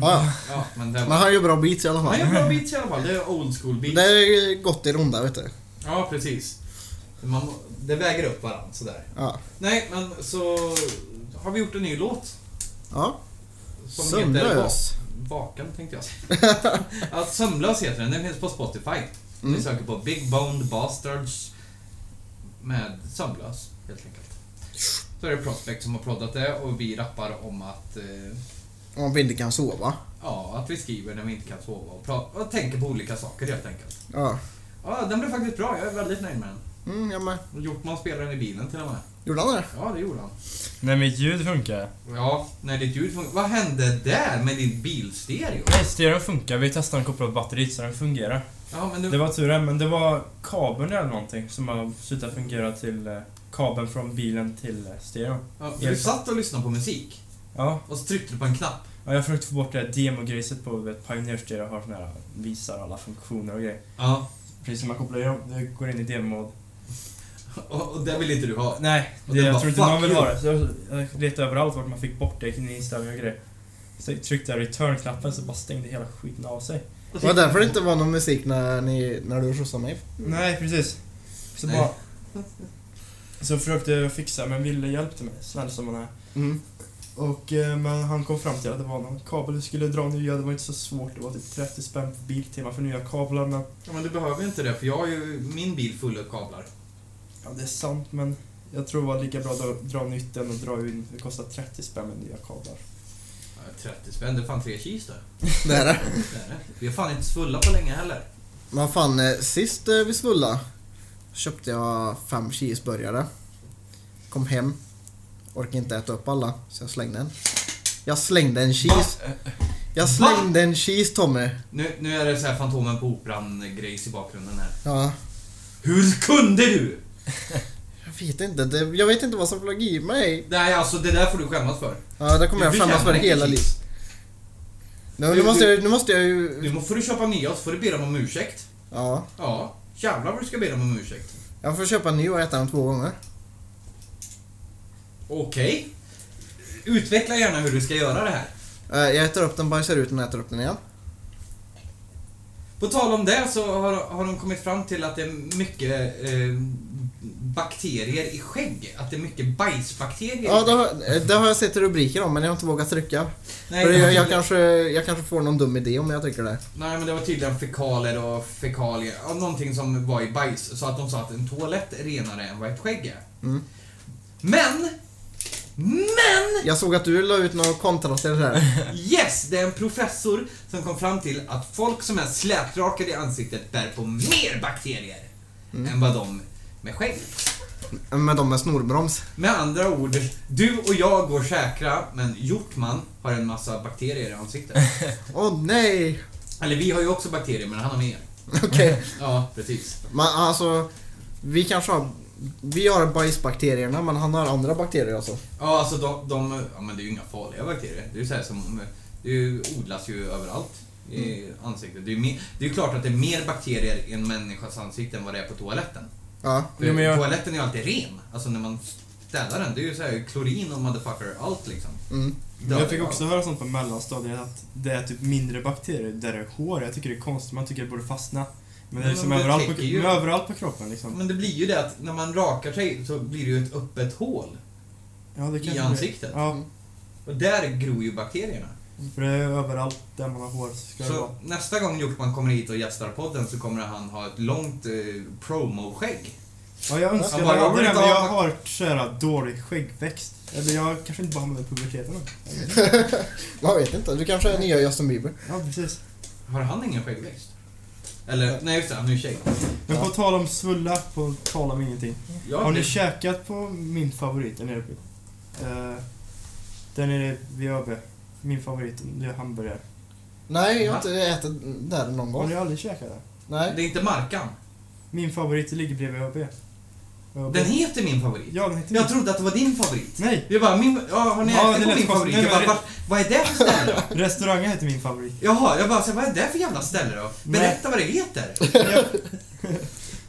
Speaker 3: Ja, ja.
Speaker 2: Ja, men det
Speaker 3: Men
Speaker 2: var...
Speaker 3: han gör bra beats i alla
Speaker 2: Han
Speaker 3: fall.
Speaker 2: gör bra beats i alla fall. Det är old school beats.
Speaker 3: Det är gott i runda vet du.
Speaker 2: Ja, precis. Man, må- det väger upp varandra sådär.
Speaker 3: Ja.
Speaker 2: Nej, men så har vi gjort en ny låt.
Speaker 3: ja.
Speaker 2: Som heter Bak-
Speaker 3: Sömnlös.
Speaker 2: Vaken tänkte jag säga. ja, Sömnlös heter den. Den finns på Spotify. Ni
Speaker 3: Mm.
Speaker 2: söker på Big Boned Bastards med Sömnlös, helt enkelt. Så är det Prospect som har proddat det och vi rappar om att, eh,
Speaker 3: Om vi inte kan sova.
Speaker 2: ja, att vi skriver när vi inte kan sova och, pra- och tänker på olika saker helt enkelt.
Speaker 3: Ja.
Speaker 2: Ja, den blev faktiskt bra. Jag är väldigt nöjd med den.
Speaker 3: Mm, jag med.
Speaker 2: Och Hjortman spelade den i bilen till och med.
Speaker 3: Gjorde han det?
Speaker 2: Ja, det gjorde han.
Speaker 4: Nej, mitt ljud funkar.
Speaker 2: Ja, när ditt ljud funkar. Vad hände där med din bilstereo?
Speaker 4: Nej, stereon funkar. Vi testade en kopplad batteri så den fungerar.
Speaker 2: Ja, men
Speaker 4: Det
Speaker 2: nu...
Speaker 4: var turen, men det var kabeln eller någonting som har slutat fungera till eh, kabeln från bilen till eh, stereon.
Speaker 2: Ja, du satt och lyssnade på musik
Speaker 4: Ja,
Speaker 2: och så tryckte du på en knapp.
Speaker 4: ja jag försökte få bort det där demogriset på vet, Pioneer Stereo har sån här, eh, visar alla funktioner och grejer.
Speaker 2: Ja.
Speaker 4: Precis som man kopplar igång, det går in i demo-mode.
Speaker 2: Och, och det vill inte du ha?
Speaker 4: Nej,
Speaker 2: Och
Speaker 4: det,
Speaker 2: den
Speaker 4: jag
Speaker 2: bara,
Speaker 4: tror inte någon
Speaker 2: "Fuck
Speaker 4: vill
Speaker 2: you."
Speaker 4: ha det. Så jag, jag letade överallt vart man fick bort det, i inställningar och grejer. Så jag tryckte jag return-knappen så bara stängde hela skiten av sig.
Speaker 3: Det var därför det inte var någon musik när, ni, när du skjutsade mig.
Speaker 4: Nej, precis. Så
Speaker 2: Nej.
Speaker 4: bara... Så försökte jag fixa, men Ville hjälpte mig, snäll som han är.
Speaker 3: Mm.
Speaker 4: Och, eh, men han kom fram till att det var någon kabel du skulle dra nya, det var inte så svårt. Det var typ 30 spänn på Biltema för nya kablar, men...
Speaker 2: Ja, men du behöver ju inte det, för jag har ju min bil full av kablar.
Speaker 4: Ja, det är sant, men jag tror det var lika bra att dra nytt än att dra in. Det kostar 30 spänn med nya kablar.
Speaker 2: Ja, 30 spänn, det är fan tre kis där.
Speaker 3: Det är det.
Speaker 2: Det är det. Vi har fan inte svullat på länge heller.
Speaker 3: Men fan, eh, sist eh, vi svulla köpte jag fem cheeseburgare. Kom hem. Orkade inte äta upp alla, så jag slängde en. Jag slängde en cheese. Jag slängde en cheese, Tommy.
Speaker 2: Nu, nu är det så här Fantomen på Operan-grejs i bakgrunden här.
Speaker 3: Ja.
Speaker 2: Hur kunde du?
Speaker 3: Jag vet inte. Det, jag vet inte vad som flög i mig.
Speaker 2: Nej, alltså det där får du skämmas för.
Speaker 3: Ja, det kommer jag
Speaker 2: Du
Speaker 3: skämmas för
Speaker 2: förtjänar
Speaker 3: hela
Speaker 2: inte
Speaker 3: livet.
Speaker 2: kis.
Speaker 3: Nu, nu, måste jag, nu måste jag ju...
Speaker 2: Nu må- får du köpa nya och så får du be dem om ursäkt.
Speaker 3: Ja.
Speaker 2: Ja, Jävlar vad du ska be dem om ursäkt.
Speaker 3: Jag får köpa en ny och äta den två gånger.
Speaker 2: Okej. Utveckla gärna hur du ska göra det här.
Speaker 3: Eh, Jag äter upp den, bajsar ut den och äter upp den igen.
Speaker 2: På tal om det så har, har de kommit fram till att det är mycket eh, bakterier i skägg. Att det är mycket bajsbakterier.
Speaker 3: Ja, det har, eh, det har jag sett i rubriker om men jag har inte vågat trycka.
Speaker 2: Nej,
Speaker 3: För
Speaker 2: det var
Speaker 3: jag, jag,
Speaker 2: tydligen-
Speaker 3: kanske, jag kanske får någon dum idé om jag trycker det.
Speaker 2: nej, men det var tydligen fekaler och fekalier. Ja, någonting som var i bajs. Så att de sa att en toalett är renare än vad ett skägg är.
Speaker 3: Mm.
Speaker 2: Men! Men!
Speaker 3: Jag såg att du la ut några kontra till det där.
Speaker 2: Yes! Det är en professor som kom fram till att folk som är slätrakade i ansiktet bär på mer bakterier
Speaker 3: Mm.
Speaker 2: än vad de med skägg.
Speaker 3: Med de med snorbroms.
Speaker 2: Med andra ord, du och jag går säkra, men Hjortman har en massa bakterier i ansiktet.
Speaker 3: Åh nej!
Speaker 2: Eller vi har ju också bakterier, men han har mer.
Speaker 3: Okej,
Speaker 2: Ja, precis.
Speaker 3: men alltså. Vi kanske har... Vi har bajsbakterierna men han har andra bakterier alltså.
Speaker 2: Ja, alltså de, de ja, men det är ju inga farliga bakterier. Det är ju så här som, det är ju, odlas ju överallt i
Speaker 1: Mm.
Speaker 2: ansiktet. Det är ju mer- det är ju klart att det är mer bakterier i en människas ansikte än vad det är på toaletten.
Speaker 3: Ja.
Speaker 2: För
Speaker 1: Jo, men jag-
Speaker 2: Toaletten är ju alltid ren. Alltså när man städar den, det är ju så här klorin och motherfucker allt liksom.
Speaker 3: Mm.
Speaker 1: Men jag fick också höra sånt på mellanstadiet att det är typ mindre bakterier där det är hår. Jag tycker det är konstigt, man tycker det borde fastna. Men det är
Speaker 2: Men
Speaker 1: liksom
Speaker 2: det
Speaker 1: överallt, på,
Speaker 2: täcker ju.
Speaker 1: men överallt på kroppen liksom.
Speaker 2: Men det blir ju det att när man rakar sig så blir det ju ett öppet hål.
Speaker 1: Ja, det kanske det är.
Speaker 2: ansiktet.
Speaker 1: Ja,
Speaker 2: Och där gror ju bakterierna.
Speaker 1: för det är överallt där man har hår. Så ska det
Speaker 2: Så
Speaker 1: vara.
Speaker 2: nästa gång Hjortman kommer hit och gästar podden så kommer han ha ett långt eh, promo-skägg.
Speaker 1: Ja, jag önskar
Speaker 2: Jag
Speaker 1: jag
Speaker 2: bara, jag
Speaker 1: hade
Speaker 2: vill
Speaker 1: det,
Speaker 2: inte
Speaker 1: men
Speaker 2: ha-
Speaker 1: jag har så här dålig skäggväxt. Eller jag kanske inte bara hamnar i puberteten då.
Speaker 3: Man vet inte, du kanske är nya Justin Bieber.
Speaker 1: Ja, precis.
Speaker 2: Har han ingen skäggväxt? Eller, nej just det, han är ju tjej.
Speaker 1: Men
Speaker 3: Ja.
Speaker 1: på tal om svulla, på tal om ingenting.
Speaker 2: Jag
Speaker 1: Har ni
Speaker 2: blir-
Speaker 1: käkat på min favorit där nere? Uh, där nere vid ÖB. Min favorit, det är hamburgare.
Speaker 3: Nej, jag har inte ätit där någon
Speaker 1: Har
Speaker 3: gång.
Speaker 1: ni aldrig käkat där?
Speaker 3: Nej.
Speaker 2: Det är inte Markan.
Speaker 1: Min favorit ligger bredvid ÖB. ÖB.
Speaker 2: Den heter min favorit.
Speaker 1: Ja, den heter
Speaker 2: Jag trodde att det var din favorit.
Speaker 1: Nej!
Speaker 2: Jag bara, min, ja, har ni
Speaker 1: Ja, det
Speaker 2: ätit på
Speaker 1: lät
Speaker 2: min
Speaker 1: konstigt.
Speaker 2: favorit?
Speaker 1: Nej,
Speaker 2: Jag bara,
Speaker 1: men-
Speaker 2: "Vart- vad är det för ställe?
Speaker 1: Restaurangen heter min favorit.
Speaker 2: Jaha, jag bara, så, här, vad är det för jävla ställe då?
Speaker 1: Nej.
Speaker 2: Berätta vad det heter.
Speaker 1: Jag...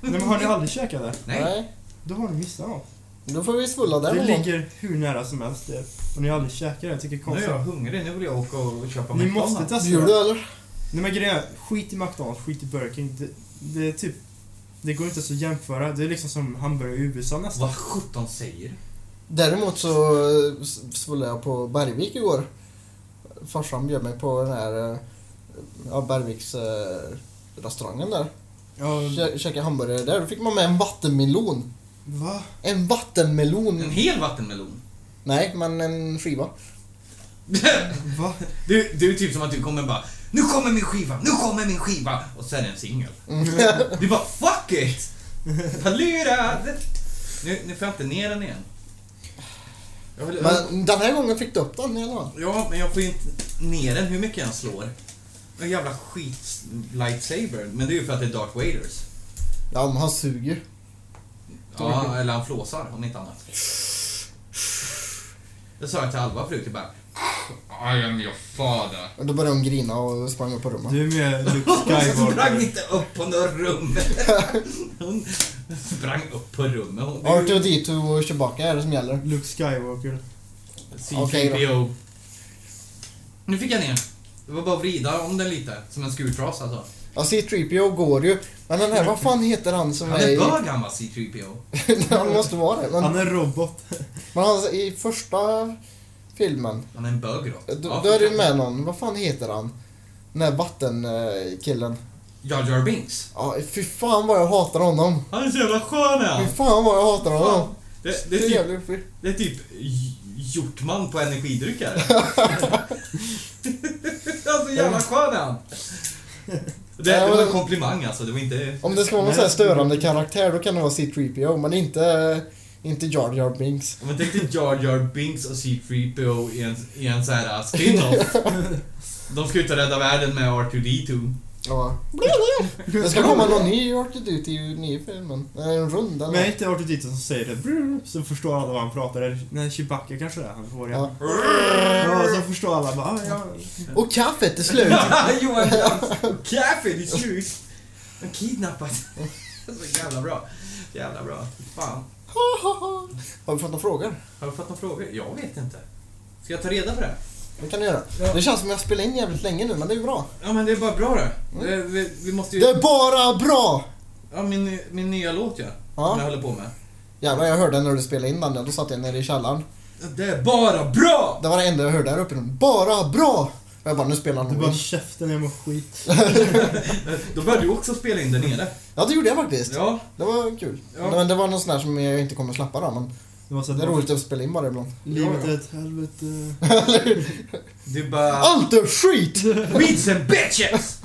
Speaker 1: Nej, men har ni aldrig käkat där?
Speaker 2: Nej.
Speaker 1: Då har ni missat något.
Speaker 3: Då får vi svulla där
Speaker 1: Det
Speaker 3: någon gång.
Speaker 1: ligger hur nära som helst det. Och ni har aldrig käkat det, jag tycker det är
Speaker 2: Nu är
Speaker 1: konstigt.
Speaker 2: jag hungrig, nu vill jag åka och köpa
Speaker 1: Ni måste testa
Speaker 3: Bjuder
Speaker 1: det.
Speaker 3: du eller?
Speaker 1: Nej men grejen är, skit i McDonalds, skit i Burger King. Det, det är typ... Det går inte ens att jämföra. Det är liksom som hamburgare i USA nästan.
Speaker 2: Vad sjutton säger du?
Speaker 3: Däremot så eh, s- svullade jag på Bergvik igår. Farsan bjöd mig på den här eh, ja, Bergviks eh, restaurangen där.
Speaker 1: Ja,
Speaker 3: Kä- Käkade hamburgare där. Då fick man med en vattenmelon.
Speaker 1: va?
Speaker 3: En vattenmelon!
Speaker 2: En hel vattenmelon?
Speaker 3: Nej, men en skiva.
Speaker 1: Va?
Speaker 2: Du, du är typ som att du kommer bara Nu kommer min skiva, nu kommer min skiva! Och sen en singel. Du bara fuck it! Vad lurad! Nu, nu får jag inte ner den igen. Jag vill,
Speaker 3: Men den här gången fick du upp den i alla fall.
Speaker 2: Ja, men jag får ju inte ner den hur mycket jag än slår. En jävla skit lightsaber. Men det är ju för att det är Darth Vaders.
Speaker 3: Ja, men han suger.
Speaker 2: Ja, eller han flåsar om inte annat. Jag sa till Alva förut, jag bara I am your father.
Speaker 3: Och då började hon grina och sprang upp på rummet.
Speaker 1: Du är med Luke
Speaker 2: Alltså, Hon sprang
Speaker 1: Skywalker.
Speaker 2: inte upp på något rum. Hon sprang upp på rummet. Hon,
Speaker 3: Arthur D2 och Chewbacca är det som gäller.
Speaker 1: Luke Skywalker.
Speaker 2: C3PO.
Speaker 3: Okej
Speaker 2: Nu fick jag ner. Det var bara att vrida om den lite, som en skurtrasa alltså.
Speaker 3: Ja, C3PO går ju. Men den här, vad fan heter han som
Speaker 2: Han
Speaker 3: är
Speaker 2: är
Speaker 3: i...
Speaker 2: bög han va, C3PO.
Speaker 3: han måste vara det. Men,
Speaker 1: Han är en robot.
Speaker 3: men han, i första filmen,
Speaker 2: Han är en bög då.
Speaker 3: då,
Speaker 2: Ja,
Speaker 3: då är det med någon, vad fan heter han? Den där vattenkillen.
Speaker 2: Jar Jar Binks.
Speaker 3: Ja, fy fan vad jag hatar honom.
Speaker 2: Han är så jävla skön är han.
Speaker 3: Fy fan vad jag hatar honom.
Speaker 2: Fan. Det, det
Speaker 3: Det
Speaker 2: är
Speaker 3: är
Speaker 2: typ
Speaker 3: jävligt fy-
Speaker 2: Det är typ J- Hjortman på energidryckare. alltså jävla skön är han. Det, det var en komplimang alltså, det var inte...
Speaker 3: Om det ska vara någon
Speaker 1: Nej.
Speaker 3: sån här störande karaktär då kan det vara C3PO men inte, inte Jar Jar Binks.
Speaker 2: Om man tänkte Jar Jar Binks och C3PO i en, i en så här uh, spin-off. De ska ut och rädda världen med R2D2.
Speaker 3: Ja. Det ska komma någon ny Arthur D2 i nya filmen. Eh, En rund eller
Speaker 1: Men jag har inte varit dit som säger det. Brr, Så förstår alla vad han pratar. Eller, Nej, Chewbacca kanske det är. Han får
Speaker 3: Ja.
Speaker 1: ja. ja. Så förstår alla bara, ah, ja.
Speaker 3: Och kaffet är slut.
Speaker 2: Johan Johansson! Caffeine is used! De kidnappat. så jävla bra. Jävla bra. Fan.
Speaker 3: Har vi fått några frågor?
Speaker 2: Har du fått några frågor? Jag vet inte. Ska jag ta reda på det?
Speaker 3: Det kan du göra. Det känns som jag spelar in jävligt länge nu, men det är ju bra.
Speaker 2: Ja, men det är bara bra det. det vi, vi måste
Speaker 3: Det
Speaker 2: ju...
Speaker 3: är bara bra!
Speaker 2: Ja, min, min nya låt ja.
Speaker 3: Ja.
Speaker 2: Som jag håller på med.
Speaker 3: Jävlar, jag hörde när du spelade in den där. Då satt jag nere i källaren.
Speaker 2: Ja, Det är bara bra!
Speaker 3: Det var det enda jag hörde där uppe. Bara bra! Och jag bara, nu spelar
Speaker 1: Du
Speaker 3: han
Speaker 1: bara
Speaker 3: Wish.
Speaker 1: käften, jag mår skit.
Speaker 2: Då började du också spela in där nere.
Speaker 3: Ja, det gjorde jag faktiskt.
Speaker 2: Ja.
Speaker 3: Det var kul.
Speaker 2: Ja.
Speaker 3: Men det var någon sån där som jag inte kommer släppa då, men
Speaker 1: Det var så
Speaker 3: det är
Speaker 1: att
Speaker 3: roligt att spela in bara ibland.
Speaker 1: livet
Speaker 2: Ja, ja.
Speaker 1: är ett helvete.
Speaker 2: Du bara...
Speaker 3: Allt är skit!
Speaker 2: Weeds and bitches!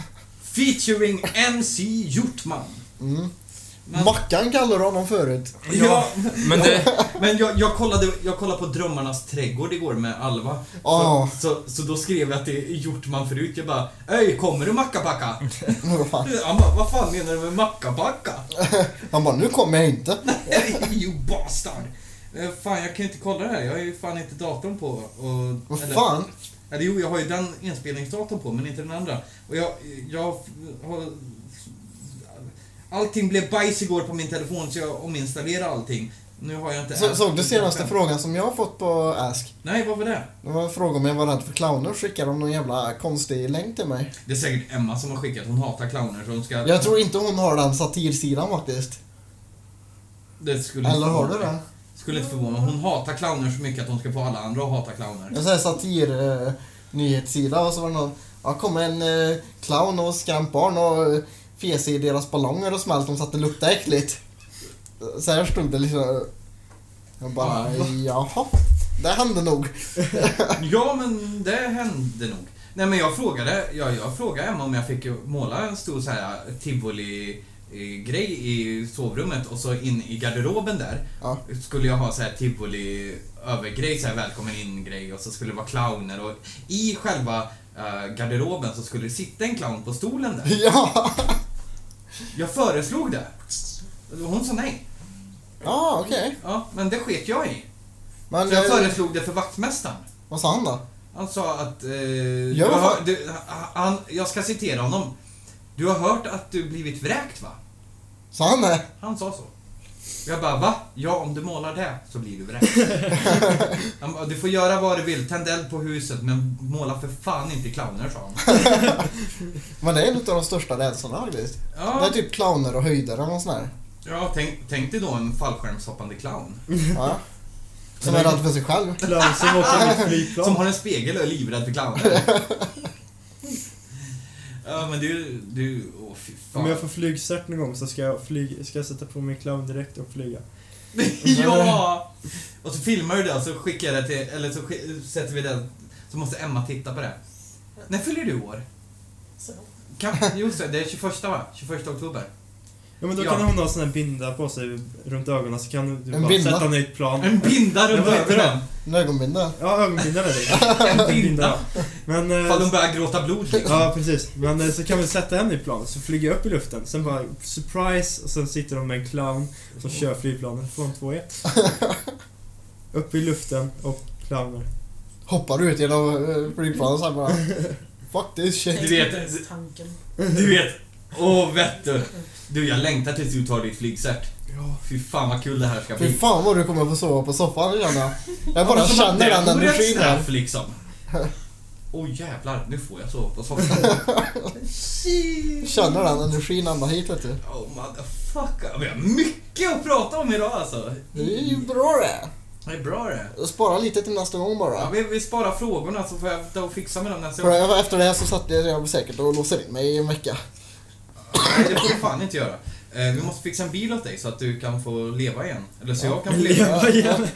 Speaker 2: Featuring MC Hjortman.
Speaker 3: Mm.
Speaker 2: Men-
Speaker 3: Mackan kallade du honom förut.
Speaker 2: Ja,
Speaker 4: Men det,
Speaker 2: men jag, jag, kollade, jag kollade på Drömmarnas trädgård igår med Alva. Så,
Speaker 3: Ja.
Speaker 2: så, så då skrev jag till Hjortman förut, jag bara Öj, kommer du mackapacka?
Speaker 3: Men vad fan.
Speaker 2: Han bara, vad fan menar du med mackapacka?
Speaker 3: Han bara, nu kommer jag inte.
Speaker 2: you bastard! Eh, Fan, jag kan ju inte kolla det här. Jag har ju fan inte datorn på. Och,
Speaker 3: Vad
Speaker 2: eller-
Speaker 3: fan?
Speaker 2: Eller jo, jag har ju den inspelningsdatorn på, men inte den andra. Och jag, jag har... Allting blev bajs igår på min telefon, så jag ominstallerade allting. Nu har jag inte...
Speaker 3: Så, såg du senaste
Speaker 2: Nej.
Speaker 3: frågan som jag har fått på Ask?
Speaker 2: Nej, vad var det?
Speaker 3: Det var en fråga om jag var rädd för clowner och skickade de någon jävla konstig länk till mig.
Speaker 2: Det är säkert Emma som har skickat. Hon hatar clowner, så hon ska...
Speaker 3: Jag tror inte hon har den satirsidan faktiskt.
Speaker 2: Det skulle
Speaker 3: Eller
Speaker 2: inte
Speaker 3: har du
Speaker 2: förvåna mig.
Speaker 3: det?
Speaker 2: Skulle inte förvåna mig. Hon hatar clowner så mycket att hon ska få alla andra att hata clowner.
Speaker 3: Jag säger satir eh, nyhetssida och så var det någon, ja kom en eh, clown och skrämt barn och eh, fes i deras ballonger och smält dem så att det luktade äckligt. Så här stod det liksom. Jag bara, jaha. Det hände nog.
Speaker 2: Ja, men det hände nog. Nej, men jag frågade, ja, jag frågade Emma om jag fick måla en stor så här tivoli-grej i sovrummet och så in i garderoben där
Speaker 3: Ja.
Speaker 2: skulle jag ha så här tivoli-övergrej, så här välkommen in-grej och så skulle det vara clowner och i själva eh, garderoben så skulle det sitta en clown på stolen där.
Speaker 3: Ja,
Speaker 2: Jag föreslog det. Hon sa nej.
Speaker 3: ja okej.
Speaker 2: Ja, men det sket jag i.
Speaker 3: Men
Speaker 2: Så jag
Speaker 3: eh,
Speaker 2: föreslog det för vaktmästaren.
Speaker 3: vad sa han då?
Speaker 2: Han sa att... Eh,
Speaker 3: Ja,
Speaker 2: du
Speaker 3: vad
Speaker 2: har,
Speaker 3: fan?
Speaker 2: du, han, jag ska citera honom. Du har hört att du blivit vräkt va?
Speaker 3: Sa han det?
Speaker 2: Han sa så. Jag bara va? Ja, om du målar det så blir du vräkt. han bara, du får göra vad du vill, tänd eld på huset men måla för fan inte clowner sa han.
Speaker 3: Men det är en av de största rädslorna faktiskt. Det är
Speaker 2: Ja,
Speaker 3: typ clowner och höjder eller något sånt där.
Speaker 2: ja tänk, tänk dig då en fallskärmshoppande clown.
Speaker 3: Ja. Som är rädd för sig själv.
Speaker 1: Clown som åker med
Speaker 2: Som
Speaker 1: flygplan.
Speaker 2: har en spegel och är livrädd för clowner. ja men du, du, åh fy fan.
Speaker 1: Om jag får flygcert någon gång så ska jag, flyg, ska jag sätta på min clown direkt och flyga.
Speaker 2: ja! Och så filmar du det och så skickar jag det till, eller så skick, sätter vi det, så måste Emma titta på det. När fyller du år? Kan, just det, det är 21 va? 21 oktober.
Speaker 1: Ja men då
Speaker 2: Ja.
Speaker 1: kan hon ha sån här binda på sig runt ögonen så kan du
Speaker 3: En
Speaker 1: bara
Speaker 3: binda?
Speaker 1: sätta ner i ett plan.
Speaker 2: En binda runt
Speaker 1: Vad heter
Speaker 2: ögonen.
Speaker 3: En ögonbindel.
Speaker 1: Ja, ögonbinda är det.
Speaker 2: En binda.
Speaker 1: Men... eh,
Speaker 2: Ifall de börjar gråta blod liksom.
Speaker 1: Ja, precis. Men eh, så kan vi sätta henne i planet, så flyger jag upp i luften. Sen bara surprise, och sen sitter de med en clown som kör flygplanet från 2-1. upp i luften och clowner.
Speaker 3: Hoppar ut genom eh, flygplanet så här bara... Fuck this
Speaker 2: Du
Speaker 3: shit.
Speaker 2: vet-
Speaker 5: Tanken.
Speaker 2: Du vet. Åh, vet du. Du, jag längtar tills du tar ditt flygcert.
Speaker 1: Ja.
Speaker 2: Fy fan vad kul det här ska
Speaker 3: Fy
Speaker 2: bli.
Speaker 3: fan vad du kommer få sova på soffan nu känner jag. Jag bara
Speaker 2: Som att
Speaker 3: känner den
Speaker 2: vore ett
Speaker 3: energin här.
Speaker 2: straff liksom. Åh jävlar, nu får jag sova på soffan. Shit.
Speaker 3: Känner den energin ända hit vet du.
Speaker 2: Oh motherfucker. Vi har mycket att prata om idag alltså.
Speaker 3: Det är ju bra det.
Speaker 2: Det är bra det.
Speaker 3: Spara lite till nästa gång
Speaker 2: Ja,
Speaker 3: bara.
Speaker 2: vi, vi sparar frågorna så får jag ta och fixa med dem nästa
Speaker 3: För
Speaker 2: gång.
Speaker 3: jag- efter det här så satt jag jag säkert och låser in mig i en vecka.
Speaker 2: Nej, det får du fan inte göra. Eh, Vi måste fixa en bil åt dig så att du kan få leva igen. Eller så jag kan få leva.
Speaker 1: Leva igen.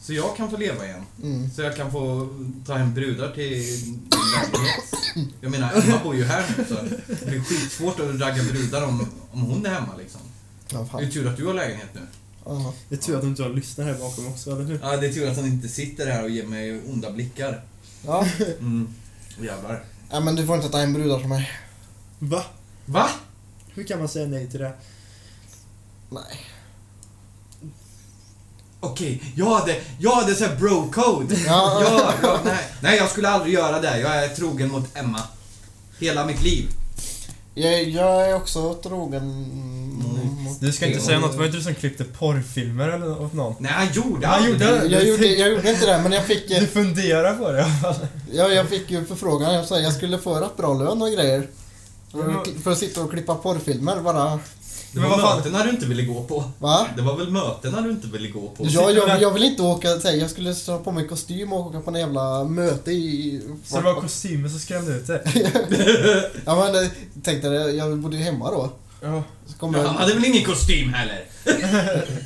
Speaker 2: Så jag kan få leva igen.
Speaker 3: Mm.
Speaker 2: Så jag kan få ta hem brudar till din lägenhet. Jag menar, Emma bor ju här nu så det blir skitsvårt att ragga brudar om, om hon är hemma liksom.
Speaker 3: Ja,
Speaker 2: Det är
Speaker 3: fan.
Speaker 2: tur att du har lägenhet nu.
Speaker 3: Ja.
Speaker 1: Det är tur att du inte har lyssnat här bakom också, eller hur?
Speaker 2: Ja, det är tur att han inte sitter här och ger mig onda blickar.
Speaker 3: Ja.
Speaker 2: Mm. Jävlar.
Speaker 3: ja men du får inte ta in brudar för mig.
Speaker 1: Va?
Speaker 2: Va?
Speaker 1: Hur kan man säga nej till det?
Speaker 3: Nej.
Speaker 2: Okej, jag hade, jag hade så här bro-code.
Speaker 3: Ja.
Speaker 2: Ja, ja, nej. nej, jag skulle aldrig göra det. Jag är trogen mot Emma. Hela mitt liv.
Speaker 3: Jag, jag är också trogen
Speaker 2: Mm.
Speaker 3: mot...
Speaker 1: Du ska inte säga något, var det inte du som klippte porrfilmer eller åt någon?
Speaker 2: Nej, han gjorde
Speaker 1: Han
Speaker 2: aldrig
Speaker 1: gjorde
Speaker 2: det.
Speaker 3: Jag gjorde, jag gjorde inte det, men jag fick,
Speaker 1: Du funderar på det?
Speaker 3: jag, jag fick ju förfrågan. Jag, sa, jag skulle få rätt bra lön och grejer. För- För att sitta och klippa porrfilmer bara.
Speaker 2: Det
Speaker 1: Men
Speaker 2: var
Speaker 1: vad fan-
Speaker 2: mötena du inte ville gå på.
Speaker 3: Va?
Speaker 2: Det var väl mötena du inte ville gå på?
Speaker 3: Jag,
Speaker 1: sitter
Speaker 3: jag,
Speaker 1: där.
Speaker 3: jag vill inte åka, säg, jag skulle ta på mig kostym och åka på en jävla möte i...
Speaker 1: Så det var kostymer som skrämde ut dig?
Speaker 3: Ja men eh, tänkte det, jag bodde ju hemma då.
Speaker 1: Ja.
Speaker 3: Så kommer,
Speaker 2: Han hade väl ingen kostym heller?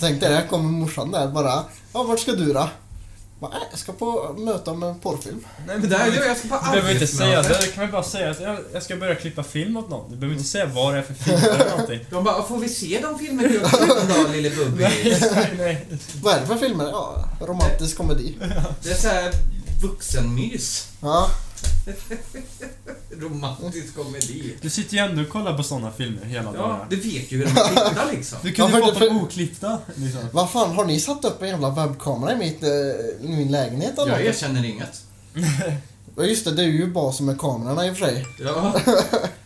Speaker 3: Tänkte det, kommer morsan där bara. Ja, vart ska du då? Bara, "Nej, Jag ska på möte om en porrfilm.
Speaker 1: Nej
Speaker 2: Det
Speaker 1: men
Speaker 2: där,
Speaker 1: det
Speaker 2: jag ska på
Speaker 1: du behöver inte säga
Speaker 2: arbetsmöte.
Speaker 1: det, du kan väl bara säga att jag, jag ska börja klippa film åt någon. Du behöver inte säga vad det är för film eller någonting.
Speaker 2: De bara, får vi se de filmer du har skrivit då, lille Bubbi?
Speaker 1: Nej, nej.
Speaker 3: Vad är det för filmer? Ja, romantisk komedi.
Speaker 2: Det är såhär vuxenmys.
Speaker 3: Ja,
Speaker 2: Romantisk komedi.
Speaker 1: Du sitter ju ändå och kollar på såna filmer hela
Speaker 2: Ja,
Speaker 1: dagarna.
Speaker 2: du vet ju hur de tittar liksom.
Speaker 1: Du
Speaker 3: Ja,
Speaker 1: kunde ju
Speaker 3: för-
Speaker 1: fått dem
Speaker 3: för-
Speaker 1: oklippta. Liksom.
Speaker 3: vad fan har ni satt upp en jävla webbkamera i mitt, eh, i min lägenhet eller?
Speaker 2: Jag
Speaker 3: något?
Speaker 2: erkänner inget.
Speaker 3: Ja just det, det är ju bara som med kamerorna i och för sig.
Speaker 2: Ja.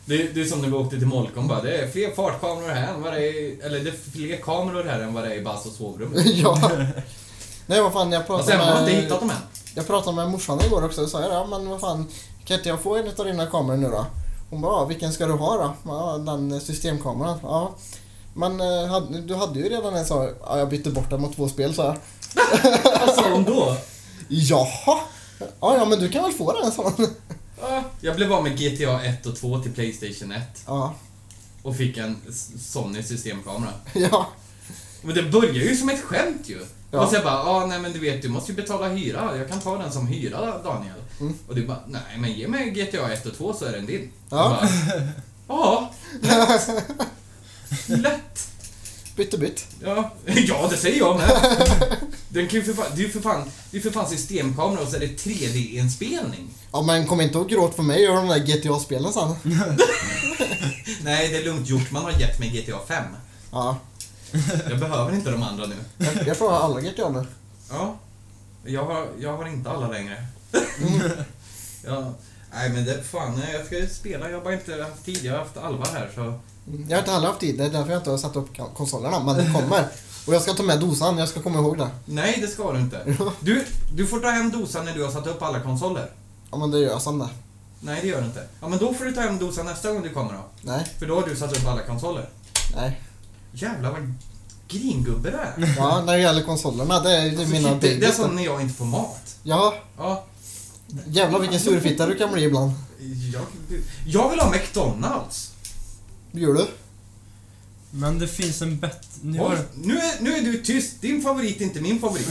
Speaker 2: Det, det är som när vi åkte till Molkom bara, det är fler fartkameror här än vad det är, eller det är fler kameror här än vad det är i Bassos sovrum.
Speaker 3: ja. Nej vad fan, jag
Speaker 2: Och sen Alltså, har
Speaker 3: pratade
Speaker 2: man inte
Speaker 3: med,
Speaker 2: hittat dem än.
Speaker 3: jag pratade med morsan igår också och sa jag, ja men vad fan, kan inte jag få en av dina kameror nu då? Hon bara, ja, vilken ska du ha då? Ja, den systemkameran. Ja. Men eh, hade- du hade ju redan en sa jag. ja, jag bytte bort den mot två spel så jag.
Speaker 2: Vad sa de då?
Speaker 3: Jaha! Ja, ja men du kan väl få den sa hon.
Speaker 2: Ja, Jag blev av med GTA 1 och 2 till Playstation 1
Speaker 3: Ja,
Speaker 2: och fick en S- Sony systemkamera.
Speaker 3: ja.
Speaker 2: Men det börjar ju som ett skämt ju.
Speaker 3: Ja.
Speaker 2: Och så jag bara, ah, nej men du vet, du måste ju betala hyra. Jag kan ta den som hyra, Daniel. Och du bara, nej men ge mig GTA 1 och 2 så är den din.
Speaker 3: Ja.
Speaker 2: Jag bara, Ja, lätt. lätt.
Speaker 3: Bytt och bytt.
Speaker 2: Ja. ja, det säger jag med. Den kan ju för fan, det är ju för fan, det är för fan systemkamera och så är det 3D-inspelning.
Speaker 3: Ja men kom inte och gråt för mig över de där GTA-spelen sen.
Speaker 2: Nej, det är lugnt gjort. Man har gett mig GTA 5.
Speaker 3: Ja,
Speaker 2: Jag behöver inte de andra nu.
Speaker 3: jag, jag får ha alla GTA nu.
Speaker 2: Ja. Jag har, jag har inte alla längre. ja. Nej men det, fan, eh, jag ska ju spela. Jag har bara inte haft tid. Jag har haft Alva här så...
Speaker 3: Jag har inte heller haft tid, det är därför jag inte har satt upp kon- konsolerna, men det kommer. Och jag ska ta med dosan, jag ska komma ihåg det.
Speaker 2: Nej, det ska du inte. Du, du får ta hem dosan när du har satt upp alla konsoler.
Speaker 3: Ja men det gör jag sen det.
Speaker 2: Nej, det gör du inte. Ja, men då får du ta hem dosan nästa gång du kommer då.
Speaker 3: Nej,
Speaker 2: För då har du satt upp alla konsoler.
Speaker 3: nej.
Speaker 2: Jävlar vad gringubbe du är.
Speaker 3: Ja, när det gäller konsolerna, det är, det är mina
Speaker 2: Alltså, det, det är
Speaker 3: babies.
Speaker 2: som
Speaker 3: det.
Speaker 2: när jag inte får mat.
Speaker 3: Ja,
Speaker 2: Ja.
Speaker 3: jävlar vilken surfitta du kan bli ibland.
Speaker 2: Jag, jag vill ha McDonalds.
Speaker 3: Gör du?
Speaker 1: Men det finns en bättre... Nu
Speaker 2: Oj,
Speaker 1: har-
Speaker 2: nu, är, nu är du tyst. Din favorit är inte min favorit.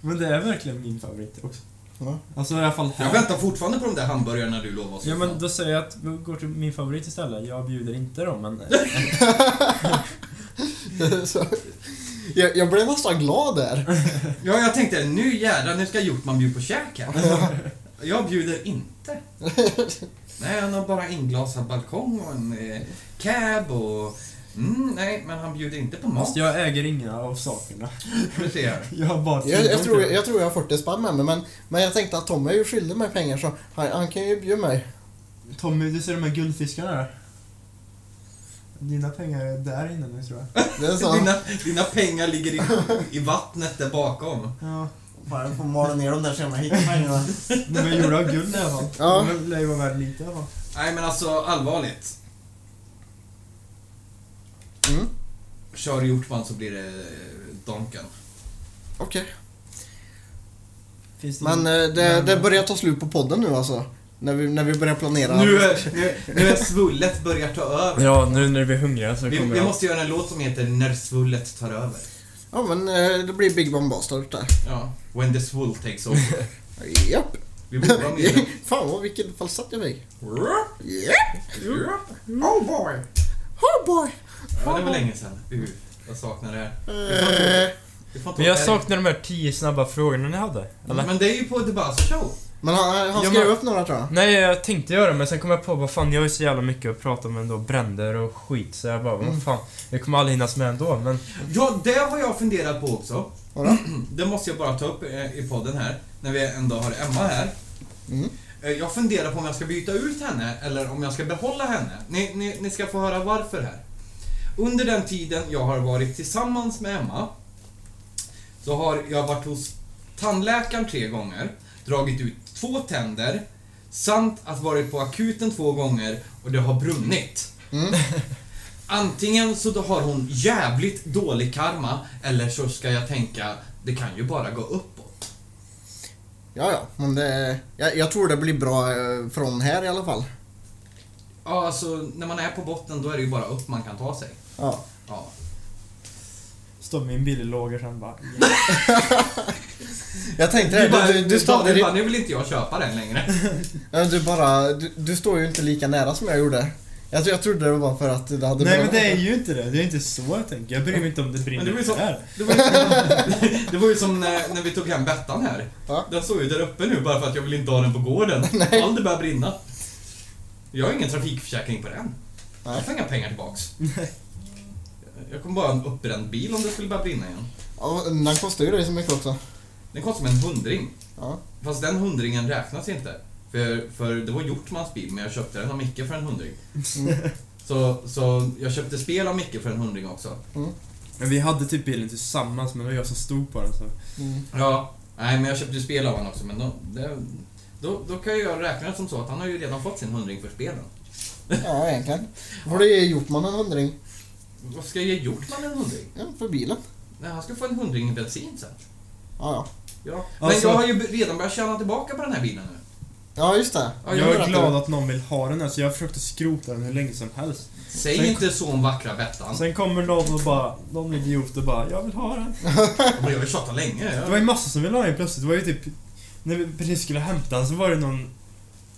Speaker 1: Men det är verkligen min favorit också.
Speaker 3: Ja.
Speaker 1: Alltså i alla fall
Speaker 2: Jag
Speaker 1: här.
Speaker 2: väntar fortfarande på de där hamburgarna du lovade oss.
Speaker 1: Ja men då säger jag att vi går till min favorit istället. Jag bjuder inte dem men...
Speaker 3: Så, jag, jag blev nästan glad där.
Speaker 2: ja, jag tänkte nu jädrar, nu ska Hjortman bjuda på käk här. jag bjuder inte. Nej, han har bara inglasad balkong och en eh, cab och... Mm, nej, men han bjuder inte på mat.
Speaker 1: Fast jag äger inga av sakerna.
Speaker 2: Du ser.
Speaker 1: Jag har bara
Speaker 3: Jag, jag,
Speaker 1: tillgång
Speaker 3: tror,
Speaker 1: till dem.
Speaker 3: jag tror jag har 40 spänn med mig, men, men jag tänkte att Tommy är ju skyldig mig pengar så han, han kan ju bjuda mig.
Speaker 1: Tommy, du ser de här guldfiskarna där? Dina pengar är där inne nu tror jag.
Speaker 3: Det är så.
Speaker 2: Dina, dina pengar ligger i, i vattnet där bakom.
Speaker 1: Ja.
Speaker 3: Fan, jag får mala ner dem där så jag hittar pengarna.
Speaker 1: De är gjorda av guld i alla fall.
Speaker 3: Ja.
Speaker 1: De lär ju vara värd lite i alla fall.
Speaker 2: Nej, men alltså allvarligt.
Speaker 3: Mm.
Speaker 2: Kör Hjortman så blir det eh, Donken.
Speaker 3: Okej.
Speaker 1: Finns det
Speaker 3: Men
Speaker 1: ingen-
Speaker 3: eh, det, det börjar ta slut på podden nu alltså. När vi, när vi börjar planera.
Speaker 2: Nu är, nu, nu är svullet börjar ta
Speaker 3: eh,
Speaker 2: över.
Speaker 1: Ja, nu när vi är hungriga så
Speaker 2: Vi,
Speaker 1: kommer
Speaker 2: vi
Speaker 1: jag...
Speaker 2: måste göra en låt som heter När svullet tar över.
Speaker 3: Ja men eh, det blir Big Bomb Bastard där.
Speaker 2: Ja. When the svull takes over.
Speaker 3: Japp.
Speaker 2: Vi borde vara med i den.
Speaker 3: Fan vad vilken falsett jag fick. Japp.
Speaker 2: Oh boy!
Speaker 3: Oh boy.
Speaker 2: Ja, det var länge sedan. Uh, jag saknar det här.
Speaker 3: Eh,
Speaker 2: Vi får inte
Speaker 1: Men jag
Speaker 2: vara
Speaker 1: saknar de här tio snabba frågorna ni hade.
Speaker 2: där.
Speaker 1: Eller?
Speaker 2: Men det är ju på The Buzz Show.
Speaker 3: men han, eh, han
Speaker 1: Ja,
Speaker 3: skrev
Speaker 1: men-
Speaker 3: upp några tror jag.
Speaker 1: Nej, jag tänkte göra det, men sen kom jag på vad fan, jag har ju så jävla mycket att prata om ändå. Bränder och skit. Så jag bara, vad fan, jag kommer aldrig hinnas med ändå. Men
Speaker 2: Ja, det har jag funderat på också.
Speaker 3: Vadå?
Speaker 2: Det måste jag bara ta upp eh, i podden här, när vi ändå har Emma här.
Speaker 3: Mm.
Speaker 2: Eh, Jag funderar på om jag ska byta ut henne eller om jag ska behålla henne. Ni, ni, ni ska få höra varför här. Under den tiden jag har varit tillsammans med Emma så har jag varit hos tandläkaren tre gånger, dragit ut två tänder samt att varit på akuten två gånger och det har brunnit. Antingen så då har hon jävligt dålig karma eller så ska jag tänka det kan ju bara gå uppåt.
Speaker 3: Ja, ja. Men det, jag, jag tror det blir bra eh, från här i alla fall.
Speaker 2: Ja, alltså när man är på botten då är det ju bara upp man kan ta sig.
Speaker 3: Ja.
Speaker 2: Ja.
Speaker 1: Står med en bil i lager sen bara...
Speaker 3: Jag tänkte
Speaker 2: Du
Speaker 3: det.
Speaker 2: bara,
Speaker 3: Du, du, du, står-
Speaker 2: du bara, nu vill inte jag köpa den längre.
Speaker 3: Ja, du bara... Du, du står ju inte lika nära som jag gjorde. Jag, tror- jag trodde det var för att det hade...
Speaker 1: Nej
Speaker 3: bara-
Speaker 1: men det är ju inte det. Det är inte så jag tänker. Jag bryr mig inte om det brinner
Speaker 2: Men det var ju så-
Speaker 1: där.
Speaker 2: Det var ju, det var ju som när, när vi tog hem Bettan här.
Speaker 3: Ja.
Speaker 2: Den står ju där uppe nu bara för att jag vill inte ha den på gården. Om det börjar brinna. Jag har ingen trafikförsäkring på den.
Speaker 3: Nej.
Speaker 2: Jag får inga pengar tillbaks. Jag kommer bara ha en uppbränd bil om det skulle börja brinna igen.
Speaker 3: Ja, men den kostar ju dig så mycket också.
Speaker 2: Den kostar mig en hundring.
Speaker 3: Ja.
Speaker 2: Fast den hundringen räknas inte. För, för det var Hjortmans bil, men jag köpte den av Micke för en hundring. Så, så jag köpte spel av Micke för en hundring också.
Speaker 1: Men vi hade typ bilen tillsammans men det var jag som stod på den så.
Speaker 3: Mm.
Speaker 2: Ja, nej men jag köpte ju spel av honom också men då, det, då, då kan ju jag räkna det som så att han har ju redan fått sin hundring för spelen.
Speaker 3: Ja, egentligen. Får du ge Hjortman en hundring?
Speaker 2: Varför ska jag ge Hjortman en hundring?
Speaker 3: Ja, för bilen.
Speaker 2: Nej, han ska få en hundring i bensin sen.
Speaker 3: Ja, ja.
Speaker 2: Ja.
Speaker 1: Alltså-
Speaker 2: Men jag har ju redan börjat tjäna tillbaka på den här bilen nu.
Speaker 3: Ja, just det.
Speaker 2: Ja,
Speaker 1: jag är
Speaker 3: berättar.
Speaker 1: glad att någon vill ha den här så jag försökte skrota den hur länge som helst.
Speaker 2: Säg
Speaker 1: Sen-
Speaker 2: inte så om vackra Bettan.
Speaker 1: Sen kommer någon och bara, någon idiot och bara 'Jag vill ha den'
Speaker 2: Jag har ju tjatat länge.
Speaker 1: Det var
Speaker 2: Jag...
Speaker 1: ju massor som ville ha den plötsligt. Det var ju typ... När vi precis skulle hämta den så var det någon...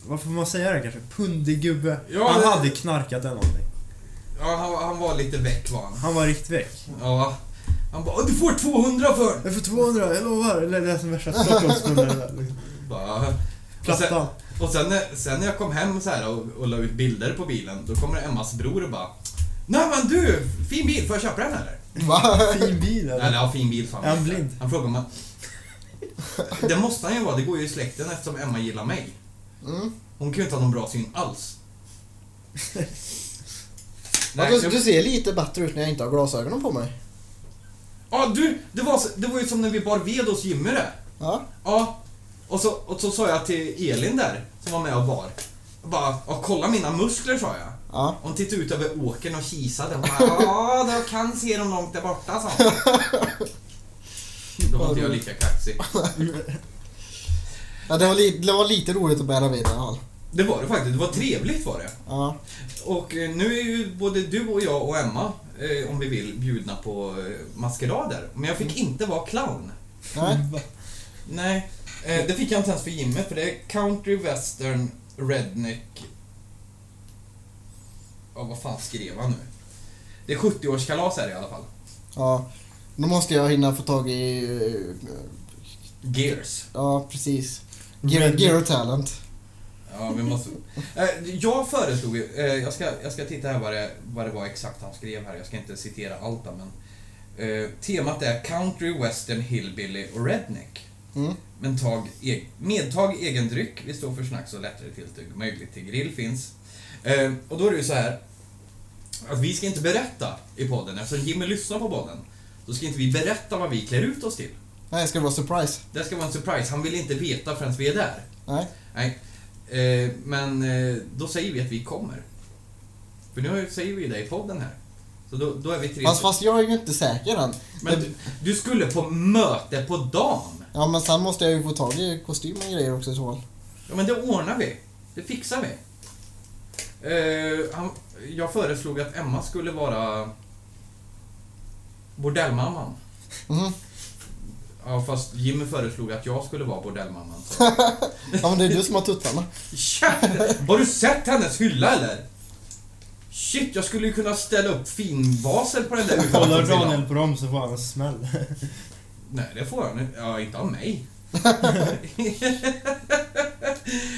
Speaker 1: Vad får man säga det kanske? Pundig gubbe.
Speaker 2: Ja,
Speaker 1: han
Speaker 2: det-
Speaker 1: hade knarkat eller någonting.
Speaker 2: Ja, han, han var lite väck var han.
Speaker 1: Han var riktigt väck.
Speaker 2: Ja. Han bara du får 200 för den!"
Speaker 1: Jag får 200, jag lovar! Eller det är som värsta Stockholmsbullare. Liksom.
Speaker 2: Bara... Och sen,
Speaker 1: Plattan.
Speaker 2: och sen, när- sen när jag kom hem så här och, och la ut bilder på bilen, då kommer Emmas bror och bara Nej men du, fin bil, får jag köpa den eller?
Speaker 3: Va?
Speaker 1: Fin bil
Speaker 2: Eller
Speaker 1: eller?
Speaker 2: ja, fin bil fan.
Speaker 1: Är han blind?
Speaker 2: Han frågar om man... Det måste han ju vara, det går ju i släkten eftersom Emma gillar mig.
Speaker 3: Mm.
Speaker 2: Hon kan ju inte ha någon bra syn alls.
Speaker 3: Ja,
Speaker 2: Nej,
Speaker 3: du, du ser lite bättre ut när jag inte har glasögonen på mig.
Speaker 2: Ja, du! Det var, så- det var ju som när vi bar ved hos Jimmy det.
Speaker 3: Ja.
Speaker 2: Ja. Och så, och så sa jag till Elin där, som var med och bar. Jag Bara, ja, kolla mina muskler sa jag.
Speaker 3: Ja.
Speaker 2: Hon tittade ut över åkern och kisade. Hon bara, ja, jag kan se dem långt där borta, sa hon. Då var inte jag lika kaxig.
Speaker 3: ja det, var li, det var lite roligt att bära vid i alla fall.
Speaker 2: Det var det faktiskt. Det var trevligt var det.
Speaker 3: Ja.
Speaker 2: Och eh, nu är ju både du och jag och Emma, eh, om vi vill, bjudna på eh, maskerader. Men jag fick inte vara clown.
Speaker 3: Nej.
Speaker 2: Nej, eh, det fick jag inte ens för Jimmy, för det är country, western, redneck... Ja, vad fan skrev han nu? Det är 70-årskalas är det i alla fall.
Speaker 3: Ja. Då måste jag hinna få tag i... eh,
Speaker 2: Gears.
Speaker 3: Ja, precis. Gear, gear och talent.
Speaker 2: Ja, vi måste... Eh, jag föreslog ju, eh, jag, ska, jag ska titta här vad det, vad det var exakt han skrev här, jag ska inte citera allt där, men... Eh, temat är country, western, hillbilly och redneck.
Speaker 3: Mm.
Speaker 2: Men tag, e- medtag egen dryck, vi står för snacks och lättare tilltugg, möjligt till grill finns. Eh, och då är det ju så här att vi ska inte berätta i podden, eftersom Jimmy lyssnar på podden, så ska inte vi berätta vad vi klär ut oss till.
Speaker 3: Nej, ska det vara surprise?
Speaker 2: Det ska vara en surprise, han vill inte veta förrän vi är där.
Speaker 3: Nej.
Speaker 2: Nej, eh, men eh, då säger vi att vi kommer. För nu säger vi det i podden här. Så då, då är vi tre.
Speaker 3: Fast, fast jag är ju inte säker än.
Speaker 2: Men du, du skulle på möte på dagen.
Speaker 3: Ja, men sen måste jag ju få tag i kostym och grejer också i så fall.
Speaker 2: Ja, men det ordnar vi. Det fixar vi. Eh, han, jag föreslog att Emma skulle vara bordellmamman.
Speaker 3: Mhm.
Speaker 2: Ja, fast Jimmy föreslog att jag skulle vara bordellmamman. Så.
Speaker 3: Ja, men det är du som har tuttarna.
Speaker 2: Käften! Har du sett hennes hylla eller? Shit, jag skulle ju kunna ställa upp finvaser på den där
Speaker 1: Kollar
Speaker 2: utanför
Speaker 1: Daniel på dem så får han en smäll.
Speaker 2: Nej, det får han inte. Ja, inte av mig.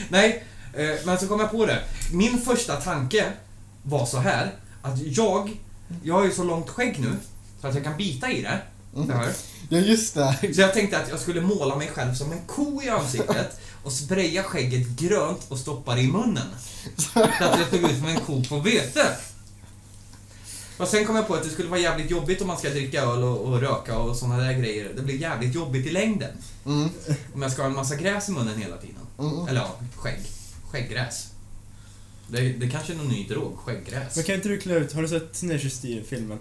Speaker 2: Nej, eh, men så kom jag på det. Min första tanke var så här att jag, jag har ju så långt skägg nu så att jag kan bita i det.
Speaker 1: Mm.
Speaker 2: Så här.
Speaker 3: Ja, just det.
Speaker 2: Så jag tänkte att jag skulle måla mig själv som en ko i ansiktet och sprayade skägget grönt och stoppade i munnen. Så att det såg ut som en ko på vete. Och sen kom jag på att det skulle vara jävligt jobbigt om man ska dricka öl och, och röka och såna där grejer. Det blir jävligt jobbigt i längden.
Speaker 3: Mm.
Speaker 2: Om jag ska ha en massa gräs i munnen hela tiden.
Speaker 3: Mm.
Speaker 2: Eller ja, skägg. Skägggräs. Det, det kanske är någon ny drog, skägggräs.
Speaker 1: Men kan inte du klä ut, har du sett Teenager Steel-filmen?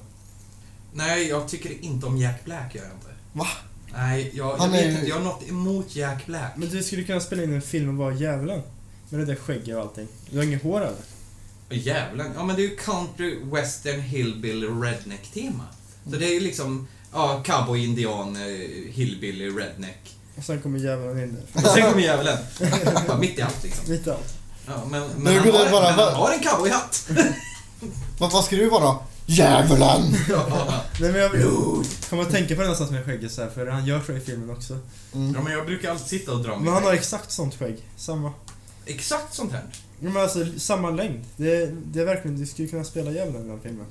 Speaker 2: Nej, jag tycker inte om Jack Black, gör jag inte.
Speaker 3: Va?
Speaker 2: Nej, jag, jag
Speaker 3: Han är
Speaker 2: vet
Speaker 3: ju-
Speaker 2: inte. Jag har något emot Jack Black.
Speaker 1: Men du skulle kunna spela in en film och vara djävulen. Med det där skägget och allting. Du har inget hår eller?
Speaker 2: Jävlar. Ja, men det är ju country, western, hillbilly, redneck-tema. Så det är ju liksom, ja, cowboy, indian, eh, hillbilly, redneck.
Speaker 1: Och sen kommer djävulen in där.
Speaker 2: Men sen kommer djävulen. Bara mitt i allt liksom.
Speaker 1: Mitt i allt.
Speaker 2: Ja, men,
Speaker 3: Nu
Speaker 2: men, han
Speaker 3: går
Speaker 2: har,
Speaker 3: det bara-
Speaker 2: men han har en cowboyhatt.
Speaker 3: Vad, vad ska du vara då? Djävulen!
Speaker 2: ja,
Speaker 1: Nej men jag Blod. kommer att tänka på det någonstans med skägget så här, för han gör så i filmen också.
Speaker 2: men jag brukar alltid sitta och dra
Speaker 1: Men
Speaker 2: mig.
Speaker 1: han har exakt sånt skägg. Samma.
Speaker 2: Exakt sånt här.
Speaker 1: Ja, Men alltså samma längd. Det, det är verkligen, du skulle kunna spela djävulen i den filmen.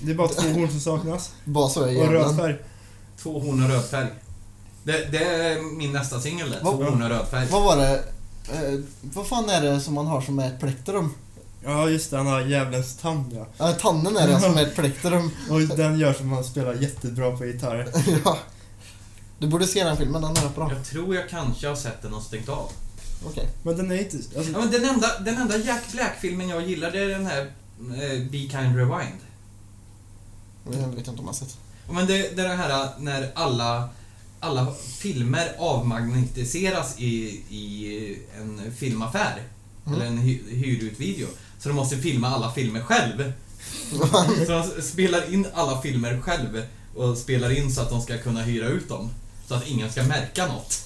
Speaker 1: Det är bara två horn som saknas.
Speaker 3: Bara så är
Speaker 1: Och röd
Speaker 3: djävulen.
Speaker 1: färg.
Speaker 2: Två horn och röd färg. Det, det är min nästa singel, det. Två
Speaker 3: Vad-
Speaker 2: horn och röd färg.
Speaker 3: Vad var det? Eh, vad fan är det som man har som är ett plektrum?
Speaker 1: Ja just det, han har djävulens tand ja.
Speaker 3: Eh, tannen är det som är ett plektrum.
Speaker 1: Och den gör som han spelar jättebra på gitarr.
Speaker 3: ja. Du borde se den filmen, den är rätt bra.
Speaker 2: Jag tror jag kanske har sett den och stängt av.
Speaker 3: Okej.
Speaker 1: Men den är inte... Alltså,
Speaker 2: Ja, men den, enda, den enda Jack Black-filmen jag gillar det är den här eh, Be Kind Rewind.
Speaker 3: Jag vet inte om jag har sett.
Speaker 2: Ja, Men det, det är den här när alla, alla filmer avmagnetiseras i, i en filmaffär.
Speaker 3: Mm.
Speaker 2: Eller en hy, hyrutvideo. Så de måste filma alla filmer själv. så de spelar in alla filmer själv och spelar in så att de ska kunna hyra ut dem. Så att ingen ska märka något.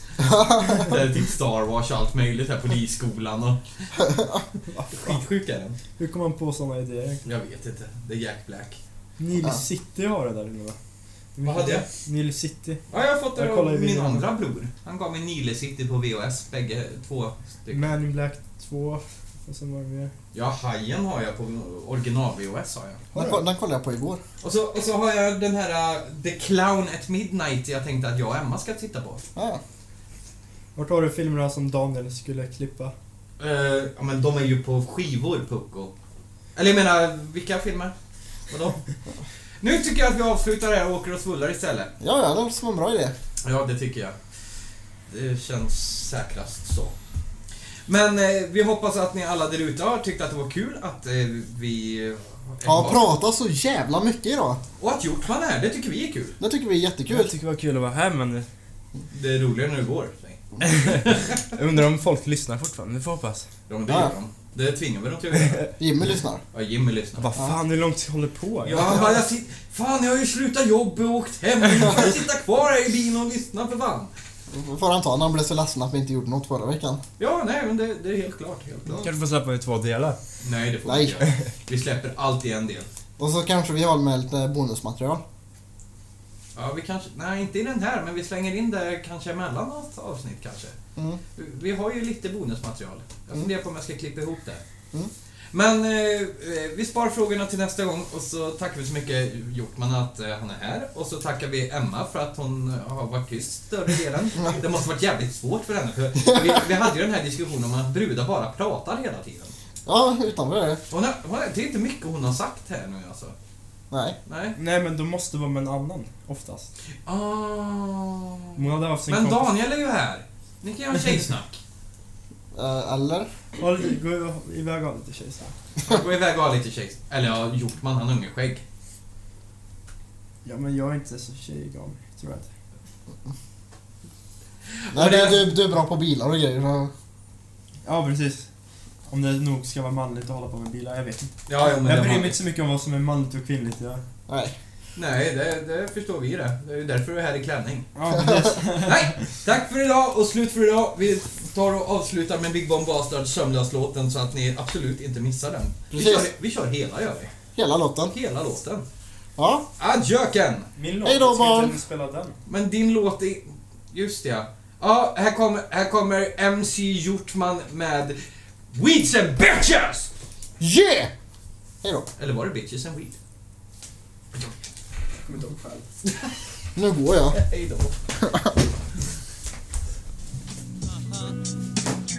Speaker 2: det är typ Star Wars och allt möjligt här, polisskolan och... Skitsjuk är den.
Speaker 1: hur kommer han på såna idéer?
Speaker 2: Jag vet inte. Det är Jack Black.
Speaker 1: Neil
Speaker 3: Ja.
Speaker 1: City har det där nu va?
Speaker 2: Vad hade jag?
Speaker 1: Neil City.
Speaker 2: Ja, jag har fått det
Speaker 1: Jag
Speaker 2: av
Speaker 1: kollar i
Speaker 2: min
Speaker 1: videon.
Speaker 2: andra bror. Han gav mig Nile City på VHS, bägge två stycken.
Speaker 1: Man in Black 2. Och sen var det mer.
Speaker 2: Ja, Hajen har jag på original-VHS har jag.
Speaker 1: Har
Speaker 3: Den,
Speaker 1: du?
Speaker 3: ko- den kollade jag på igår.
Speaker 2: Och så, och så har jag den här uh, The Clown at Midnight jag tänkte att jag och Emma ska titta på.
Speaker 3: Ah.
Speaker 1: Vart har du filmerna som Daniel skulle klippa?
Speaker 2: Eh, ja, men de är ju på skivor, Pucko. Eller jag menar, vilka filmer? Vadå? nu tycker jag att vi avslutar det här och åker och svullar istället.
Speaker 3: Ja, ja, det låter som en bra idé.
Speaker 2: Ja, det tycker jag. Det känns säkrast så. Men eh, vi hoppas att ni alla där ute har tyckt att det var kul att eh, vi... eh,
Speaker 3: Ja,
Speaker 2: var-
Speaker 3: prata så jävla mycket idag.
Speaker 2: Och att Hjortman är här, det tycker vi är kul.
Speaker 3: Det tycker vi är jättekul.
Speaker 1: tycker det var kul att vara här men
Speaker 2: Det är roligare när det går. säg.
Speaker 1: jag undrar om folk lyssnar fortfarande. Vi får hoppas.
Speaker 2: Ja, men det
Speaker 3: Ja.
Speaker 2: gör de. Det tvingar vi dem till att göra.
Speaker 3: Jimmy lyssnar.
Speaker 2: Ja, Jimmy lyssnar.
Speaker 1: Vad fan, hur långt håller det på?
Speaker 2: Ja, han bara, jag sit... Fan, jag har ju slutat jobb och åkt hem. Jag kan sitta kvar här i bilen och lyssna för fan.
Speaker 3: Får han ta när han blev så ledsen att vi inte gjorde något förra veckan.
Speaker 2: Ja, nej, men det, det är helt klart. Helt klart.
Speaker 1: Kanske får släppa i två delar.
Speaker 2: Nej, det får vi
Speaker 3: Nej.
Speaker 2: inte göra. Vi släpper allt i en del.
Speaker 3: Och så kanske vi har med lite bonusmaterial.
Speaker 2: Ja, vi kanske... Nej, inte i den här, men vi slänger in det kanske mellan något avsnitt kanske.
Speaker 3: Mm.
Speaker 2: Vi har ju lite bonusmaterial. Jag funderar på om jag ska klippa ihop det.
Speaker 3: Mm.
Speaker 2: Men eh, eh, vi sparar frågorna till nästa gång och så tackar vi så mycket Hjortman att eh, han är här. Och så tackar vi Emma för att hon eh, har varit tyst större delen. Det måste varit jävligt svårt för henne. För vi, vi hade ju den här diskussionen om att brudar bara pratar hela tiden.
Speaker 3: Ja, utanför det.
Speaker 2: Hon har, hon har, det är inte mycket hon har sagt här nu alltså.
Speaker 3: Nej.
Speaker 2: Nej.
Speaker 1: Nej men de måste vara med en annan, oftast.
Speaker 2: Ah.
Speaker 1: Om Hon hade haft sin
Speaker 2: Men
Speaker 1: kompis...
Speaker 2: Daniel är ju här. Ni kan göra tjejsnack.
Speaker 3: Eh, eller?
Speaker 1: Ja, det går ju iväg av lite tjejsnack.
Speaker 2: Gå iväg och ha lite tjejsnack. Eller ja, Hjortman han har inget skägg.
Speaker 1: Ja men jag är inte så tjejig av mig, tror jag inte.
Speaker 3: Nej, du, du, du är bra på bilar och grejer. så-
Speaker 1: Ja precis. Om det nog ska vara manligt att hålla på med bilar, jag vet inte.
Speaker 2: Ja, jo, men
Speaker 1: jag
Speaker 2: det
Speaker 1: bryr
Speaker 2: har-
Speaker 1: mig inte så mycket om vad som är manligt och kvinnligt. Jag...
Speaker 3: Nej.
Speaker 2: Nej, det, det förstår vi det. Det är ju därför du är här i klänning.
Speaker 1: Ja, precis.
Speaker 2: Nej! Tack för idag och slut för idag. Vi tar och avslutar med Big Bomb Bastard Sömnlös-låten så att ni absolut inte missar den. Vi
Speaker 3: Precis.
Speaker 2: kör, vi kör hela gör vi.
Speaker 3: Hela låten.
Speaker 2: Hela låten.
Speaker 3: Ja.
Speaker 2: Adjöken!
Speaker 1: Min låt,
Speaker 3: Hej då,
Speaker 1: ska
Speaker 3: barn.
Speaker 1: inte ens spela den.
Speaker 2: Men din låt är... Just det, ja. Ja, här kommer, här kommer MC Hjortman med Weeds and Bitches!
Speaker 3: Yeah! Hej då.
Speaker 2: Eller var det Bitches and Weed?
Speaker 1: Jag kommer inte ihåg själv.
Speaker 3: Nu går jag.
Speaker 2: Hej då.
Speaker 5: Weeds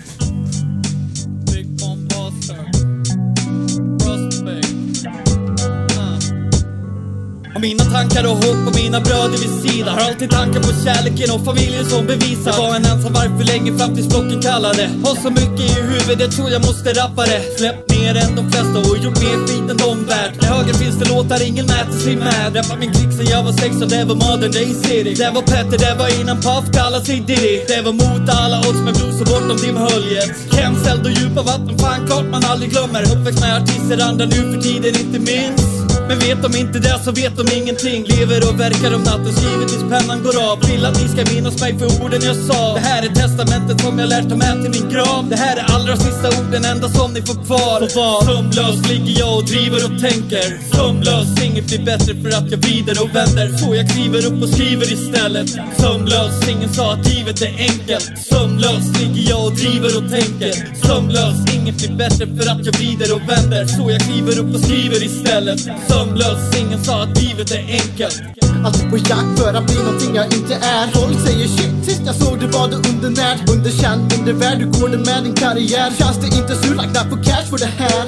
Speaker 5: Mina tankar och hopp och mina bröder vid sidan Har alltid tankar på kärleken och familjen som bevisar Jag var en ensam varg för länge fram tills flocken kallade Har så mycket i huvudet tror jag måste rappa det Släppt mer än de flesta och gjort mer skit än de värt Med höger finns det låtar ingen mäter sig med Rappar min klick sen jag var sex och det var modern day city Det var Petter, det var innan Puff kallade sig Diddy Det var mot alla odds med blues och bortom dimhöljet Hemställd och djupa vatten, fan klart man aldrig glömmer Uppväxt med artister andra nu för tiden inte minst men vet de inte det så vet de ingenting Lever och verkar om natten skrivet tills pennan går av Vill att ni ska minnas mig för orden jag sa Det här är testamentet som jag lärt ta med till min grav Det här är allra sista orden, enda som ni får kvar Och var sömnlös ligger jag och driver och tänker Sömnlös, inget blir bättre för att jag vrider och vänder Så jag kliver upp och skriver istället Sömnlös, ingen sa att livet är enkelt Sömnlös ligger jag och driver och tänker Sömnlös, inget blir bättre för att jag vrider och vänder Så jag kliver upp och skriver istället Sömnlös, ingen sa att livet är enkelt
Speaker 3: Alltid på jakt för att bli någonting jag inte är Folk säger shit, sist jag såg det var du undernärd Underkänd, undervärd, hur går det med din karriär? Känns det inte sur, lagt like på cash för det här?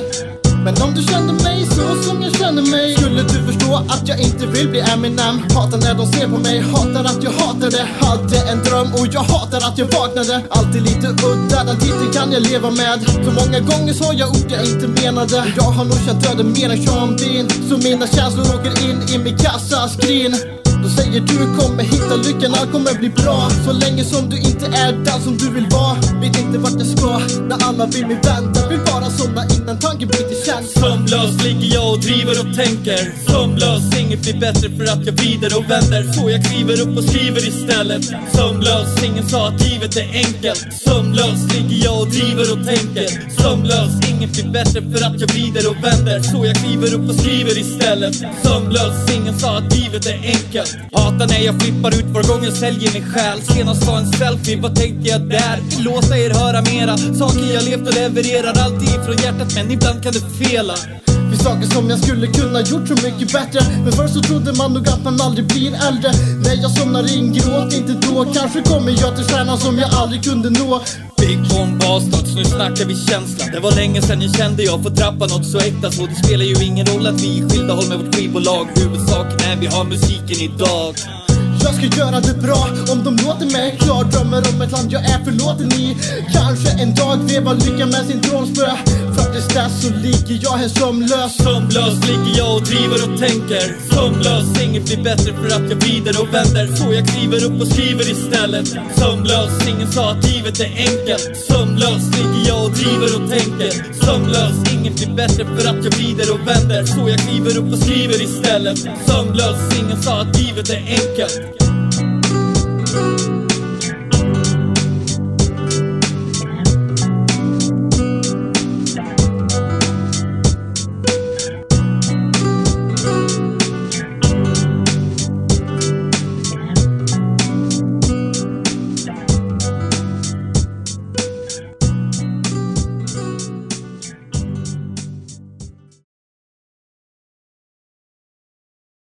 Speaker 3: Men om du kände mig så som jag känner mig Skulle du förstå att jag inte vill bli Eminem Hatar när de ser på mig, hatar att jag hatar det Hade en dröm och jag hatar att jag vaknade Alltid lite udda, den titeln kan jag leva med Så många gånger sa jag ord jag inte menade Jag har nog känt döden mer än Sean Bean Så mina känslor åker in i min kassaskrin då säger du kommer hitta lyckan, allt kommer bli bra Så länge som du inte är den som du vill vara Vet inte vart jag ska när alla vid min väntar Vill bara somna innan tanken blir till känsla
Speaker 5: Sömnlös ligger jag och driver och tänker Sömnlös, inget blir bättre för att jag vrider och vänder Så jag kliver upp och skriver istället Sömnlös, ingen sa att livet är enkelt Sömnlös ligger jag och driver och tänker Sömnlös, inget blir bättre för att jag vrider och vänder Så jag kliver upp och skriver istället Sömnlös, ingen sa att livet är enkelt Hatar när jag flippar ut var gång jag säljer min själ Senast var en selfie, vad tänkte jag där? Vill låta er höra mera Saker jag levt och levererar alltid ifrån hjärtat men ibland kan det fela
Speaker 3: Vid saker som jag skulle kunna gjort så mycket bättre Men förr så trodde man nog att man aldrig blir äldre När jag somnar in, gråt inte då Kanske kommer jag till stjärnan som jag aldrig kunde nå
Speaker 5: Big bomb bastards, nu snackar vi känsla Det var länge sen jag kände jag får trappa något så äkta så det spelar ju ingen roll att vi är skilda håll med vårt skivbolag Huvudsaken är vi har musiken idag
Speaker 3: Jag ska göra det bra om de låter mig klar Drömmer om ett land jag är förlåten i Kanske en dag vevar lyckan med sin trollspö Fram tills dess så ligger jag här sömnlös
Speaker 5: Sömnlös ligger jag och driver och tänker Sömnlös, inget blir bättre för att jag vrider och vänder Så jag kliver upp och skriver istället Sömnlös, ingen sa att livet är enkelt Sömnlös ligger jag och driver och tänker Sömnlös, inget blir bättre för att jag vrider och vänder Så jag kliver upp och skriver istället Sömnlös, ingen sa att livet är enkelt